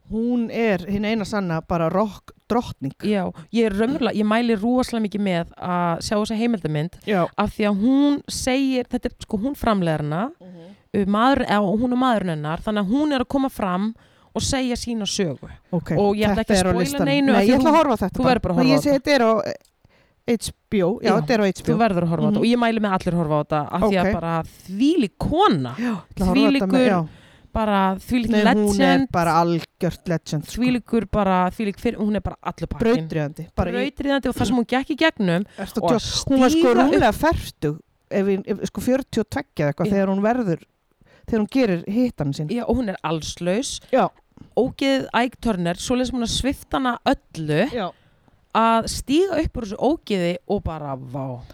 Speaker 2: Hún er hinn eina sanna bara rock drottning.
Speaker 1: Já, ég er raunverulega, ég mæli rúaslega mikið með að sjá þessa heimildamynd
Speaker 2: Já.
Speaker 1: af því að hún segir, þetta er sko hún framlegar hana, uh, maður, eða, hún og maðurinn hennar, þannig að hún er að koma fram og segja sína sögu.
Speaker 2: Ok,
Speaker 1: Og ég ætla
Speaker 2: þetta
Speaker 1: ekki að
Speaker 2: er á
Speaker 1: spoila
Speaker 2: listanum.
Speaker 1: neinu, af
Speaker 2: Nei,
Speaker 1: því
Speaker 2: ég ætla
Speaker 1: þú-
Speaker 2: að horfa á þetta.
Speaker 1: þú verður bara að horfa á
Speaker 2: Nei, Ég sé þetta er á eh, HBO, já,
Speaker 1: Já.
Speaker 2: þetta er á HBO.
Speaker 1: Þú verður að horfa á
Speaker 2: Mhm.
Speaker 1: þetta og ég mæli með allir að horfa á þetta af því að
Speaker 2: Ok.
Speaker 1: bara þvílík kona,
Speaker 2: Já, ég ætla að horfa á þetta með-
Speaker 1: þvílíkur
Speaker 2: já.
Speaker 1: bara þvílík
Speaker 2: Nei, hún er
Speaker 1: legend,
Speaker 2: bara algjört legend sko.
Speaker 1: þvílíkur bara, þvílík fyrir, hún er bara allur pakkin.
Speaker 2: Brautriðandi. bara í-
Speaker 1: brautriðandi og það sem hún gekk í gegnum
Speaker 2: Ertu að
Speaker 1: og
Speaker 2: djóka?
Speaker 1: að
Speaker 2: hún var sko
Speaker 1: stíga upp-
Speaker 2: rúmlega færtug ef, við- ef, sko 42 eða eitthvað
Speaker 1: Já.
Speaker 2: þegar hún verður þegar hún gerir hittan sín
Speaker 1: já, og hún er allslaus
Speaker 2: Já.
Speaker 1: ógeð ægtörnir, svo leysum hún að svifta hana öllu
Speaker 2: Já.
Speaker 1: að stíga upp úr þessu ógeði og bara vá
Speaker 2: og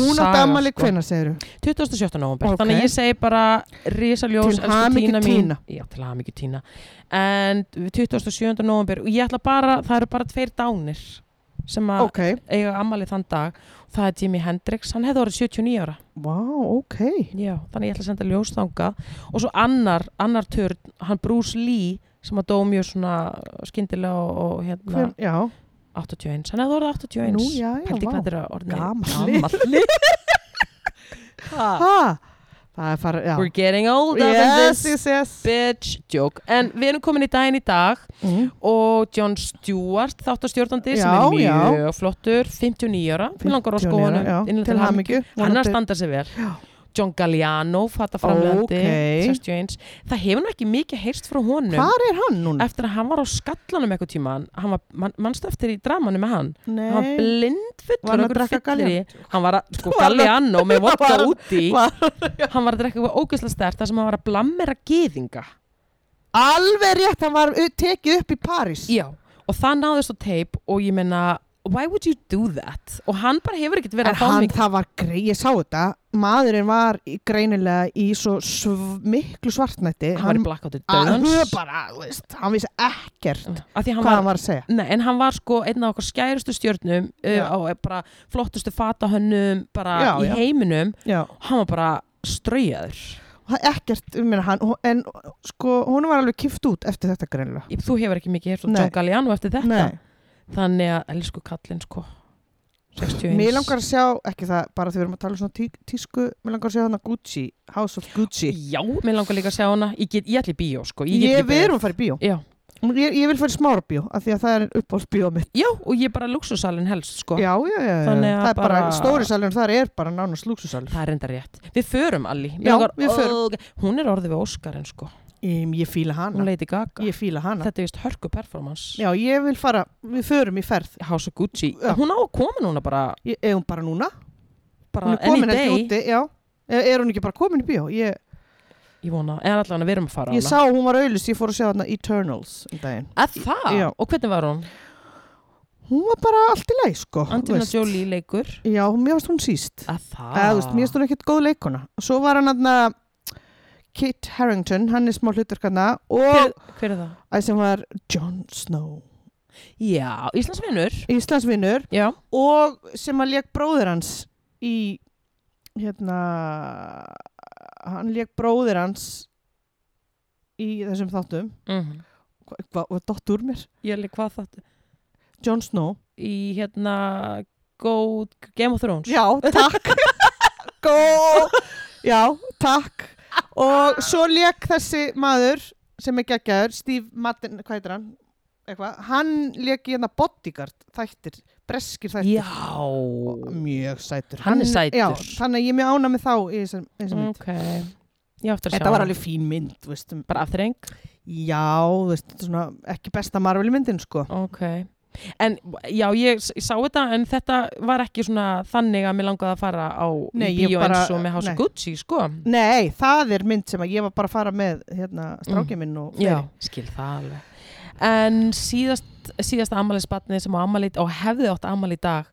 Speaker 2: hún átti ammali sko. hvenær segir
Speaker 1: 27. november,
Speaker 2: Ok.
Speaker 1: þannig að ég segi bara risaljós,
Speaker 2: Til hamingju Tína.
Speaker 1: já, til hamingju tína en 27. november og ég ætla bara, það eru bara tveir dánir sem að
Speaker 2: ok,
Speaker 1: eiga ammali þann dag og það er Jimi Hendrix, hann hefði orðið 79 ára
Speaker 2: vá, ok
Speaker 1: Já, þannig ég ætla að senda ljóstanga og svo annar, annar törn, hann Bruce Lee sem að dó mjög svona skyndilega og, og hérna
Speaker 2: Hver, já,
Speaker 1: 81, hann hefði orðið 81
Speaker 2: nú já, já,
Speaker 1: Pældi hvað
Speaker 2: vá
Speaker 1: þetta er orðið
Speaker 2: Gamall.
Speaker 1: Gamall
Speaker 2: ha, það er farið, já
Speaker 1: We're getting old up
Speaker 2: yes,
Speaker 1: in this
Speaker 2: yes, yes
Speaker 1: bitch joke En við erum komin í daginn í dag
Speaker 2: mm.
Speaker 1: og John Stewart þáttastjórnandi sem
Speaker 2: Já,
Speaker 1: er
Speaker 2: já.
Speaker 1: mjög flottur 59 ára, við langar á
Speaker 2: 59 ára, já,
Speaker 1: skóðanum
Speaker 2: til hamingju
Speaker 1: hann er að
Speaker 2: vonandi.
Speaker 1: standa sig vel
Speaker 2: Já.
Speaker 1: John Galliano, fattaframlendi
Speaker 2: Ókei.
Speaker 1: 61, það hefur nú ekki mikið heyrst frá honum
Speaker 2: hvar er hann núna?
Speaker 1: eftir að hann var á skallanum eitthvað tíma hann var, man, mannstu eftir í dramanum með hann
Speaker 2: Nei,
Speaker 1: hann var blindfullur
Speaker 2: Var hann að
Speaker 1: einhverju
Speaker 2: drekka
Speaker 1: fylliríi. hann var að, sko,
Speaker 2: Var hann að-
Speaker 1: Galliano með vodka
Speaker 2: Var hann-
Speaker 1: úti
Speaker 2: var-
Speaker 1: hann var að drekka eitthvað ógeðslega stert þar sem hann var að blammera geðinga
Speaker 2: alveg rétt, hann var u- tekið upp í París
Speaker 1: Já, og það náðist á teip og ég meina, why would you do that? Og hann bara hefur ekkert verið
Speaker 2: En
Speaker 1: að fá
Speaker 2: hann,
Speaker 1: mikið
Speaker 2: það var greið, ég sá þetta, maðurinn var í- greinilega í svo sv miklu svartnætti.
Speaker 1: Hann var í blackoutu
Speaker 2: að- hann var
Speaker 1: döðans
Speaker 2: bara, þú veist, hann vissi ekkert
Speaker 1: Af því hann
Speaker 2: hvað
Speaker 1: var
Speaker 2: hann var að segja.
Speaker 1: Nei, en hann var sko einn af okkar skærustu stjörnum
Speaker 2: Já.
Speaker 1: uh, á eh, bara flottustu fatahönnum bara
Speaker 2: Já,
Speaker 1: í
Speaker 2: já.
Speaker 1: heiminum
Speaker 2: Já.
Speaker 1: hann var bara straujaður
Speaker 2: Og það ekkert, ég meina, hann, en sko, hún var alveg kift út eftir þetta greinilega.
Speaker 1: Ég- Þú hefur ekki mikið hér svo
Speaker 2: Nei.
Speaker 1: John Galliano eftir þetta
Speaker 2: Nei,
Speaker 1: Þannig að, elsku kallinn sko 61.
Speaker 2: Mér langar að sjá, ekki það, bara því við erum að tala um svona tí, tísku, mér langar að sjá hana Gucci, House of Gucci.
Speaker 1: Já, mér langar líka að sjá hana Ég, get, ég ætli í bíó, sko
Speaker 2: Ég,
Speaker 1: get
Speaker 2: ég
Speaker 1: ekki
Speaker 2: við
Speaker 1: beðið.
Speaker 2: erum að fara í bíó.
Speaker 1: Já.
Speaker 2: Ég, ég vil fara í smára bíó, af því að það er uppáhaldsbíó mitt.
Speaker 1: Já, og ég er bara luxusalinn helst, sko
Speaker 2: Já, já, já, já.
Speaker 1: Þannig að
Speaker 2: það er bara,
Speaker 1: bara-
Speaker 2: stóri salun þar er bara nánast lúksusalur.
Speaker 1: Það er enda rétt Við förum, Alli Mig
Speaker 2: Já,
Speaker 1: langar-
Speaker 2: við förum.
Speaker 1: Ógeð- Hún er orðið við Óskarinn, sko
Speaker 2: Um, ég fíla
Speaker 1: Hún
Speaker 2: hana.
Speaker 1: leiti gaga
Speaker 2: Ég fíla hana.
Speaker 1: Þetta er vist hörku performance
Speaker 2: Já, ég vil fara, við förum í ferð.
Speaker 1: House of Gucci
Speaker 2: Já.
Speaker 1: Hún á að koma núna bara,
Speaker 2: Ég, er hún bara núna?
Speaker 1: bara
Speaker 2: Hún er komin
Speaker 1: any day.
Speaker 2: ekki úti, já. Er, er hún ekki bara komin í bíó? Ég,
Speaker 1: Ég vona, en allan að við erum að fara á
Speaker 2: ég
Speaker 1: hana.
Speaker 2: sá, hún var auðlust, ég fór að sjá hana Eternals um daginn.
Speaker 1: Að það?
Speaker 2: Já.
Speaker 1: Og hvernig var hún?
Speaker 2: Hún var bara allt í leið, sko.
Speaker 1: Angelina
Speaker 2: veist.
Speaker 1: Jolie Ah. leikur
Speaker 2: Já, mér varst hún síst.
Speaker 1: Að það?
Speaker 2: eða þú veist, mér finnst hún ekkert góð leikona svo var hann aðna Kit Harington, hann er smá hluturkanna og
Speaker 1: hver, hver er það?
Speaker 2: að sem var Jon Snow
Speaker 1: Já, Íslandsvinnur
Speaker 2: Íslandsvinnur
Speaker 1: Já,
Speaker 2: og sem að leik bróðir hans í hérna hann leik bróðir hans í þessum þáttum hvað hva, hva, dott úr mér?
Speaker 1: Mhm. ég leik hvað það
Speaker 2: Jon Snow
Speaker 1: Í hérna Go, Game of Thrones
Speaker 2: já, takk góð já, takk og svo leik þessi maður sem er geggjaður, Steve Madden hvað heitir hann? Eitthvað. hann leik í hérna bodyguard þættir breskir þættir
Speaker 1: Já
Speaker 2: mjög sætur
Speaker 1: Hann er sætur.
Speaker 2: já, þannig að ég er mjög ána með þá í þessum, þessum mynd
Speaker 1: Ok Ég átti að sjá
Speaker 2: þetta var
Speaker 1: hana.
Speaker 2: alveg fín mynd þú veist, um,
Speaker 1: Bara afþreng
Speaker 2: já, þú veist, þetta er svona, ekki besta Marvel myndin sko.
Speaker 1: Ok En já, ég s- sá þetta en þetta var ekki svona þannig að mér langaði að fara á
Speaker 2: Nei,
Speaker 1: í
Speaker 2: ég
Speaker 1: bíó
Speaker 2: bara-
Speaker 1: eins og með House
Speaker 2: nei.
Speaker 1: of Gucci, sko
Speaker 2: nei, það er mynd sem að ég var bara að fara með hérna, strákið minn og fleiri.
Speaker 1: Mm. Já, skil það alveg En síðast, síðasta ammælisbatni sem á ammæli og hefði átt ammæli í dag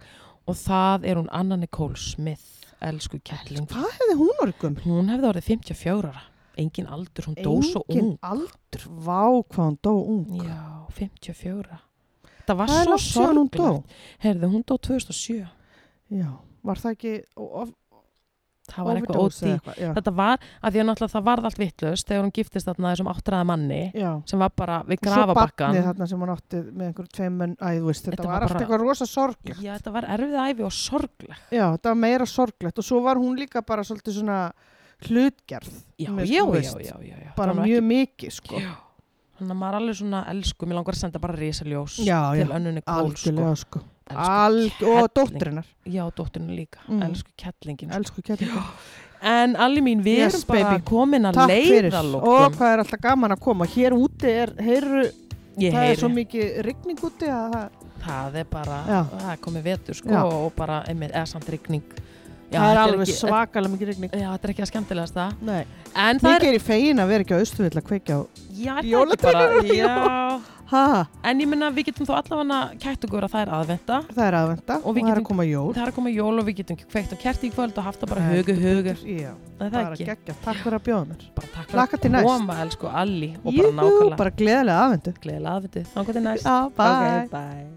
Speaker 1: og það er hún Anna Nicole Smith elsku kjalling
Speaker 2: hvað hefði hún orðið gömul?
Speaker 1: Hún hefði orðið 54 ára Engin aldur, hún dó svo
Speaker 2: Engin
Speaker 1: ung
Speaker 2: aldur, vá hvað hún dó ung
Speaker 1: Já, 54 Það var
Speaker 2: Það er
Speaker 1: svo
Speaker 2: langt síðan hún dó.
Speaker 1: sorgulegt Herði, hún dó 2007
Speaker 2: Já, var það ekki of,
Speaker 1: Það var eitthvað ódý
Speaker 2: overdose eða eitthvað, já.
Speaker 1: Þetta var, að því að náttúrulega það varð allt vittlust þegar hún giftist þarna þessum áttræða manni
Speaker 2: Já.
Speaker 1: sem var bara við
Speaker 2: Og svo
Speaker 1: grafabakkan
Speaker 2: barnið þarna sem hún átti með einhverjum tveim menn æ, þú veist, þetta,
Speaker 1: Þetta var
Speaker 2: var allt
Speaker 1: bara-
Speaker 2: eitthvað rosa sorglegt
Speaker 1: Já, þetta var erfið æfi og sorgleg
Speaker 2: Já, þetta var meira sorglegt og svo var hún líka bara svolítið svona hlutgerð
Speaker 1: já,
Speaker 2: Mér-
Speaker 1: já,
Speaker 2: þú
Speaker 1: já,
Speaker 2: veist,
Speaker 1: já, já, já.
Speaker 2: bara
Speaker 1: Það var
Speaker 2: mjög
Speaker 1: ekki-
Speaker 2: mikið sko.
Speaker 1: Já. þannig að maður er alveg svona elsku mér langar að senda bara risaljós
Speaker 2: Já,
Speaker 1: til
Speaker 2: já,
Speaker 1: önnunni Kól sko.
Speaker 2: algjörlega sko.
Speaker 1: Elsku
Speaker 2: Alg, og
Speaker 1: kelling.
Speaker 2: dóttirinnar
Speaker 1: já, dótturinn líka,
Speaker 2: Mm.
Speaker 1: elsku kettlingin
Speaker 2: elsku kætingar
Speaker 1: en allir mín, við
Speaker 2: Yes,
Speaker 1: erum bara
Speaker 2: baby.
Speaker 1: komin að
Speaker 2: Takk fyrir og
Speaker 1: leiðalokum
Speaker 2: hvað er alltaf gaman að koma hér úti er, heyru,
Speaker 1: ég
Speaker 2: það er svo
Speaker 1: heyri,
Speaker 2: mikið rigning úti að það
Speaker 1: það er bara
Speaker 2: Já.
Speaker 1: það er komið vetur sko
Speaker 2: Já.
Speaker 1: og bara einmitt, eða samt rigning já,
Speaker 2: það er
Speaker 1: þetta
Speaker 2: alveg
Speaker 1: ekki-
Speaker 2: svakalega mikið rigning
Speaker 1: þetta- já, þetta er ekki að skemmtilegast það
Speaker 2: Nei,
Speaker 1: en það
Speaker 2: mikið er í fegin að vera ekki á Östuvill að kveikja á
Speaker 1: er, já, er það ekki bara
Speaker 2: Jólatrénu, já.
Speaker 1: já,
Speaker 2: ha,
Speaker 1: en ég minna við getum þó allavega kætt okkur að það er aðvenda
Speaker 2: það er aðvenda
Speaker 1: Og
Speaker 2: og,
Speaker 1: við
Speaker 2: það er
Speaker 1: getum-
Speaker 2: að koma jól
Speaker 1: það er að koma jól og við getum kveikt á kerti í kvöld og haft það bara
Speaker 2: Heldur
Speaker 1: hugu hugu
Speaker 2: Já,
Speaker 1: Nei, það
Speaker 2: bara
Speaker 1: ekki.
Speaker 2: geggja, takk fyrir að bjóða mér
Speaker 1: Bara takk
Speaker 2: Hlakka til
Speaker 1: fyrir að
Speaker 2: næst.
Speaker 1: koma, elsku Alli og bara
Speaker 2: Jú,
Speaker 1: nákvæmlega
Speaker 2: bara gleðilega aðvendu
Speaker 1: gleðilega aðvitið. Þannig til næst.
Speaker 2: Já, bye
Speaker 1: Ok, bye.